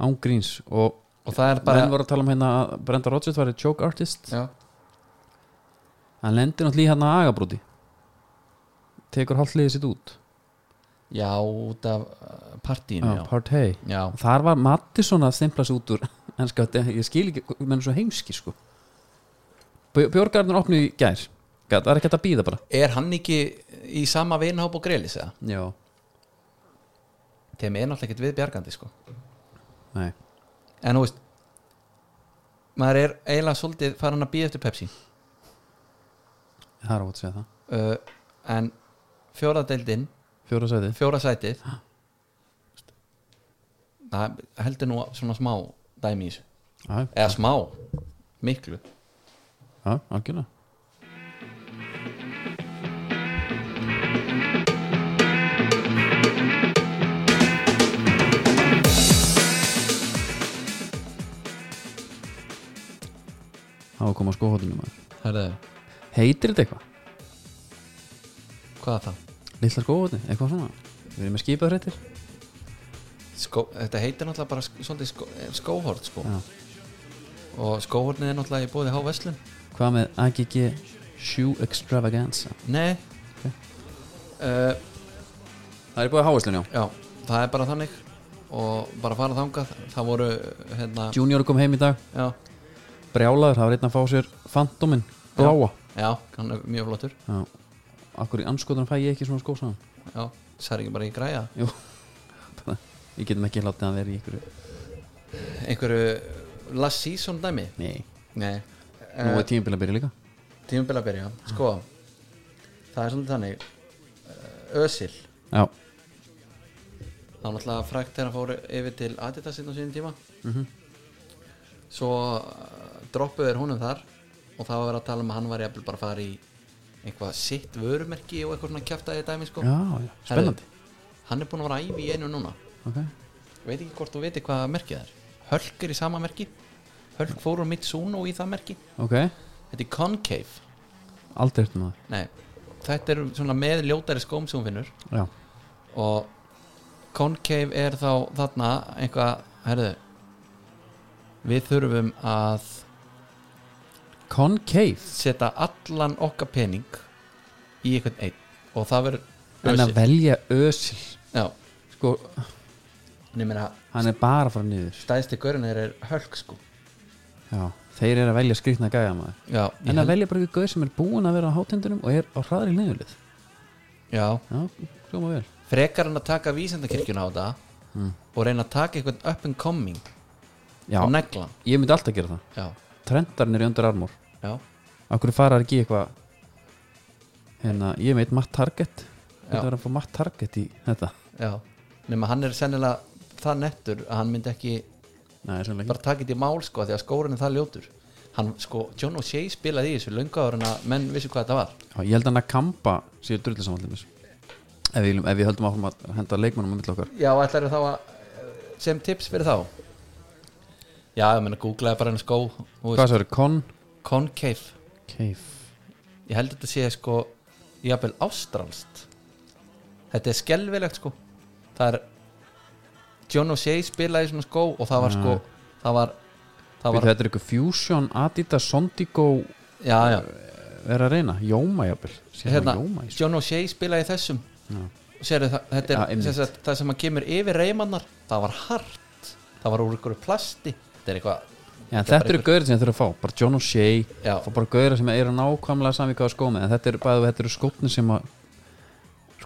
Speaker 2: án gríns og
Speaker 3: Og það er bara
Speaker 2: menn voru að tala um hérna að Brenda Rodgers var joke artist
Speaker 3: já,
Speaker 2: hann lendir náttúrulega í hérna að agabrúti tekur hálfliðið sitt út
Speaker 3: já, út af uh, partíinu Já,
Speaker 2: Partey
Speaker 3: já,
Speaker 2: þar var Mattisson að stimpla sig út úr [laughs] en sko, ég skil ekki, menn er svo heimski sko Björgarnir opnið í gær það er ekki hægt að býða bara
Speaker 3: Er hann ekki í sama vinhóp og greilis eða?
Speaker 2: já,
Speaker 3: Þeim er náttúrulega ekkert við bjargandi sko
Speaker 2: nei,
Speaker 3: En þú veist Maður er eiginlega svolítið farin að býja eftir Pepsi
Speaker 2: það er ótt að segja það
Speaker 3: uh, En fjóraðdeildin
Speaker 2: fjóra sæti,
Speaker 3: fjóra sætið það heldur nú svona smá dæmi í þessu
Speaker 2: já,
Speaker 3: eða smá, miklu
Speaker 2: já, algjörlega Á að koma skóhóttinu maður
Speaker 3: Herðu,
Speaker 2: Heitir þetta eitthvað?
Speaker 3: hvað er það?
Speaker 2: Lilla skóhóttni, eitthvað svona Við erum með skipað hrettir
Speaker 3: Skó, þetta heitir náttúrulega bara sk- svolítið skó, eh, skóhorn sko.
Speaker 2: Já.
Speaker 3: og skóhornið er náttúrulega í bóði háveslun
Speaker 2: Hvað með AGG Shoe Extravaganza
Speaker 3: nei uh,
Speaker 2: Það er búið að háislun, já
Speaker 3: já, það er bara þannig og bara fara þangað það voru hérna
Speaker 2: Junior kom heim í dag,
Speaker 3: já,
Speaker 2: brjálaður Það var einn að fá sér Fantomin, bláa
Speaker 3: já, hann er mjög flottur
Speaker 2: já. akkur í anskotunum fæ ég ekki svona skó saman
Speaker 3: já, það er ekki bara í græja
Speaker 2: Jú, [laughs] bara, við getum ekki látið að vera í ykkur
Speaker 3: einhverju last season dæmi
Speaker 2: Nei,
Speaker 3: nei,
Speaker 2: nú
Speaker 3: Eh.
Speaker 2: er tímabil að byrja líka
Speaker 3: tímubil að byrja sko, það er svona þannig Eh, Ösil
Speaker 2: Já,
Speaker 3: það var náttúrulega frækt þegar hann fór yfir til Adidas inn á sínum tíma
Speaker 2: Mhm.
Speaker 3: svo uh, droppuðu er honum þar og það var að vera að tala um að hann var jafnvel bara að fara í eitthvað sitt vörumerki og eitthvað svona kjaftaði dæmi sko
Speaker 2: já, já, spennandi
Speaker 3: Herðu, hann er búinn að vera að æfi í einu núna
Speaker 2: Ok,
Speaker 3: veit ekki hvort þú veitir hvað merkið það er Hölk er í sama merki Hölk fór úr Mitsuno í það merki
Speaker 2: ok,
Speaker 3: þetta er Concave
Speaker 2: aldrei um eftir maður
Speaker 3: Nei, þetta er svona með ljótari skóm sem hún finnur
Speaker 2: Já,
Speaker 3: og Concave er þá þarna einhvað, herðu við þurfum að
Speaker 2: concave
Speaker 3: setja allan okkar pening í einhvern einn og það verður
Speaker 2: En að velja ösil
Speaker 3: Já,
Speaker 2: Sko,
Speaker 3: nefnir að
Speaker 2: hann er bara að fara niður
Speaker 3: stæðsti gaurin er hölk sko
Speaker 2: Já, þeir eru að velja skrikna gæja maður
Speaker 3: Já, ég
Speaker 2: En
Speaker 3: held-
Speaker 2: að velja bara ykkur gauð sem er búin að vera á hátindunum og er á hraðri niðurlið
Speaker 3: já
Speaker 2: Já, hljóma vel
Speaker 3: frekar en að taka vísendakirkjuna á þetta og reyna að taka einhvern up and coming
Speaker 2: Mm. Já,
Speaker 3: og negla hann.
Speaker 2: ég myndi alltaf gera það
Speaker 3: já,
Speaker 2: Trendarinn er í öndur armór
Speaker 3: já,
Speaker 2: Akkur fara ekki í eitthvað hérna, ég veit Matt Target
Speaker 3: Já.
Speaker 2: þetta verður að fá Matt Target í þetta
Speaker 3: já nema hann er sennilega það nettur að hann myndi ekki
Speaker 2: Nei, sannlega
Speaker 3: bara taka þetta í mál sko því að skórun er það ljótur hann sko, John O'Shea spilaði í þessu lungaður en að menn vissu hvað þetta var
Speaker 2: ekki Já, Ég held hann að Kamba séu drullu samanlum ef við, viljum- ef við höldum áfram að henda leikmannum á milli okkar
Speaker 3: já, ætlar þá að eh, sem tips fyrir þá já, ég meina, googlaði bara henni skó þú veist,
Speaker 2: Hvað svo eru? Con?
Speaker 3: concave
Speaker 2: Cave
Speaker 3: ég held að þetta sé sko jafnvel ástralst þetta er skelvilegt sko það er John O'Shea spilaði í svona skó og það var sko það var, það var
Speaker 2: Þetta er eitthvað Fusion, Adidas, Sondigo
Speaker 3: já, já,
Speaker 2: er að reyna, Jóma jafnvel Sér hérna,
Speaker 3: hérna,
Speaker 2: Jóma í svo
Speaker 3: John O'Shea spilaði í þessum Séru, það, þetta
Speaker 2: Ja,
Speaker 3: er
Speaker 2: einmitt.
Speaker 3: ja, að, það sem að kemur yfir reymannar það var hart, það var úr ykkur plasti þetta er eitthvað
Speaker 2: Já,
Speaker 3: þetta er
Speaker 2: þetta eru gauðir sem þeir að fá, bara John O'Shea
Speaker 3: Já.
Speaker 2: fá bara gauðir sem eru nákvæmlega sami hvað að skóma, en þetta eru bæðu, þetta eru skóknir sem að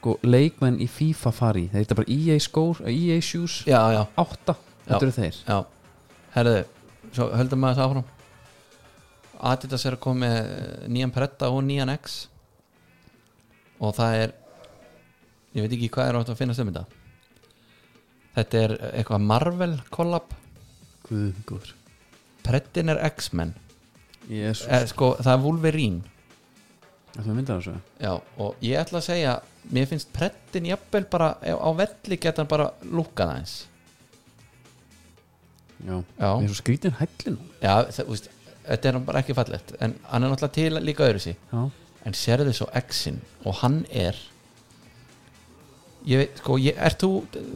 Speaker 2: sko, leikmenn í FIFA fari, þeir eru bara EA skór, EA shoes,
Speaker 3: já, já,
Speaker 2: átta þetta eru þeir,
Speaker 3: já, herðu svo höldum maður þess áfram Adidas er að koma með eh, nýjan Pretta og nýjan X og það er ég veit ekki hvað er átt að finna stömynda þetta er eitthvað Marvel collab
Speaker 2: guð, guður
Speaker 3: Prettin er X-Men
Speaker 2: Jésu,
Speaker 3: eh, sko, það er Wolverine
Speaker 2: þetta myndar þessu
Speaker 3: Já, og ég ætla að segja mér finnst prettin jafnvel bara ef á velli geta hann bara lúkkað aðeins
Speaker 2: Já,
Speaker 3: Já.
Speaker 2: mér er svo skrítin hællin
Speaker 3: Já, það, þú veist, þetta er bara ekki fallegt en hann er náttúrulega til líka öðru sí
Speaker 2: Já,
Speaker 3: en sérðu svo X-in og hann er ég veit, sko, ég, ert þú uh,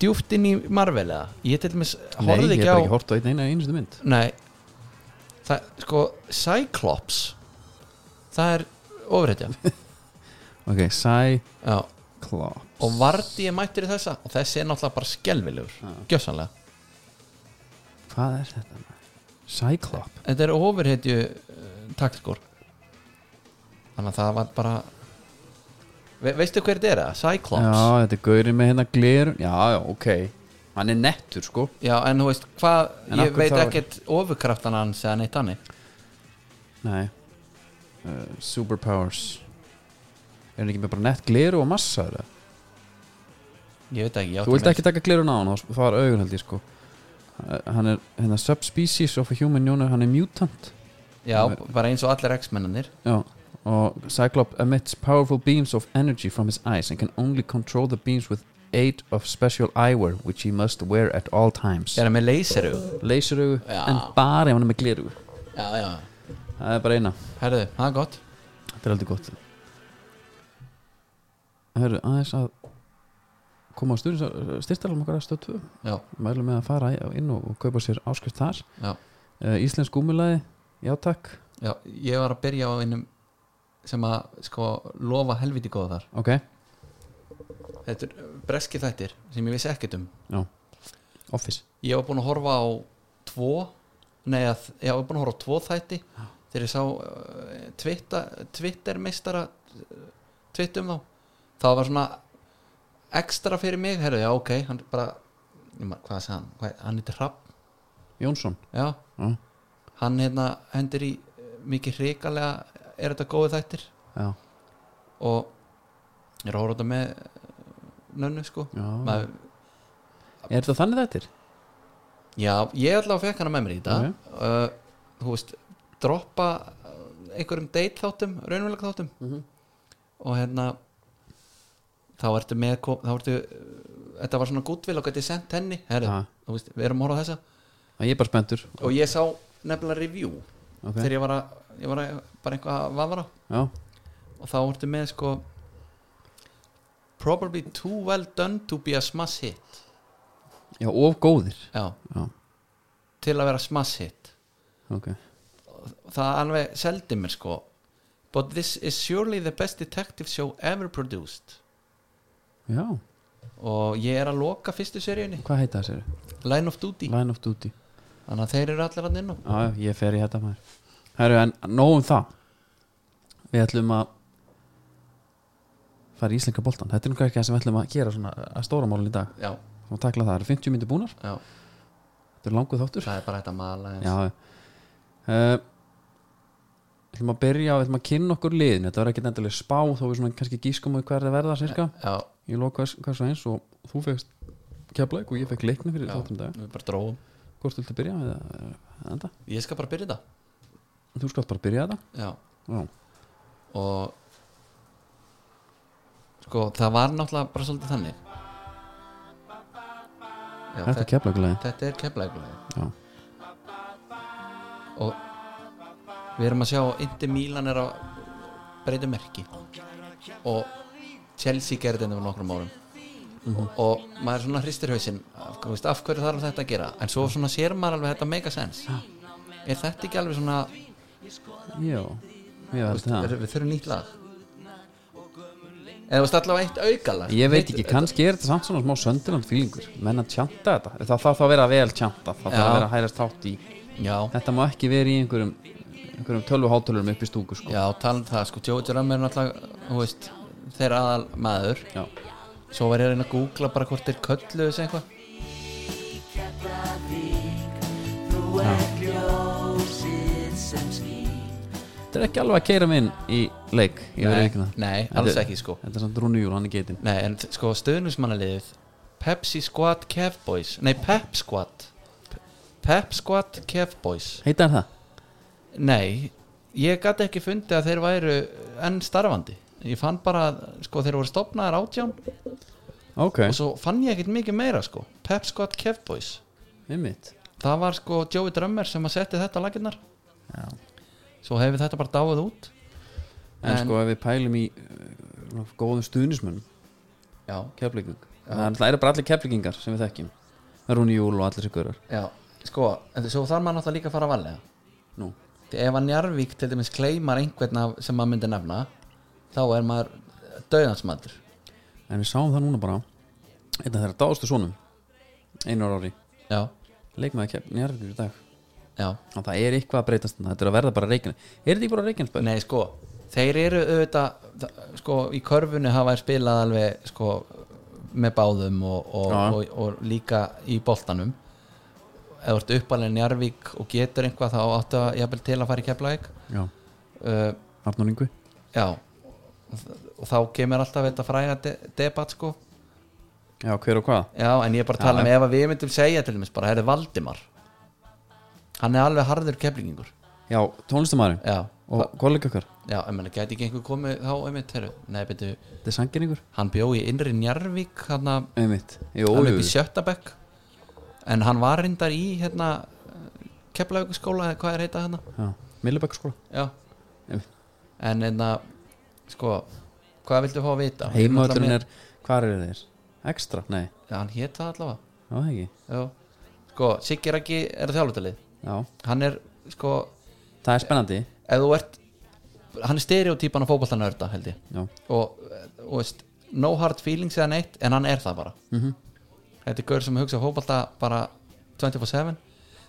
Speaker 3: djúpt inn í Marvel eða? Ég til dæmis
Speaker 2: nei,
Speaker 3: horfði
Speaker 2: ég hef
Speaker 3: ekki á
Speaker 2: bara ekki hort á einn eina einustu mynd
Speaker 3: Nei, það, sko Cyclops það er
Speaker 2: [laughs]
Speaker 3: ofréttja
Speaker 2: Ok, Cyclops
Speaker 3: Já, og Vardí er mættur í þessa og þessi er náttúrulega bara skelvilegur gjössanlega
Speaker 2: Hvað er þetta? maður? Cyclops
Speaker 3: þetta er ofurhetju uh, taktiskor þannig að það var bara Ve veistu hver þetta er það? Cyclops
Speaker 2: Já, þetta er gaurið með hérna glerun Já, já, ok, hann er nettur sko
Speaker 3: Já, en þú veist hvað,
Speaker 2: En af
Speaker 3: ég
Speaker 2: hverju
Speaker 3: veit
Speaker 2: þá er-
Speaker 3: ekkert ofurkraftan hans eða neitt hannig
Speaker 2: Nei uh, Superpowers Er hann ekki með bara nett gleru og massa þetta?
Speaker 3: ég veit ekki, ég átti
Speaker 2: Þú vilt
Speaker 3: með-
Speaker 2: ekki taka glerun á hann og fara augun held ég sko Uh, Hann er hérna subspecies of a human unit Hann er mutant
Speaker 3: Já, bara eins og allir X-mennanir
Speaker 2: Já Og Cyclops emits powerful beams of energy from his eyes and can only control the beams with aid of special eyewear which he must wear at all times
Speaker 3: er hann með leyseru
Speaker 2: Laseraugu
Speaker 3: Já.
Speaker 2: en bara ef hann er með glerugu
Speaker 3: Já, já,
Speaker 2: Það er bara eina
Speaker 3: herðu, það er gott
Speaker 2: Þetta er aldrei gott Hörru, aðeins að koma á styrtalum okkar að stöð 2
Speaker 3: Já,
Speaker 2: mælum með að fara í- inn og og kaupa sér áskrift þar
Speaker 3: já,
Speaker 2: uh, Íslensk gúmulaði, já takk
Speaker 3: já ég var að byrja á einum sem að sko lofa helviti góða þar
Speaker 2: ok,
Speaker 3: Þetta er breski þættir sem ég vissi ekkert um
Speaker 2: já Office,
Speaker 3: ég var búinn að horfa á tvo nei, að, ég var búinn að horfa á tvo þætti þegar ég sá uh, Twitter, Twitter meistara tvitt um þá það var svona ekstra fyrir mig herru, já ok, hann bara ég man- hvað sagði hann, hvað, hann heitir Rapp
Speaker 2: Jónsson
Speaker 3: já,
Speaker 2: Já,
Speaker 3: hann hérna hendur í eh, mikið hrikalega er þetta góðu þættir
Speaker 2: já,
Speaker 3: og ég er að horfa á þetta með eh, nönnu sko
Speaker 2: já.
Speaker 3: Maður,
Speaker 2: Er þetta þannig þettir?
Speaker 3: já, ég ætla að fekk hana með mér í dag
Speaker 2: Ok.
Speaker 3: uh, þú veist, droppa eh, einhverjum date þáttum, raunverulega þáttum og hérna þá ertu með kom- þá ertu, eh, þetta var svona gútvil og gæti sendt henni herri,
Speaker 2: Ha.
Speaker 3: þú veist, við erum að horfa á þessa
Speaker 2: Ég er bara spenntur
Speaker 3: og ég sá nefnilega review
Speaker 2: Ok.
Speaker 3: þegar ég var að, ég var að bara eitthvað að vafra
Speaker 2: Já,
Speaker 3: og þá ertu með sko probably too well done to be a smash hit
Speaker 2: já, of góðir
Speaker 3: já,
Speaker 2: Já,
Speaker 3: til að vera smash hit
Speaker 2: ok
Speaker 3: það alveg seldi mér sko but this is surely the best detective show ever produced
Speaker 2: Já,
Speaker 3: og ég er að loka fyrstu seríunni
Speaker 2: hvað heita það sér?
Speaker 3: Line of Duty
Speaker 2: Line of Duty
Speaker 3: þannig að þeir eru allir hann inn á
Speaker 2: Já, já, ég fer í þetta maður Herru, en nóg um það Við ætlum að fara í íslenska boltan Þetta er nú kannski það sem við ætlum að gera svona að stóra málun í dag
Speaker 3: já,
Speaker 2: og takla það, það eru 50 myndir búnar
Speaker 3: já,
Speaker 2: Þetta er languð þáttur
Speaker 3: það er bara hægt að mala eins.
Speaker 2: Já uh, ætlum að byrja á, ætlum að kynna okkur liðin Þetta var ekkert endilega spá þó við svona kannski gískum á hver það verða sirka
Speaker 3: já,
Speaker 2: Ég lók hvers, hvers og eins og þú fegst keflaug og ég fekk leikni fyrir
Speaker 3: já,
Speaker 2: þáttum dag
Speaker 3: við bara dróum
Speaker 2: Hvort viltu byrja með það enda?
Speaker 3: ég skal bara byrja þetta
Speaker 2: Þú skalt bara byrja þetta
Speaker 3: já,
Speaker 2: Já,
Speaker 3: og sko, það var náttúrulega bara svolítið þannig já,
Speaker 2: þetta er
Speaker 3: þetta,
Speaker 2: keflaugulegin
Speaker 3: þetta er keflaðið
Speaker 2: Já,
Speaker 3: og við erum að sjá Indi Mílan er að breyta merki og Chelsea gerði þetta fyrir nokkrum árum
Speaker 2: Mhm.
Speaker 3: og maður svona hristir hausinn af, þú veist, af hverju þarf þetta að gera en svo svona sér maður alveg þetta mega sens er þetta ekki alveg svona
Speaker 2: já, ég held það
Speaker 3: er, við þurfum nýtt lag eða þú veist allavega eitt aukalag
Speaker 2: Ég veit ekki, kannski er þetta samt svona smá söndiland fílingur menn að tjanta þetta, það þarf þá að vera vel tjanta það þarf
Speaker 3: Já.
Speaker 2: að vera að hærast þátt í
Speaker 3: já,
Speaker 2: þetta má ekki vera í einhverjum einhverjum tölvuhátölurum upp í stúku sko.
Speaker 3: já talum það sko Joe Jerome er náttúrulega þú veist, þeir aðal maður
Speaker 2: Já.
Speaker 3: svo var ég að reyna að googla bara hvort þeir köllu þessu eitthvað
Speaker 2: Þetta er ekki alveg að keira mig inn í leik ég verið
Speaker 3: Nei,
Speaker 2: ekki það
Speaker 3: nei,
Speaker 2: Þetta er-
Speaker 3: alls ekki, sko.
Speaker 2: Þetta er samt Rúni Júl, hann er getinn
Speaker 3: Nei, en þ- sko stöðnusmannaliðið Pepsi Squad Cavboys Nei, Pep Squad Pe- Pep Squad Cavboys
Speaker 2: Heita hann það?
Speaker 3: Nei, ég gæti ekki fundið að þeir væru enn starfandi Ég fann bara, að, sko, þeir voru stopnaðar átján
Speaker 2: Ok,
Speaker 3: Og svo fann ég ekkert mikið meira, sko Pep Squad Cavboys
Speaker 2: einmitt
Speaker 3: Það var sko Joey Drömmar sem að setja þetta á laginnar
Speaker 2: Já.
Speaker 3: Svo hefur þetta bara dáið út
Speaker 2: En,
Speaker 3: En-
Speaker 2: sko ef við pælum í uh, góðum stuðnismönnum
Speaker 3: Já,
Speaker 2: keflíking Það eru bara allir keflíkingar sem við þekkjum Rúni Júl og allir sér görar
Speaker 3: já, sko En svo þarf maður náttúrulega líka að fara að valega
Speaker 2: Nú,
Speaker 3: Því ef að Njarvík til dæmis kleimar einhvern af- sem maður myndi nefna þá er maður döðansmatur
Speaker 2: En við sáum það núna bara Einn af þeirra dáðustu sonum Einar ári
Speaker 3: já,
Speaker 2: Leikmaði keppni Njarvíkur í dag
Speaker 3: já,
Speaker 2: Og það er eitthvað að breytast þarna, Þetta er að verða bara reikin Er þetta ekki bara reikin spöð?
Speaker 3: nei sko þeir eru auðvitað það- sko í körfunni hafa þeir spilað alveg sko með báðum og, og,
Speaker 2: Já.
Speaker 3: og, og líka í boltanum eða þú ert uppalinn Njarvík og getur einhvað þá áttu að jafnvel til að fara í Keflavík
Speaker 2: Já,
Speaker 3: uh,
Speaker 2: Arnur Ingvi
Speaker 3: já og þ- og þá kemur alltaf þetta fræga de debat sko
Speaker 2: Já, hver og hvað?
Speaker 3: Já, en ég er bara að tala
Speaker 2: Já,
Speaker 3: um ef að við myndum segja til dæmis bara, herri Valdimar hann er alveg harður keflingingur
Speaker 2: Já, tónlistamæðurinn
Speaker 3: Já,
Speaker 2: Og kollega okkar
Speaker 3: já, en menna, gæti ekki einhver komið þá einmitt, herru, nei, betur
Speaker 2: Þetta er sangeringur
Speaker 3: hann bjó í innri Njarvík hann að,
Speaker 2: Einmitt Jú,
Speaker 3: hann upp
Speaker 2: jú
Speaker 3: í Sjötabekk en hann var reyndar í hérna keflaugaskóla, eða hvað er heita hérna
Speaker 2: Já, Millibækskóla
Speaker 3: Já,
Speaker 2: Einmitt.
Speaker 3: en hérna sko, hvað viltu fá að vita
Speaker 2: Heimavöllurinn er Hvar eru þeir? Ekstra? Nei,
Speaker 3: Já, hann hét það allavega
Speaker 2: já, það ekki
Speaker 3: Já, sko, Siggi Raggi er þjálfutalið
Speaker 2: Já,
Speaker 3: hann er, sko,
Speaker 2: það er spennandi
Speaker 3: ef þú ert hann er stereotypan af fótboltanörda held ég
Speaker 2: Já,
Speaker 3: og, og veist, no hard feelings eða neitt en hann er það bara
Speaker 2: Mhm.
Speaker 3: þetta er gaur sem hugsa fótbolta bara 24-7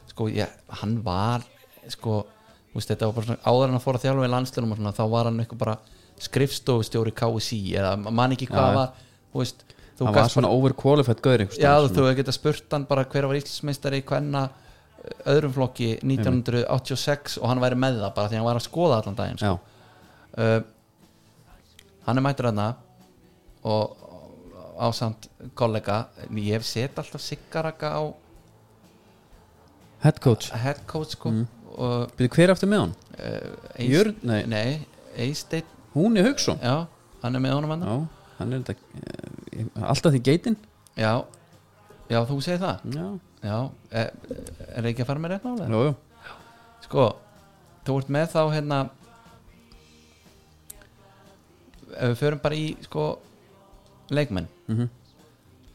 Speaker 3: sko, ég, hann var sko, þú veist, þetta var bara svona, áður en að fóra þjálfum í landslunum og svona, þá var hann eitthvað bara skrifstofustjóri KSI eða ma- man ekki
Speaker 2: Já,
Speaker 3: hvað
Speaker 2: já.
Speaker 3: var þú veist, þú
Speaker 2: hann var
Speaker 3: gast
Speaker 2: svona overqualified gaur einhvers
Speaker 3: Já,
Speaker 2: staðar
Speaker 3: þú hefur getað spurt hann bara hver var Íslandsmeistari hvenna öðrum flokki 1986 og hann væri með það bara því hann var að skoða allan daginn sko.
Speaker 2: svona.
Speaker 3: uh, Hann er mættur hann og ásamt kollega en ég hef set alltaf siggaraka á
Speaker 2: Já, head coach
Speaker 3: head coach sko og
Speaker 2: Býðu hver er eftir með hann?
Speaker 3: uh,
Speaker 2: Mm. Jörn, nei,
Speaker 3: nei Eisteinn,
Speaker 2: hún er hugsun
Speaker 3: já, hann er með honum hann
Speaker 2: Já, hann er þetta eh, Alltaf því geitin
Speaker 3: já, já, þú segir það
Speaker 2: Já,
Speaker 3: já, er, er ekki að fara með rétt nálega?
Speaker 2: jú, jú
Speaker 3: sko, þú ert með þá hérna ef við förum bara í sko, leikmenn
Speaker 2: Mhm.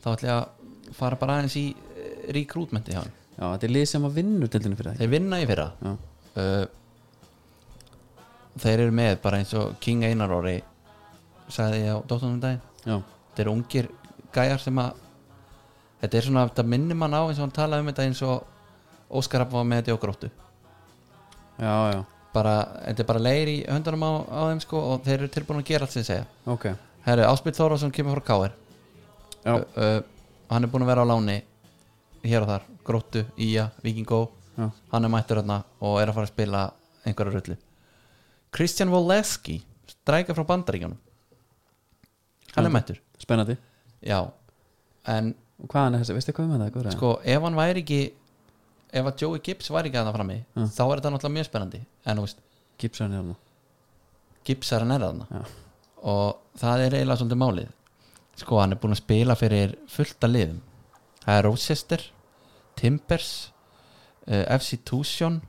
Speaker 3: þá ætla ég að fara bara aðeins í rekrútmenti hjá hann
Speaker 2: Já, þetta er lið sem að vinnu dildinu fyrir það
Speaker 3: þeir vinna í fyrra
Speaker 2: Já,
Speaker 3: uh, þeir eru með bara eins og King Einar Orri sagði ég á dóttunum um daginn
Speaker 2: já,
Speaker 3: þetta eru ungir gæjar sem að þetta er svona, þetta minnir mann á eins og hann talaði um þetta eins og Óskar Rapp var með þetta í okkur óttu
Speaker 2: já, já
Speaker 3: bara, þetta er bara leir í höndunum á, á þeim sko og þeir eru tilbúin að gera allt sem þeir segja
Speaker 2: Ok,
Speaker 3: Herru, Áspil Þórásson kemur frá K.R.
Speaker 2: já,
Speaker 3: Ö, ö, hann er búin að vera á láni hér og þar, Gróttu, Ía, Víkingó
Speaker 2: já,
Speaker 3: hann er mættur hérna og er að fara að spila einhverja rullu Kristjan Woleski, stræka frá Bandaríkjónum hann er mættur
Speaker 2: spennandi
Speaker 3: já, en
Speaker 2: Og hvaðan er þessi, veistu hvað um við með það?
Speaker 3: sko, ef hann væri ekki ef að Joey Gibbs væri ekki að það frammi þá er þetta náttúrulega mjög spennandi en þú veist,
Speaker 2: Gipsan er hann
Speaker 3: Gibbsar en er þarna
Speaker 2: Já.
Speaker 3: og það er eiginlega svolítið málið sko hann er búin að spila fyrir fullta liðum það er Rochester Timbers uh, FC Tucson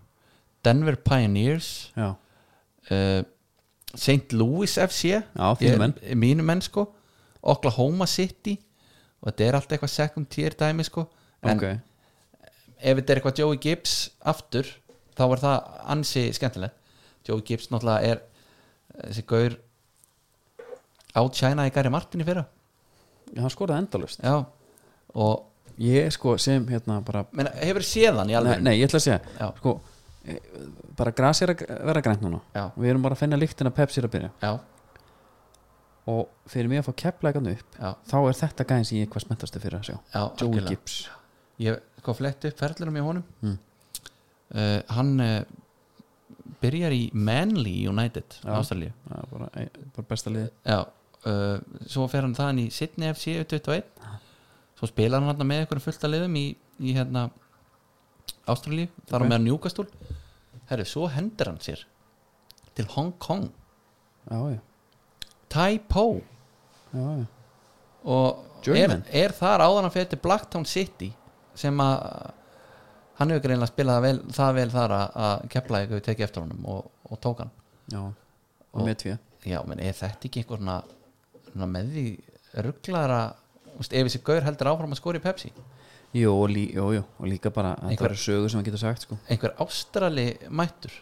Speaker 3: Denver Pioneers
Speaker 2: Já,
Speaker 3: uh, St. Louis FC
Speaker 2: já, þínu menn
Speaker 3: Ég- mínu menn sko Oklahoma City og þetta er allt eitthvað second tier dæmi sko en
Speaker 2: Ok,
Speaker 3: ef þetta er eitthvað Joey Gibbs aftur þá er það ansi skemmtilegt Joey Gibbs náttúrulega er eh, þessi gaur á China í Gary Martin í fyrra
Speaker 2: Já, hann skoraði endalust
Speaker 3: já og
Speaker 2: Ég sko sem hérna bara
Speaker 3: menna, hefur séð hann í
Speaker 2: Nei,
Speaker 3: alveg
Speaker 2: nei, ég ætla að segja
Speaker 3: Já.
Speaker 2: Sko, eh, bara gras er að vera grænt núna
Speaker 3: Já.
Speaker 2: Við erum bara að finna lyktin að Pepsi er að byrja
Speaker 3: já,
Speaker 2: Og fyrir mig að fá keplægan upp
Speaker 3: já,
Speaker 2: Þá er þetta gæðin sem ég er hvað smentastu fyrir að sjá
Speaker 3: já
Speaker 2: Joey
Speaker 3: algjörlega.
Speaker 2: Gibbs Hmm.
Speaker 3: ég sko fletti upp ferðlunum í honum uh, hann uh, byrjar í Manly United
Speaker 2: Já.
Speaker 3: Ástralíu
Speaker 2: Það er bara, eh, bara besta liði
Speaker 3: já, uh, svo fer hann þaðan í Sydney FC 21 svo spilar hann hann með einhverjum fullta liðum í, í hérna Ástralíu, þar á
Speaker 2: Ok.
Speaker 3: meðan Newcastle herru, svo hendur hann sér til Hong Kong
Speaker 2: Já, já,
Speaker 3: Taipei
Speaker 2: já, já.
Speaker 3: og er,
Speaker 2: Journeyman.
Speaker 3: er þar áðan að fyrir til Blacktown City sem að hann hefur greinlega spilað það vel, það vel þar að, að kepla eitthvað við tekið eftir honum og, og tók hann
Speaker 2: já. Og,
Speaker 3: Og-
Speaker 2: með tvið
Speaker 3: já, menn er þetta ekki einhver svona, svona með því rugglara úst, ef þessi gaur heldur áfram að skora í Pepsi
Speaker 2: Jú, og lí, jú, jú, og líka bara að Það
Speaker 3: Einhver-
Speaker 2: eru sögur sem hann getur sagt sko.
Speaker 3: einhver ástrali mættur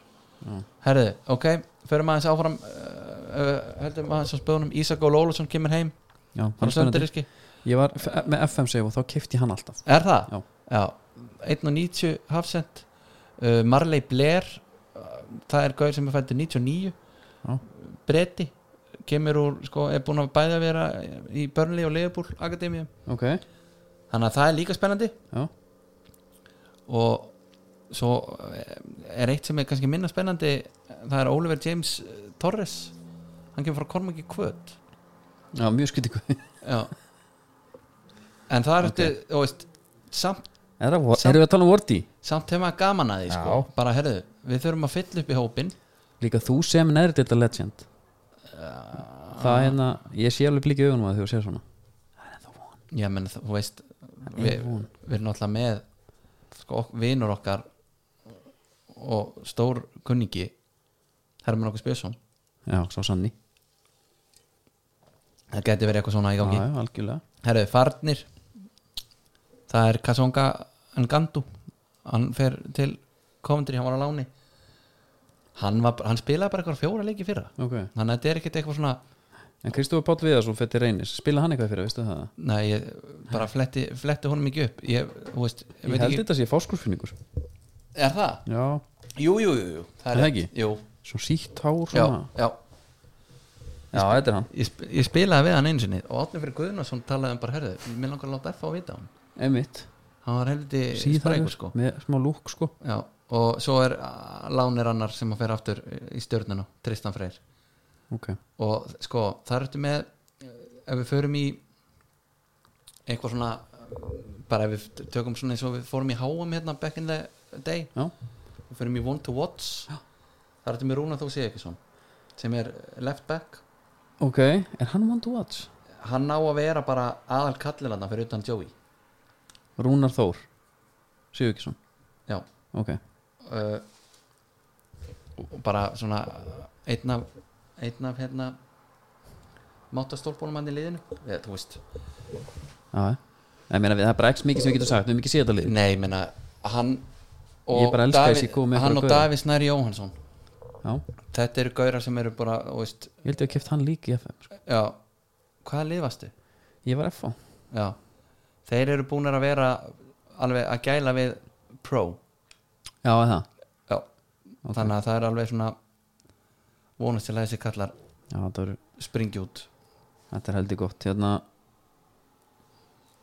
Speaker 3: herðu, ok, förum aðeins áfram uh, uh, heldum aðeins á spöðunum Ísak Ól Ólusson kemur heim
Speaker 2: Já, hann
Speaker 3: frá
Speaker 2: er spennandi
Speaker 3: Sönderiski.
Speaker 2: Ég var f- eh, með FMC og þá kefti hann alltaf
Speaker 3: er það?
Speaker 2: Já.
Speaker 3: já 1.90 hafsend uh, Marley Blair uh, það er gaur sem er fættur 99
Speaker 2: Já.
Speaker 3: bretti kemur úr, sko, er búin að bæða vera í Burnley og Leifbúl Akademíum
Speaker 2: Ok,
Speaker 3: þannig að það er líka spennandi
Speaker 2: já,
Speaker 3: og svo eh, er eitt sem er kannski minna spennandi það er Oliver James eh, Torres hann kemur frá Kormaki Kvöt
Speaker 2: já mjög skytið [laughs]
Speaker 3: já en það er okay. þú veist samt,
Speaker 2: Erum
Speaker 3: Samt-
Speaker 2: við að tala um Vorti?
Speaker 3: samt hefum að gaman að því sko.
Speaker 2: Já.
Speaker 3: bara herðu, við þurfum að fylla upp í hópin
Speaker 2: Líka þú sem neðri delta legend Það er hérna Ég sé alveg blíkið augunum að þú sér svona
Speaker 3: já menn þú veist
Speaker 2: er
Speaker 3: við,
Speaker 2: von.
Speaker 3: við erum alltaf með sko, ok- vinur okkar og stór kunningi Hermann okkur Spjösson
Speaker 2: Já, svo sanni
Speaker 3: það geti verið eitthvað svona í
Speaker 2: Já,
Speaker 3: gangi
Speaker 2: já, algjörlega
Speaker 3: Herðu, farnir Það er Kassonga Ngandu Hann fer til Coventry, hann var á láni Hann, var, hann spilaði bara eitthvað fjóra leiki í fyrra
Speaker 2: Ok
Speaker 3: Þannig að þetta er ekkert eitthvað svona
Speaker 2: En Kristofur Páll Viðarsson fyrir til reynis Spila hann eitthvað fyrir, veistu það?
Speaker 3: Nei, ég bara fletti, fletti honum ekki upp Ég, þú veist, ég
Speaker 2: Ég
Speaker 3: veit
Speaker 2: held
Speaker 3: ekki
Speaker 2: þetta sé fáskursfinningur
Speaker 3: Er það?
Speaker 2: Já
Speaker 3: Jú, jú, jú, jú.
Speaker 2: Er það
Speaker 3: rétt.
Speaker 2: ekki?
Speaker 3: Jú,
Speaker 2: Svo sítt hár
Speaker 3: já,
Speaker 2: svona
Speaker 3: já
Speaker 2: Já, þetta er hann
Speaker 3: ég, sp ég spilaði við hann einu sinni og Átni fyrir Guðnason talaði um bara herðu mér langar að láta F á vita á hann
Speaker 2: Einmitt
Speaker 3: hann var helviti
Speaker 2: Síðhægur
Speaker 3: sprækur sko
Speaker 2: Með smá lúk sko
Speaker 3: Já, og svo er ah, Lánir annar sem að fer aftur í stjörnuna Tristan Freyr
Speaker 2: Ok
Speaker 3: og sko þar ertu með ef við förum í eitthvað svona bara ef við tökum svona eins og við fórum í háum hérna back in the day
Speaker 2: Já.
Speaker 3: við förum í one to watch Já. þar ertu með Rúna þó sé ekki svona sem er left back
Speaker 2: Ok, er hann one to watch?
Speaker 3: hann á að vera bara aðal kallilanda fyrir utan Joey
Speaker 2: Rúnar Þór Sigurkisson
Speaker 3: Já,
Speaker 2: Ok
Speaker 3: uh, og bara svona einn af, einn af hérna máttastólbólum hann í liðinu eða þú veist
Speaker 2: Já, ég meina við það er bara ekki mikið sem við getum sagt Við erum ekki séð þetta lið
Speaker 3: Nei, ég meina, hann
Speaker 2: Ég bara elska þessi góð með
Speaker 3: hann
Speaker 2: einhverja
Speaker 3: og
Speaker 2: gauðra.
Speaker 3: Davi Snæri Jóhansson
Speaker 2: Já, ég
Speaker 3: þetta eru gaurar sem eru bara þú veist,
Speaker 2: held ég að keft hann líka í FM sko.
Speaker 3: já, hvaða lifastu?
Speaker 2: Ég var FH
Speaker 3: Já, þeir eru búnir að vera alveg að gæla við pro
Speaker 2: Já, er það
Speaker 3: já, þannig að það er alveg svona vonast til að þessi kallar
Speaker 2: Já, þetta er,
Speaker 3: springi út
Speaker 2: þetta er held ég gott Hérna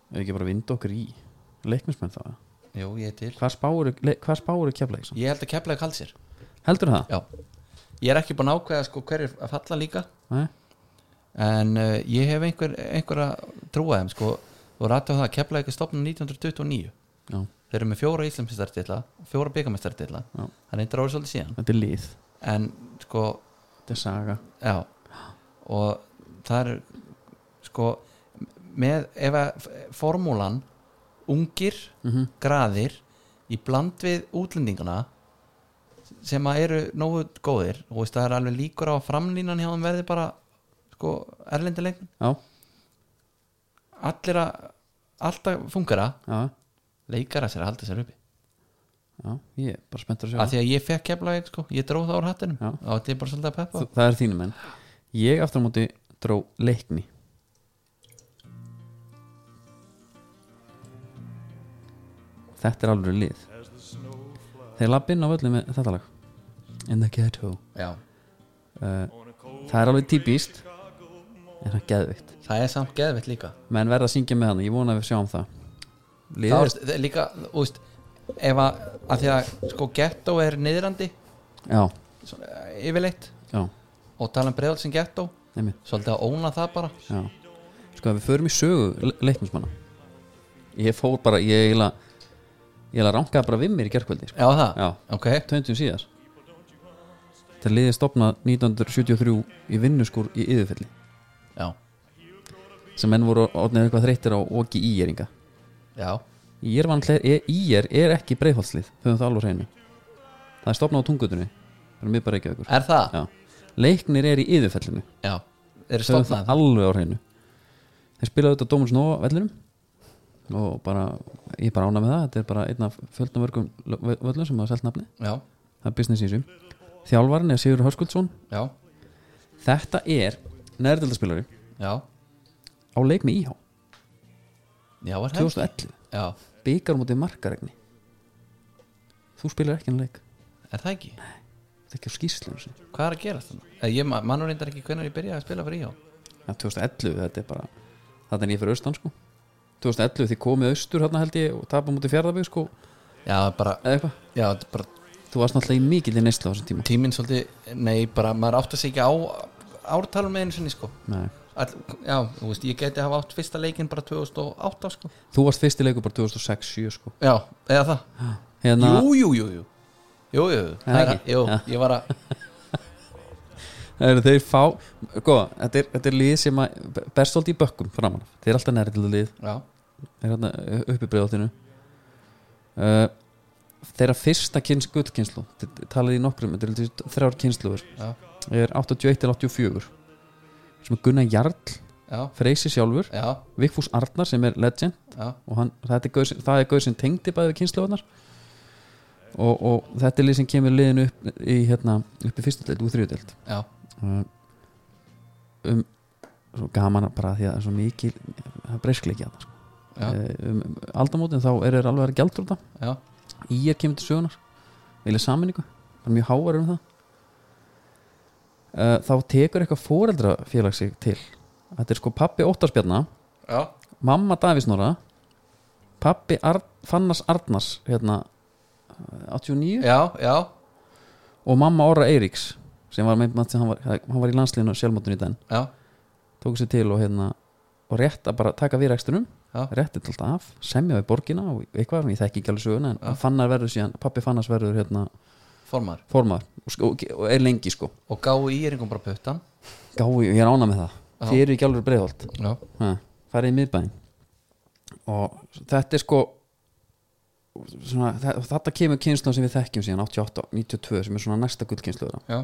Speaker 2: Er ekki bara að vinda okkur í Leiknismenn þá eða?
Speaker 3: Jú, ég er til
Speaker 2: Hvað spáur, hvað spáur kefleik?
Speaker 3: Ég held að kepla ekki sér
Speaker 2: Heldur það?
Speaker 3: Já, ég er ekki búin að ákveða sko hverju að falla líka
Speaker 2: Nei?
Speaker 3: en uh, ég hef einhver, einhver að trúa þeim sko og rættu það að kepla ekki stopnum 1929
Speaker 2: Já,
Speaker 3: þeir eru með fjóra íslensmestartilla fjóra byggamestartilla
Speaker 2: Já.
Speaker 3: það er eitthvað árið svolítið síðan
Speaker 2: þetta er lið
Speaker 3: en sko,
Speaker 2: Þetta er saga
Speaker 3: já og það er sko með, ef að formúlan ungir,
Speaker 2: Mhm.
Speaker 3: graðir í bland við útlendingana sem að eru nógu góðir og veist, það er alveg líkur á að framlínan hjá þeim verði bara sko, erlendilegn
Speaker 2: Já,
Speaker 3: allir að, alltaf fungara
Speaker 2: já,
Speaker 3: leikara sér að halda sér uppi
Speaker 2: já Ég er bara spenntur að sjá
Speaker 3: að því að ég fekk keflavík sko, ég dróð það úr hattinum
Speaker 2: Já.
Speaker 3: og þetta er bara svolítið að peppa
Speaker 2: Þú- Það er þínum menn Ég aftur á móti dró leikni Þetta er alveg lið Þeir lapp inn á völlum með þetta lag In the ghetto
Speaker 3: já.
Speaker 2: uh, Það er alveg típist En það er geðvikt
Speaker 3: það er samt geðvett líka
Speaker 2: Menn verða að syngja með hann, ég vona að við sjáum það Lið
Speaker 3: það
Speaker 2: er,
Speaker 3: er- það er líka, þú veist ef að, að því að sko ghetto er niðrandi
Speaker 2: Já,
Speaker 3: svona, eh, yfirleitt
Speaker 2: já,
Speaker 3: og tala um bregðal sem ghetto
Speaker 2: nemi
Speaker 3: svolítið að óna það bara
Speaker 2: Já Sko ef við förum í sögu le- leiknismanna Ég fór bara, ég eiginlega Ég eiginlega rankaði bara við mér í gerkvöldi sko.
Speaker 3: já það,
Speaker 2: Já,
Speaker 3: ok
Speaker 2: 20 síðar Þetta liðið stopnað 1973 í vinnuskur í yðurfelli
Speaker 3: já,
Speaker 2: sem menn voru orðnið eitthvað þreyttir á ogi íjeringa
Speaker 3: já,
Speaker 2: Íjer er, e-, er ekki breiðhaldslið höfum það alveg á hreinu Það er stopnað á tungutunni Það er mjög bara ekki aukur
Speaker 3: er það?
Speaker 2: Já. Leiknir er í yðurfellinu
Speaker 3: já, þeir eru
Speaker 2: Þau höfðu það
Speaker 3: stofnað
Speaker 2: alveg á hreinu Þeir spilaðu þetta Dómur Snóa vellinum og bara, ég er bara ána með það þetta er bara einn af fjöldna vörgum völlum sem hafa selt nafni,
Speaker 3: já, það
Speaker 2: það er business í þessu Þjálfarinn er Sigur Hörskuldsson
Speaker 3: já,
Speaker 2: Þetta er nærdeldaspilari
Speaker 3: já,
Speaker 2: á leik með íhá
Speaker 3: já, er það?
Speaker 2: 2011,
Speaker 3: já,
Speaker 2: byggar mútið markaregni Þú spilar ekki hann leik
Speaker 3: er það ekki?
Speaker 2: þetta er ekki á skýrslunum sinni
Speaker 3: hvað er að gera þetta? ég man- man nú reyndar ekki hvernig ég byrjaði að spila fyrir íhá
Speaker 2: Já, 2011, þetta er bara þetta er ég fyrir austan sko 2011 þið komið austur hérna held ég og tapa mútið fjárðabíð sko
Speaker 3: já, bara,
Speaker 2: eða eitthvað,
Speaker 3: já, þetta er bara
Speaker 2: þú varst náttúrulega í mikilli neyslu á þessum tíma
Speaker 3: tíminn svolítið, nei, bara maður átt að segja á ártalum með einu sinni sko
Speaker 2: Nei.
Speaker 3: All, já, þú veist, ég geti hafa átt fyrsta leikinn bara 2008 sko
Speaker 2: Þú varst fyrsti leikur bara 2006-7 sko
Speaker 3: já, eða það,
Speaker 2: hérna,
Speaker 3: jú, jú, jú jú, jú, jú, það er,
Speaker 2: ekki?
Speaker 3: jú
Speaker 2: Já.
Speaker 3: ég var að,
Speaker 2: eru þeir fá góða, þetta, er- þetta er lið sem að berst svolítið í bökkum framan af. þeir eru alltaf nærið til lið
Speaker 3: já,
Speaker 2: þeir eru hérna uppi breiðáttinu uh, þeirra fyrsta kynns gullkynslu talaði í nokkrum, þetta er lítið þrjár kynsluður
Speaker 3: já,
Speaker 2: er 81-84 sem er Gunnar Jarl
Speaker 3: já
Speaker 2: Freysi sjálfur,
Speaker 3: já,
Speaker 2: Vigfús Arnar sem er legend
Speaker 3: já,
Speaker 2: og hann, þetta er gaur, sem- það er gaur sem tengdi bæði við kynsluðunar og, og þetta er lið sem kemur liðinu upp í, hérna, upp í fyrstu deild og þriðu deild
Speaker 3: já
Speaker 2: Uh, um svo gaman að bara því að það er svo mikil það breyskleiki að það sko.
Speaker 3: já,
Speaker 2: Eh, um um aldamótin þá er þeir alveg að gjaldur þetta
Speaker 3: já,
Speaker 2: í er kemur til sögunar vilja saminningu, það er mjög hávar um það uh, þá tekur eitthvað fóreldrafélag sig til þetta er sko pappi Óttarsbjarna
Speaker 3: já,
Speaker 2: mamma Davísnóra pappi Ar Fannars Arnars hérna eh, 89
Speaker 3: já, já
Speaker 2: og mamma Orra Eiríks sem var með maður hann var, hann var í landsliðinu sjálfmóttun í den
Speaker 3: já,
Speaker 2: tók sér til og hérna og rétt að bara taka við rekstunum
Speaker 3: Já.
Speaker 2: rétti til alltaf af, semja við borgina og eitthvað, svona, ég þekki ekki alveg söguna en
Speaker 3: Já.
Speaker 2: fannar verður síðan, pappi fannars verður hérna
Speaker 3: formar
Speaker 2: formar og, sko- og, og er lengi sko
Speaker 3: og gáu í eringum bara puttan
Speaker 2: gáu, ég er ána með það,
Speaker 3: Já.
Speaker 2: þið eru ekki alveg breiðholt
Speaker 3: já,
Speaker 2: ha, farið í miðbæinn og þetta er sko svona, þe- og þetta kemur kynslu sem við þekkjum síðan 88, 92 sem er svona næsta gullkynslu uh,
Speaker 3: já,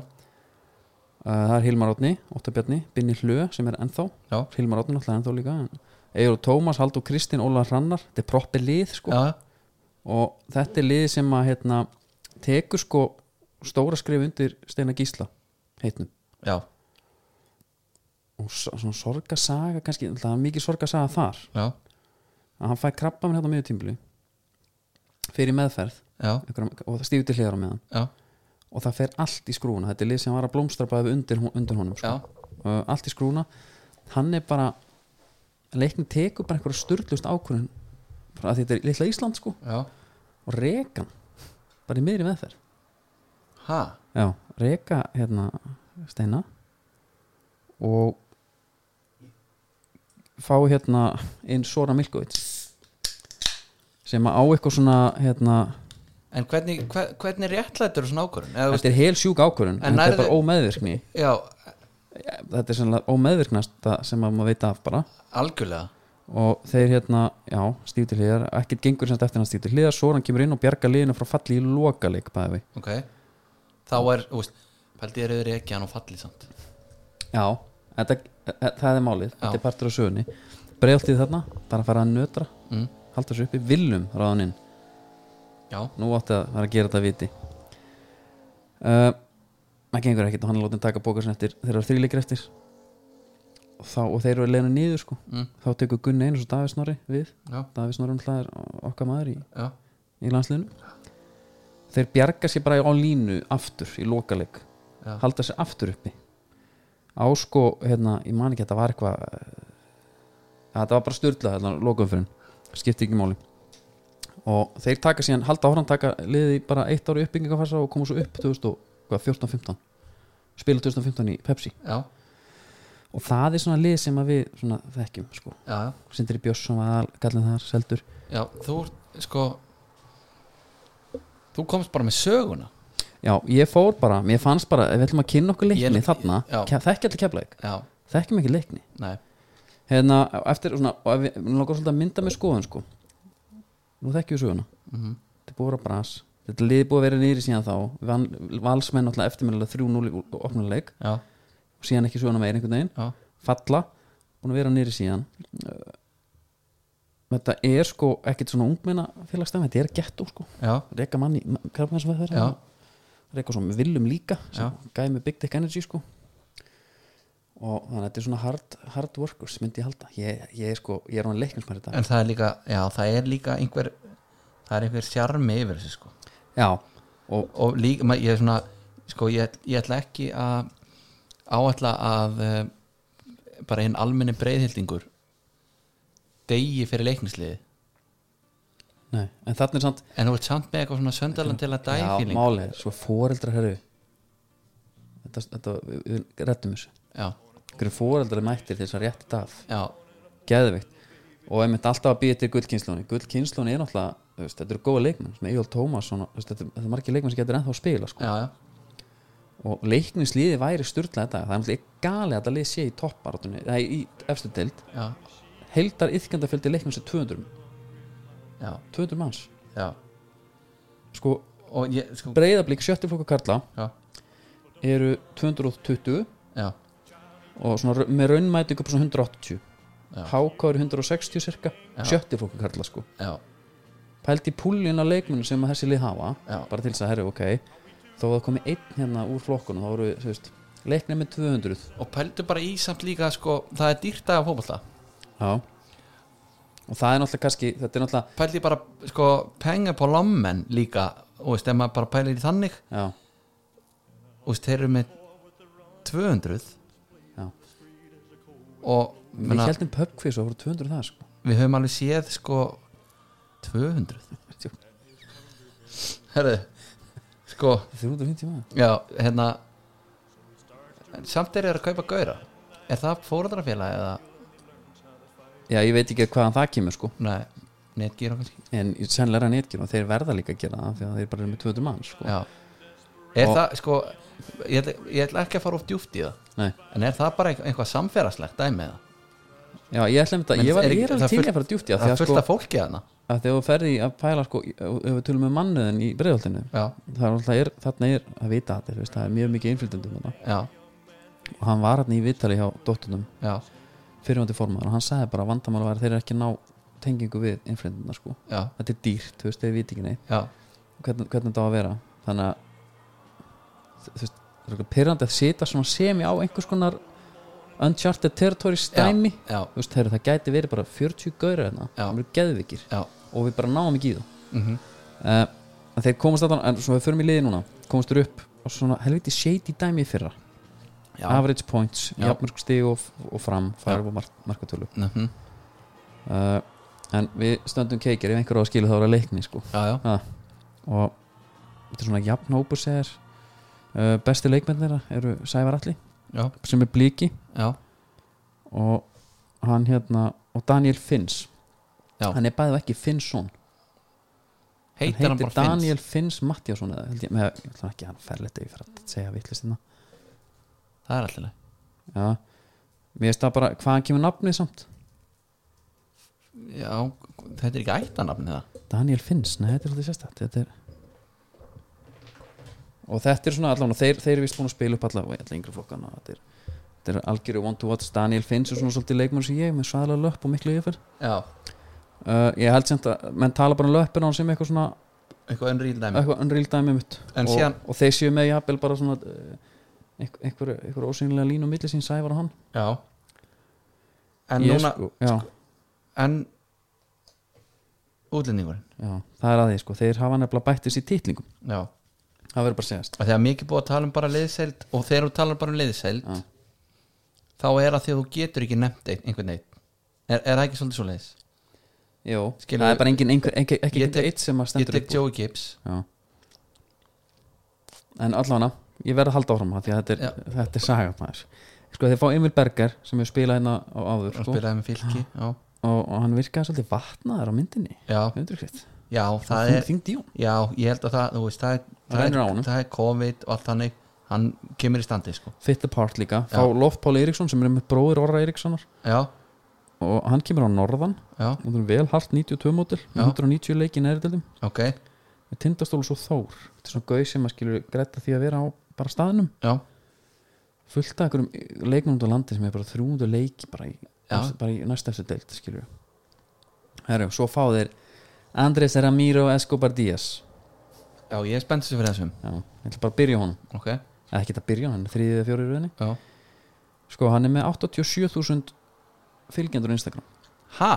Speaker 2: það er Hilmar Átni, Óttabjarni, Binni Hlö sem er ennþá,
Speaker 3: já,
Speaker 2: Hilmar Átni náttúrulega ennþá líka en Eyrú Tómas, Haldur Kristinn, Óla Hrannar þetta er proppi lið sko
Speaker 3: já,
Speaker 2: og þetta er lið sem að hérna, tekur sko stóra skrif undir Steina Gísla heitnum
Speaker 3: já,
Speaker 2: og s- svona sorgasaga kannski, það er mikið sorgasaga þar
Speaker 3: já,
Speaker 2: að hann fæ krabba minn hérna á miðutímbli fyrir meðferð
Speaker 3: já,
Speaker 2: einhverjum, og það stíður til hliðar á meðan
Speaker 3: já,
Speaker 2: og það fer allt í skrúna, þetta er lið sem var að blómstra bara undir, hon- undir honum
Speaker 3: já,
Speaker 2: sko. uh, allt í skrúna, hann er bara leiknum tekur bara einhverja sturglust ákvörðun bara af því þetta er litla Ísland sko
Speaker 3: já,
Speaker 2: og rekan, bara í miðri meðferð
Speaker 3: ha,
Speaker 2: Já, reka hérna steina og fá hérna inn Sora Milkovits sem að á eitthvað svona hérna,
Speaker 3: en hvernig, hver, hvernig réttlættur svona ákvörðun, eða þú veist,
Speaker 2: þetta er hel sjúk ákvörun en
Speaker 3: En
Speaker 2: þetta er
Speaker 3: nærðu-
Speaker 2: bara ómeðvirkni
Speaker 3: já,
Speaker 2: þetta er sannlega ómeðvirknasta sem að maður veit af bara
Speaker 3: algjörlega,
Speaker 2: og þeir hérna, já, stíf til hliðar ekkert gengur semst eftir hann stíf til hliðar Soran kemur inn og bjargar liðinu frá falli í lokaleik bæði við,
Speaker 3: ok þá er, þú veist, pældi þér yfir ekki hann og falli samt,
Speaker 2: já, þetta, e, það er málið þetta
Speaker 3: Já.
Speaker 2: er partur af sögunni breyftið þarna, bara að fara að nötra
Speaker 3: mm,
Speaker 2: halda þessu uppi, viljum ráðaninn
Speaker 3: já,
Speaker 2: nú átti að vera að gera þetta viti uh, maður gengur ekkert og hann er látið að taka bóka sinni eftir þeir eru þrýleikir eftir og, þá, og þeir eru leina niður sko
Speaker 3: mm,
Speaker 2: þá tekur Gunni Einars og Davís Snorri við
Speaker 3: já,
Speaker 2: Davís Snorri umhlað er okkar maður í,
Speaker 3: já
Speaker 2: í landsliðinu þeir bjarga sér bara á línu aftur í lokaleg
Speaker 3: Já.
Speaker 2: halda sér aftur uppi á sko, hérna, ég man ekki að þetta var eitthvað eh, þetta var bara styrla hérna, lokaumfyrin, skipti ekki máli og þeir taka síðan halda áfram taka liði bara eitt ári uppbyggingafasa og koma svo upp 2014-15 spila 2015 í Pepsi
Speaker 3: já,
Speaker 2: og það er svona lið sem að við svona, þekkjum sko,
Speaker 3: já, já
Speaker 2: Sindri Björnsson var gallin þar, Seldur
Speaker 3: Já, þú ert, sko Þú komst bara með söguna
Speaker 2: Já, ég fór bara, mér fannst bara ef við ætlum að kynna okkur leikni
Speaker 3: Ég-
Speaker 2: þarna
Speaker 3: já.
Speaker 2: ke- þekki allir keflaðik,
Speaker 3: Já,
Speaker 2: þekkjum ekki leikni
Speaker 3: nei,
Speaker 2: hérna, eftir svona, og ef við mér langar svolítið að mynda með skoðun sko nú þekkjum við söguna,
Speaker 3: mm
Speaker 2: þetta er búið að vera bras þetta er liðið búið að vera nýri síðan þá Van, valsmenn alltaf eftirmjölulega 3-0 í opnuleik
Speaker 3: já,
Speaker 2: og síðan ekki söguna meir einhvern veginn
Speaker 3: já,
Speaker 2: falla, búin að vera nýri síðan Uh, þetta er sko ekkit svona ungmenna félagsstæmi, þetta er gettó sko
Speaker 3: já,
Speaker 2: reka manni, hvað er það
Speaker 3: já,
Speaker 2: reka svo með viljum líka
Speaker 3: Já.
Speaker 2: gæði með Big Dick Energy sko og þannig að þetta er svona hard, hard workers myndi ég halda ég, ég, er sko, ég er hann leiknismæri í dag
Speaker 3: En það er líka, já, það er líka einhver Það er einhver sjarmi yfir þessu, sko
Speaker 2: já, og
Speaker 3: Og líka, ma- ég er svona Sko, ég, ég ætla ekki að Áætla að eh, Bara einn almenni breiðhildingur Degi fyrir leiknisliði
Speaker 2: nei, en þannig er samt
Speaker 3: En þú ert samt með eitthvað svona söndalan til að
Speaker 2: já,
Speaker 3: dæfíling
Speaker 2: málið, er, svo foreldrar herru þetta, þetta við, við rettum þessu
Speaker 3: Já,
Speaker 2: hverju foreldrar mættir þess að rétti dag
Speaker 3: já,
Speaker 2: geðvikt og ég myndi alltaf að býja til gullkynnslóni gullkynnslóni er náttúrulega, þú veist, þetta eru góða leikmenn svona Egil Tómasson, og, þú veist, þetta, þetta er margir leikmenn sem getur ennþá að spila sko.
Speaker 3: já, já,
Speaker 2: og leiknisliði væri styrla þetta það er náttúrulega galið að þetta lið sé í topparátunni eða í efstu deild
Speaker 3: já,
Speaker 2: heldar yfkendafjöldi leiknins er 200
Speaker 3: já,
Speaker 2: 200 manns
Speaker 3: já.
Speaker 2: sko
Speaker 3: Og ég, sko,
Speaker 2: breyðablík sjötti flokka karla
Speaker 3: já,
Speaker 2: eru 220
Speaker 3: já,
Speaker 2: og svona ra- með raunmætingu upp á svona 180
Speaker 3: Já.
Speaker 2: háká eru 160 cirka
Speaker 3: Já.
Speaker 2: sjötti flokka karla sko
Speaker 3: já,
Speaker 2: pælt í púlin á leikmunu sem að þessi lið hafa
Speaker 3: Já.
Speaker 2: bara til þess að herru ok þó að það komi einn hérna úr flokkunum þá eru þú veist leiknir með 200
Speaker 3: og pældu bara í samt líka sko, það er dýrt að fótbolta
Speaker 2: já og það er náttúrulega kannski þetta er náttúrulega
Speaker 3: pældu bara sko, penga på lommen líka og veist, ef maður bara pælir í þannig
Speaker 2: já
Speaker 3: og veist, þeir eru með 200
Speaker 2: Já.
Speaker 3: og
Speaker 2: Við
Speaker 3: menna,
Speaker 2: heldum pubquiz og voru 200 það sko [laughs]
Speaker 3: við höfum alveg séð sko 200 herðu sko
Speaker 2: 350 maður
Speaker 3: Já, hérna en Samt er þeir að kaupa gauðra Er það fóröldrafélag eða
Speaker 2: Já, ég veit ekki hvaðan það kemur sko
Speaker 3: Nei, netgíra kannski
Speaker 2: En sennilega er hann eitthvað og þeir verða líka að gera það Því að þeir bara eru með 200 mann sko
Speaker 3: Já Er
Speaker 2: Og-
Speaker 3: það, sko ég ætla, ég ætla ekki að fara of djúpt í það
Speaker 2: Nei.
Speaker 3: En er það bara einhver- eitthvað samfélagslegt dæmi eða
Speaker 2: Já, ég ætla einmitt að
Speaker 3: Men
Speaker 2: Ég var
Speaker 3: er
Speaker 2: ég
Speaker 3: ekki-
Speaker 2: er
Speaker 3: það
Speaker 2: alveg til
Speaker 3: fullt-
Speaker 2: í að fara djúpt í það
Speaker 3: Það
Speaker 2: Því
Speaker 3: er
Speaker 2: að
Speaker 3: fullt
Speaker 2: sko
Speaker 3: af fólki þarna
Speaker 2: að Þegar þú ferði að pæla sko Ef ef við tölum með mannuðin í breiðoltinu
Speaker 3: Já,
Speaker 2: Það er alltaf, er, þarna er að vita þetta þú veist, Það er mjög mikið innflytendum þarna
Speaker 3: já,
Speaker 2: Og hann var hann í vitali hjá dóttunum
Speaker 3: já,
Speaker 2: Fyrirvandi formaður og hann sagði bara að vandamál var að Þeir eru ekki að ná tengingu við innflytenduna sko
Speaker 3: já,
Speaker 2: Þetta er dýrt, þú veist, þeir viti ekki neitt
Speaker 3: já
Speaker 2: hvernig, hvernig það á að vera þannig að þú veist, það er eitthvað pyrrandi að sita svona semi á einhvers konar uncharted territory stæmi
Speaker 3: Já,
Speaker 2: þú veist, heyrðu, það gæti verið bara 40 gaur hérna,
Speaker 3: Já.
Speaker 2: það eru geðvikir
Speaker 3: já,
Speaker 2: og við bara náum ekki í það
Speaker 3: mhm
Speaker 2: uh, en þeir komast að en svo við förum í liði núna komast þér upp og svona helviti shady dæmi í fyrra,
Speaker 3: Já,
Speaker 2: average points
Speaker 3: Já.
Speaker 2: jafnmörg stig og, og fram, færf og mark, markatölu
Speaker 3: mhm,
Speaker 2: uh, en við stöndum keikir ef einhver á að skilu þá er að leikni sko
Speaker 3: já, já,
Speaker 2: og þetta er svona jafn hópur segir uh, besti leikmenn þeirra eru Sævar Alli
Speaker 3: já,
Speaker 2: sem er blíki
Speaker 3: já,
Speaker 2: og hann hérna og Daniel Finns
Speaker 3: Já.
Speaker 2: hann er bæðið ekki Finnsson
Speaker 3: heitir
Speaker 2: hann
Speaker 3: hann bara
Speaker 2: heitir
Speaker 3: Finns?
Speaker 2: Daniel Finns Mattiasson eða held ég, með, ég ætla ekki að hann ferlegt ef ég fer að segja vitlist hérna
Speaker 3: Það er alltaf
Speaker 2: já, mér veist það bara hvaðan kemur nafnið samt
Speaker 3: Já, þetta er ekki ættanafnið það
Speaker 2: Daniel Finns, nei þetta er svolítið sérstætt þetta er og þetta er svona allavega, þeir, þeir eru vist búin að spila upp allavega, allavega yngri flokkana þetta er, þetta er algjöru one to watch, Daniel Finns er svona svolítið leikmann sem ég, með svaðalega löpp og miklu yfir
Speaker 3: Já,
Speaker 2: uh, ég held sem að, menn tala bara um löppin á hann sem eitthvað svona,
Speaker 3: eitthvað önrýl dæmi
Speaker 2: eitthvað unreal dæmi um mitt
Speaker 3: En
Speaker 2: og,
Speaker 3: síðan-
Speaker 2: og þeir séu með jafnvel bara svona uh, einhver, einhver, einhver ósynlega línu milli sín sævar og hann
Speaker 3: Já En
Speaker 2: Ég
Speaker 3: núna
Speaker 2: sko, já,
Speaker 3: En Útlendingurinn
Speaker 2: já, það er að því sko þeir hafa nefnilega bættis í titlingum
Speaker 3: Já
Speaker 2: það verður bara að segjast
Speaker 3: Og þegar mikið búið að tala um bara liðseild Og þegar þú talar bara um liðseild
Speaker 2: Já.
Speaker 3: Þá er það því að þú getur ekki nefnt ein- einhvern neitt er, er það ekki svolítið svo leiðis?
Speaker 2: Jó,
Speaker 3: Skilur-
Speaker 2: það er bara engin, einhver, ekki, ekki
Speaker 3: Ég tek-
Speaker 2: eitt sem að
Speaker 3: Ég
Speaker 2: stendur
Speaker 3: tek Joey Gibbs
Speaker 2: Já En allavega, ég verð að halda áfram það því að þetta er, þetta er saga maður Sko þeir fá Emil Berger sem hefur spilað hérna á áður
Speaker 3: Og
Speaker 2: sko, og,
Speaker 3: spilaði með fylki Já,
Speaker 2: og hann virkaði svolítið vatnaðar á myndinni
Speaker 3: já,
Speaker 2: Undrukvitt
Speaker 3: já það
Speaker 2: Það
Speaker 3: er
Speaker 2: þingd í hún
Speaker 3: Já, ég held að það, þú veist Það, er,
Speaker 2: Það rennur á honum.
Speaker 3: er, það er COVID og allt þannig Hann kemur í standi sko
Speaker 2: Fit the part líka
Speaker 3: Já.
Speaker 2: Fá Lof Páli Eriksson sem er með bróðir Orra Erikssonar
Speaker 3: Já,
Speaker 2: og hann kemur á norðan
Speaker 3: já,
Speaker 2: og það er vel hart 92 mótil
Speaker 3: Já.
Speaker 2: 190 leiki í neðrildildum
Speaker 3: ok
Speaker 2: með tindastólu svo þór Þetta er svona gauð sem að skilur gretta því að vera á bara staðnum
Speaker 3: Já,
Speaker 2: fullt af einhverjum leiknum út á landi sem er bara 300 leiki bara í,
Speaker 3: Já.
Speaker 2: bara í næst eftir deilt skilur Herru, svo fá þeir Andrés Ramiro Escobar Díaz
Speaker 3: já, ég er spennt fyrir þessum
Speaker 2: já, ég ætla bara að byrja á honum
Speaker 3: Ok,
Speaker 2: eða ekki að byrja á honum, þriðið eða fjórið röðinni
Speaker 3: já
Speaker 2: sko, hann er með 87.000 fylgjendur á Instagram
Speaker 3: Ha?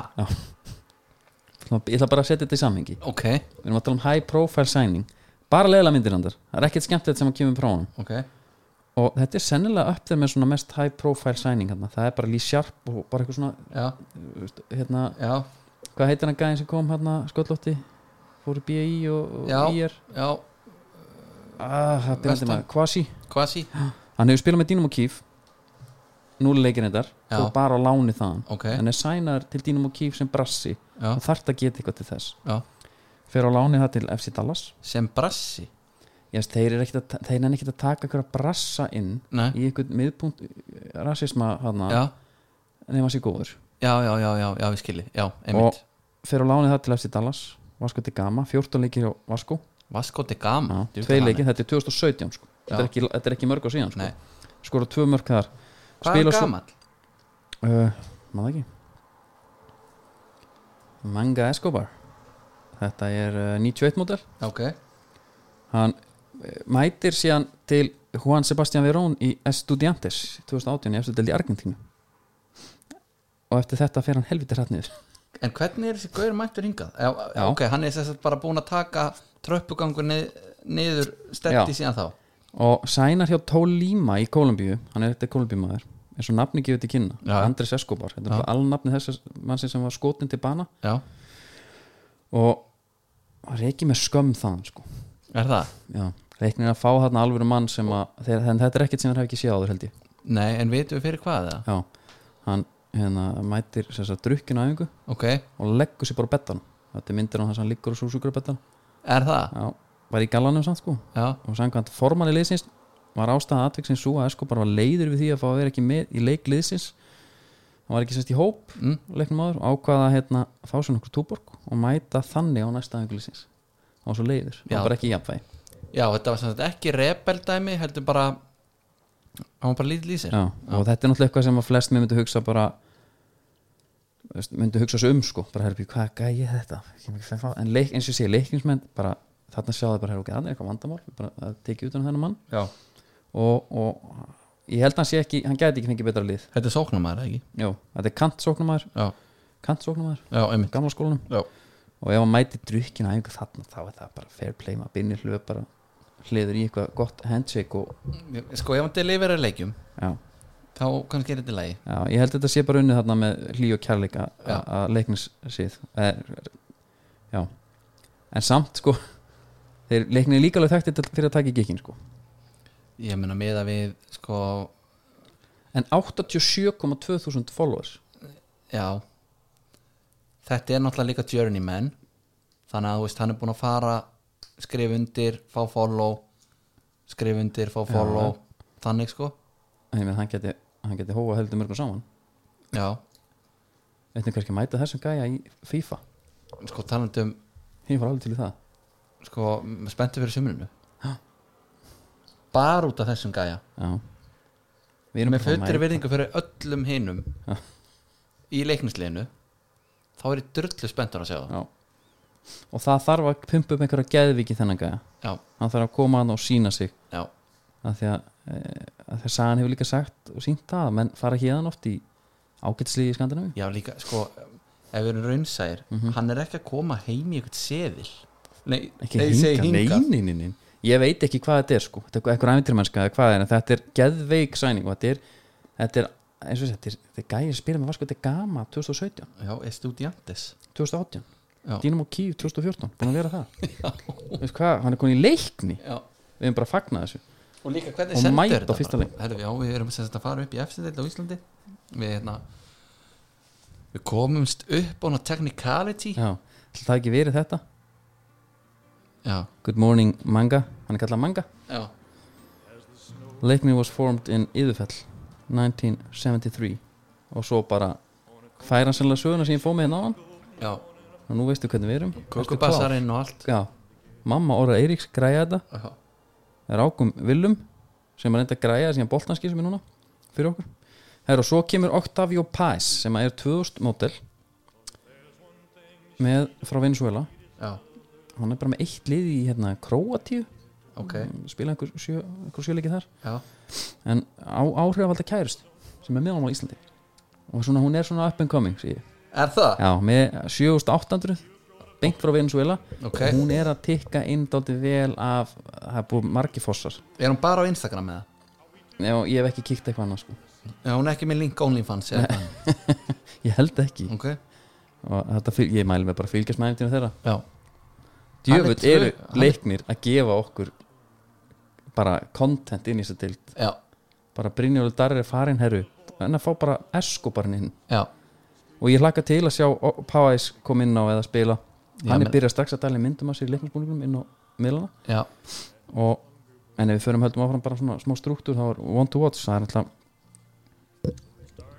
Speaker 2: Svona, ég ætla bara að setja þetta í samhengi
Speaker 3: Ok,
Speaker 2: við erum að tala um high profile signing bara leila myndir hann þar, það er ekkert skemmt þetta sem að kemur frá honum
Speaker 3: ok
Speaker 2: og þetta er sennilega upp þegar með svona mest high profile signing hann. það er bara Lee Sharp og bara eitthvað svona
Speaker 3: Já,
Speaker 2: þú veist, hérna,
Speaker 3: já,
Speaker 2: hvað heitir hann gæðin sem kom hérna sköllótti fóru BAI og,
Speaker 3: Já.
Speaker 2: og IR
Speaker 3: já
Speaker 2: ah, það byrjandi
Speaker 3: Vestan.
Speaker 2: maður, Kvasi
Speaker 3: Quasi,
Speaker 2: hann hefur spilað með Dynamo Kiev núli leikir þetta
Speaker 3: Já.
Speaker 2: og bara á láni þaðan
Speaker 3: ok
Speaker 2: hann er sænar til Dynamo Kiev sem brassi
Speaker 3: já,
Speaker 2: hann þarf að geta eitthvað til þess
Speaker 3: já.
Speaker 2: fer á láni það til FC Dallas
Speaker 3: Sem brassi
Speaker 2: Ég veist, þeir, eru ekkert að, ta- þeir nenni ekki að taka einhverja brassa inn
Speaker 3: Nei,
Speaker 2: í einhvern miðpunkt eh, rasisma hana,
Speaker 3: já,
Speaker 2: nema sér góður
Speaker 3: já, já, já, já, já, við skilji Já, einmitt
Speaker 2: fer á láni það til FC Dallas Vasco de Gama, 14 leikir á Vasco
Speaker 3: Vasco de Gama
Speaker 2: Já, tvei leikir, þetta er 2017 sko. þetta, er
Speaker 3: Hm, Já.
Speaker 2: ekki, þetta er ekki mörg á síðan sko.
Speaker 3: Nei.
Speaker 2: skora tvö mörg þar
Speaker 3: Hvað er
Speaker 2: Spila svo-
Speaker 3: gamall?
Speaker 2: uh, maður ekki Manga Escobar þetta er uh, 91 mótel
Speaker 3: Ok,
Speaker 2: hann uh, mætir síðan til Juan Sebastian Verón í Estudiantes 2018 í eftirdeld í Argentínu og eftir þetta fer hann helviti hrætt niður
Speaker 3: en hvernig er þessi gaur mættur hingað? Já,
Speaker 2: Já.
Speaker 3: ok, hann er þess að bara búin að taka tröppugangur nið, niður
Speaker 2: Já.
Speaker 3: stefti síðan þá
Speaker 2: og sænar hjá Tólíma í Kólumbíu hann er þetta Kólumbíumaður eins og nafni gefið til kynna,
Speaker 3: Já.
Speaker 2: Andres Escobar þetta er
Speaker 3: Já.
Speaker 2: bara alnafni þess mannsin sem var skotin til bana
Speaker 3: já,
Speaker 2: og hann reikið með skömm þaðan sko.
Speaker 3: er það?
Speaker 2: Já. reiknir að fá þarna alvöru mann sem að þegar, en þetta er ekkert sem hann hef ekki séð áður held ég
Speaker 3: Nei, en vitum við fyrir hvað það?
Speaker 2: Já. hann hérna, mætir þess að drukkinu aðingu
Speaker 3: Ok,
Speaker 2: og leggur sér bara á bettan þetta er myndir á þess að hann liggur og súsugur á bettan
Speaker 3: er það?
Speaker 2: Já, var í gallanum samt sko
Speaker 3: Já,
Speaker 2: og samkvæmt formanni liðsins var ástæða atviksins svo að Escobar var leiður við því að fá að vera ekki með í leik liðsins hann var ekki semst í hóp
Speaker 3: mm.
Speaker 2: leiknum áður og ákvaða að hérna, fá sér nokkur túborg og mæta þannig á næsta aðingu liðsins hann var svo leiður,
Speaker 3: Já.
Speaker 2: hann var bara ekki í jafnvægi
Speaker 3: já þetta var sem sagt ekki rebeldæmi heldur bara hann var bara lítið lýsir
Speaker 2: Já. og þetta er náttúrulega eitthvað sem að flest mér myndi hugsa bara þú veist, myndi hugsa svo um sko bara herrbi, hvað gæði ég þetta Ég kem ekki fram frá. en leik, eins og ég sé leikingsmenn bara, þarna sjáðu bara, herrbi, okay, það er eitthvað vandamál Við bara, að tekið utan um þennan mann
Speaker 3: já.
Speaker 2: og, og ég held að hann sé ekki hann gæti ekki fengið betra lið
Speaker 3: Þetta er sóknumæður, ekki?
Speaker 2: Jó, þetta er kantsóknumæður
Speaker 3: Já,
Speaker 2: kantsóknumæður,
Speaker 3: já, einmitt
Speaker 2: gamla skólanum
Speaker 3: Já,
Speaker 2: og ef hann mæti drukkin að einhver þarna þá er það bara fair play, maður binnir hlöf bara hliður í eitthvað gott handshake og
Speaker 3: sko ef hann delivera leikjum
Speaker 2: já,
Speaker 3: þá kannski er þetta í lagi
Speaker 2: já, ég held að þetta sé bara unnið þarna með hlý og kærleika
Speaker 3: Já.
Speaker 2: að- að leiknis síð já, en samt sko þeir leiknir líka alveg þekktir fyrir að taka í gikkin sko
Speaker 3: Ég meina meða við, sko,
Speaker 2: en 87,2 þúsund followers
Speaker 3: já Þetta er náttúrulega líka journeyman þannig að þú veist, hann er búin að fara skrif undir, fá follow skrif undir, fá follow þannig sko,
Speaker 2: en ég með hann geti, hann geti hóa heldur mörgum saman
Speaker 3: já
Speaker 2: veitum kannski að mæta þessum gæja í FIFA
Speaker 3: sko talandum,
Speaker 2: ég var alveg til í það
Speaker 3: sko, m- spenntur fyrir sumrinu
Speaker 2: Já.
Speaker 3: bara út af þessum gæja
Speaker 2: Já Við erum
Speaker 3: með
Speaker 2: bara að
Speaker 3: fullri
Speaker 2: mæta-
Speaker 3: verðingu fyrir öllum hinum
Speaker 2: Já.
Speaker 3: í leiknisleginu þá er ég drullu spenntur að sjá það
Speaker 2: Já. Og það þarf að pumpa upp einhverja geðviki þennan gæja
Speaker 3: já,
Speaker 2: Hann þarf að koma hann og sína sig
Speaker 3: já,
Speaker 2: að Því að, e, að því að sagan hefur líka sagt og sínt það menn fara hérðan oft í ágætslið í Skandinavíu
Speaker 3: já líka sko, ef við erum raunsæðir
Speaker 2: Mhm.
Speaker 3: hann er ekki að koma heim í eitthvað seðil nei,
Speaker 2: Ekki
Speaker 3: nei, ég segi hingað.
Speaker 2: neinin Ég veit ekki hvað þetta er sko Þetta er eitthvað æfintirmennska eða hvað er en Þetta er geðveik sæning og þetta er, þetta er eins og þess þetta er, þetta er gæja að spila með vasku Þetta er gama 2017,
Speaker 3: já, estudiantes
Speaker 2: 2018
Speaker 3: Já.
Speaker 2: Dínum og Kíf 2014, búin að vera
Speaker 3: [laughs]
Speaker 2: það Þú veist hvað, Hann er komin í leikni
Speaker 3: já.
Speaker 2: Við erum bara að fagna þessu
Speaker 3: og líka hvernig
Speaker 2: Og
Speaker 3: sendur
Speaker 2: mæta
Speaker 3: þetta
Speaker 2: á fyrsta
Speaker 3: bara?
Speaker 2: leik.
Speaker 3: Herru, já, við erum sem sagt að fara upp í F-sendel á Íslandi við hérna við komumst upp á hana technicality
Speaker 2: Já, ætli það hafi ekki verið þetta
Speaker 3: já,
Speaker 2: Good Morning Manga, hann er kallað Manga
Speaker 3: já,
Speaker 2: Leikni was formed in Yðurfell 1973 og svo bara færa hann sannlega söguna sem ég fóð með hérna á hann
Speaker 3: já.
Speaker 2: og nú veistu hvernig við erum Ertu klár?
Speaker 3: kókubassarinn og allt
Speaker 2: Já, mamma orða Eiríks græja þetta
Speaker 3: já,
Speaker 2: það er ákum Willum sem er enda að græja síðan boltanski sem er núna fyrir okkur Her, og svo kemur Octavio Paz sem er 2000 mótel með frá Venezuela
Speaker 3: já,
Speaker 2: hann er bara með eitt lið í hérna, Kroatíu
Speaker 3: ok
Speaker 2: spila einhver sjö, einhver sjöleiki þar
Speaker 3: já,
Speaker 2: en á, áhrifalda kærust sem er með honum á Íslandi og svona, hún er svona up and coming sé ég.
Speaker 3: er það?
Speaker 2: já, með 7800 beint frá Venezuela
Speaker 3: Ok.
Speaker 2: og hún er að tikka inn dálítið vel af það er búið margi fossar
Speaker 3: er hún bara á Instagram með það?
Speaker 2: já, ég hef ekki kíkt eitthvað annað sko.
Speaker 3: Já, hún er ekki með link OnlyFans eða eitthvað.
Speaker 2: ég held ekki
Speaker 3: Ok
Speaker 2: og þetta, fyl- ég mæli mig bara að fylgjast með eftir þeirra
Speaker 3: Já, Hann er
Speaker 2: djöfull
Speaker 3: tvö-
Speaker 2: eru
Speaker 3: hann er-
Speaker 2: leiknir að gefa okkur bara content inn í þessu dild
Speaker 3: já,
Speaker 2: bara Brynjólu Darri farin herru en að fá bara eskobarn inn
Speaker 3: já
Speaker 2: og ég hlakka til að sjá Páæs kom inn á eða spila
Speaker 3: Já,
Speaker 2: hann
Speaker 3: menn-
Speaker 2: er byrjað strax að dæla í myndum að sér í leiknarsbúningum inn á miðlana
Speaker 3: Já,
Speaker 2: og, en ef við förum höldum áfram bara svona smá struktúr þá er One to Watch það er alltaf,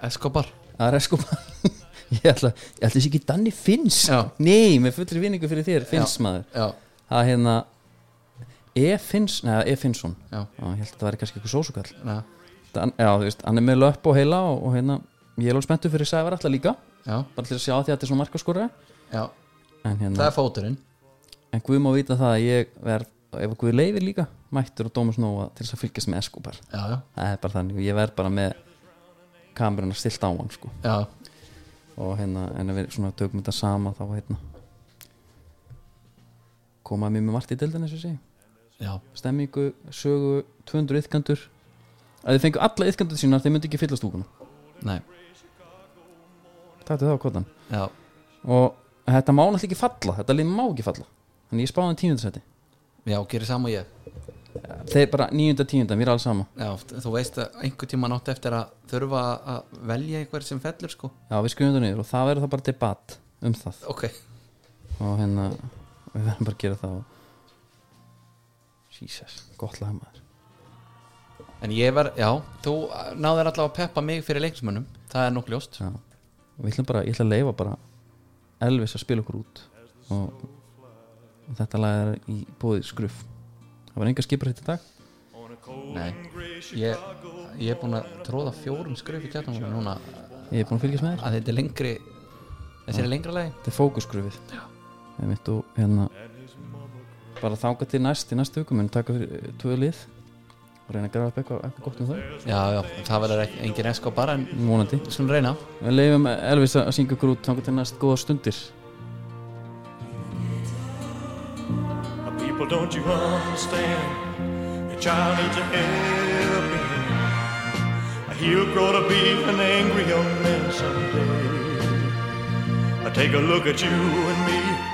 Speaker 3: Escobar
Speaker 2: það er sko bara [laughs] ég ætla, ég ætla þessi ekki Danni Finns
Speaker 3: Já.
Speaker 2: nei, með fullri vinningu fyrir þér Finns maður,
Speaker 3: Já,
Speaker 2: það er hérna E. Finns, neða E. Finnsson
Speaker 3: já,
Speaker 2: já,
Speaker 3: Hérna,
Speaker 2: ég held að það væri kannski eitthvað sósukall
Speaker 3: já,
Speaker 2: Dan, já, þú veist, hann er með löpp og heila og, og hérna, ég er alveg spenntu fyrir Sævar alltaf líka
Speaker 3: já,
Speaker 2: bara til að sjá því að þetta er svona markaskorra
Speaker 3: já.
Speaker 2: en hérna
Speaker 3: Það er fóturinn
Speaker 2: En Guð má vita það að ég verð ef Guð leifir líka, mættur og dómus nóa til þess að fylgjast með Escobar
Speaker 3: Já, já,
Speaker 2: það er bara þannig, ég verð bara með kameruna stilt á hann sko
Speaker 3: já,
Speaker 2: og hérna, en ef við svona tökum þetta sama þá hérna koma mér með margt í deildin eins og sé
Speaker 3: já,
Speaker 2: stemmingu, sögu, 200 yðkandur að þið fengu alla yðkandur sína þeir myndi ekki fylla stúkuna
Speaker 3: nei,
Speaker 2: Taktu það á kvotan
Speaker 3: já,
Speaker 2: og þetta má náttúrulega ekki falla, þetta lið má ekki falla þannig ég spáði tíundasæti
Speaker 3: já, gerir sama og ég
Speaker 2: þeir bara níunda tíunda, mér er alls sama
Speaker 3: já, þú veist að einhver tíma nátt eftir að þurfa að velja einhver sem fellur sko
Speaker 2: já við skrifum þetta niður og það verður það bara debatt um það
Speaker 3: ok,
Speaker 2: og hérna við verðum bara að gera það og... Jesus, gott lag maður
Speaker 3: en ég var, já þú náður allavega að peppa mig fyrir leikismönnum það er nokkuð ljóst,
Speaker 2: já. og við ætlum bara, ég ætla að leifa bara Elvis að spila okkur út og, og þetta lag er í bóði skruf það var enga skipur hitt í dag
Speaker 3: nei ég, ég er búin að tróða fjórum skröf í kjartum núna
Speaker 2: ég er búin að fylgjast með þér
Speaker 3: að þetta er lengri þessi er lengra lagi
Speaker 2: þetta er fókusgrufið ég mitt og hérna bara þanga til næst í næstu viku mun taka fyrir tvö lið og reyna að grafa upp eitthvað, eitthvað gott með þau
Speaker 3: já, já, það verður ekki- engin esko bara en
Speaker 2: vonandi
Speaker 3: við skulum reyna
Speaker 2: við leifum Elvis að syngja okkur út þanga til næst góða stundir
Speaker 1: People, don't you understand? Your child needs a helping hand. He'll grow to be an angry young man someday. Take a look at you and me.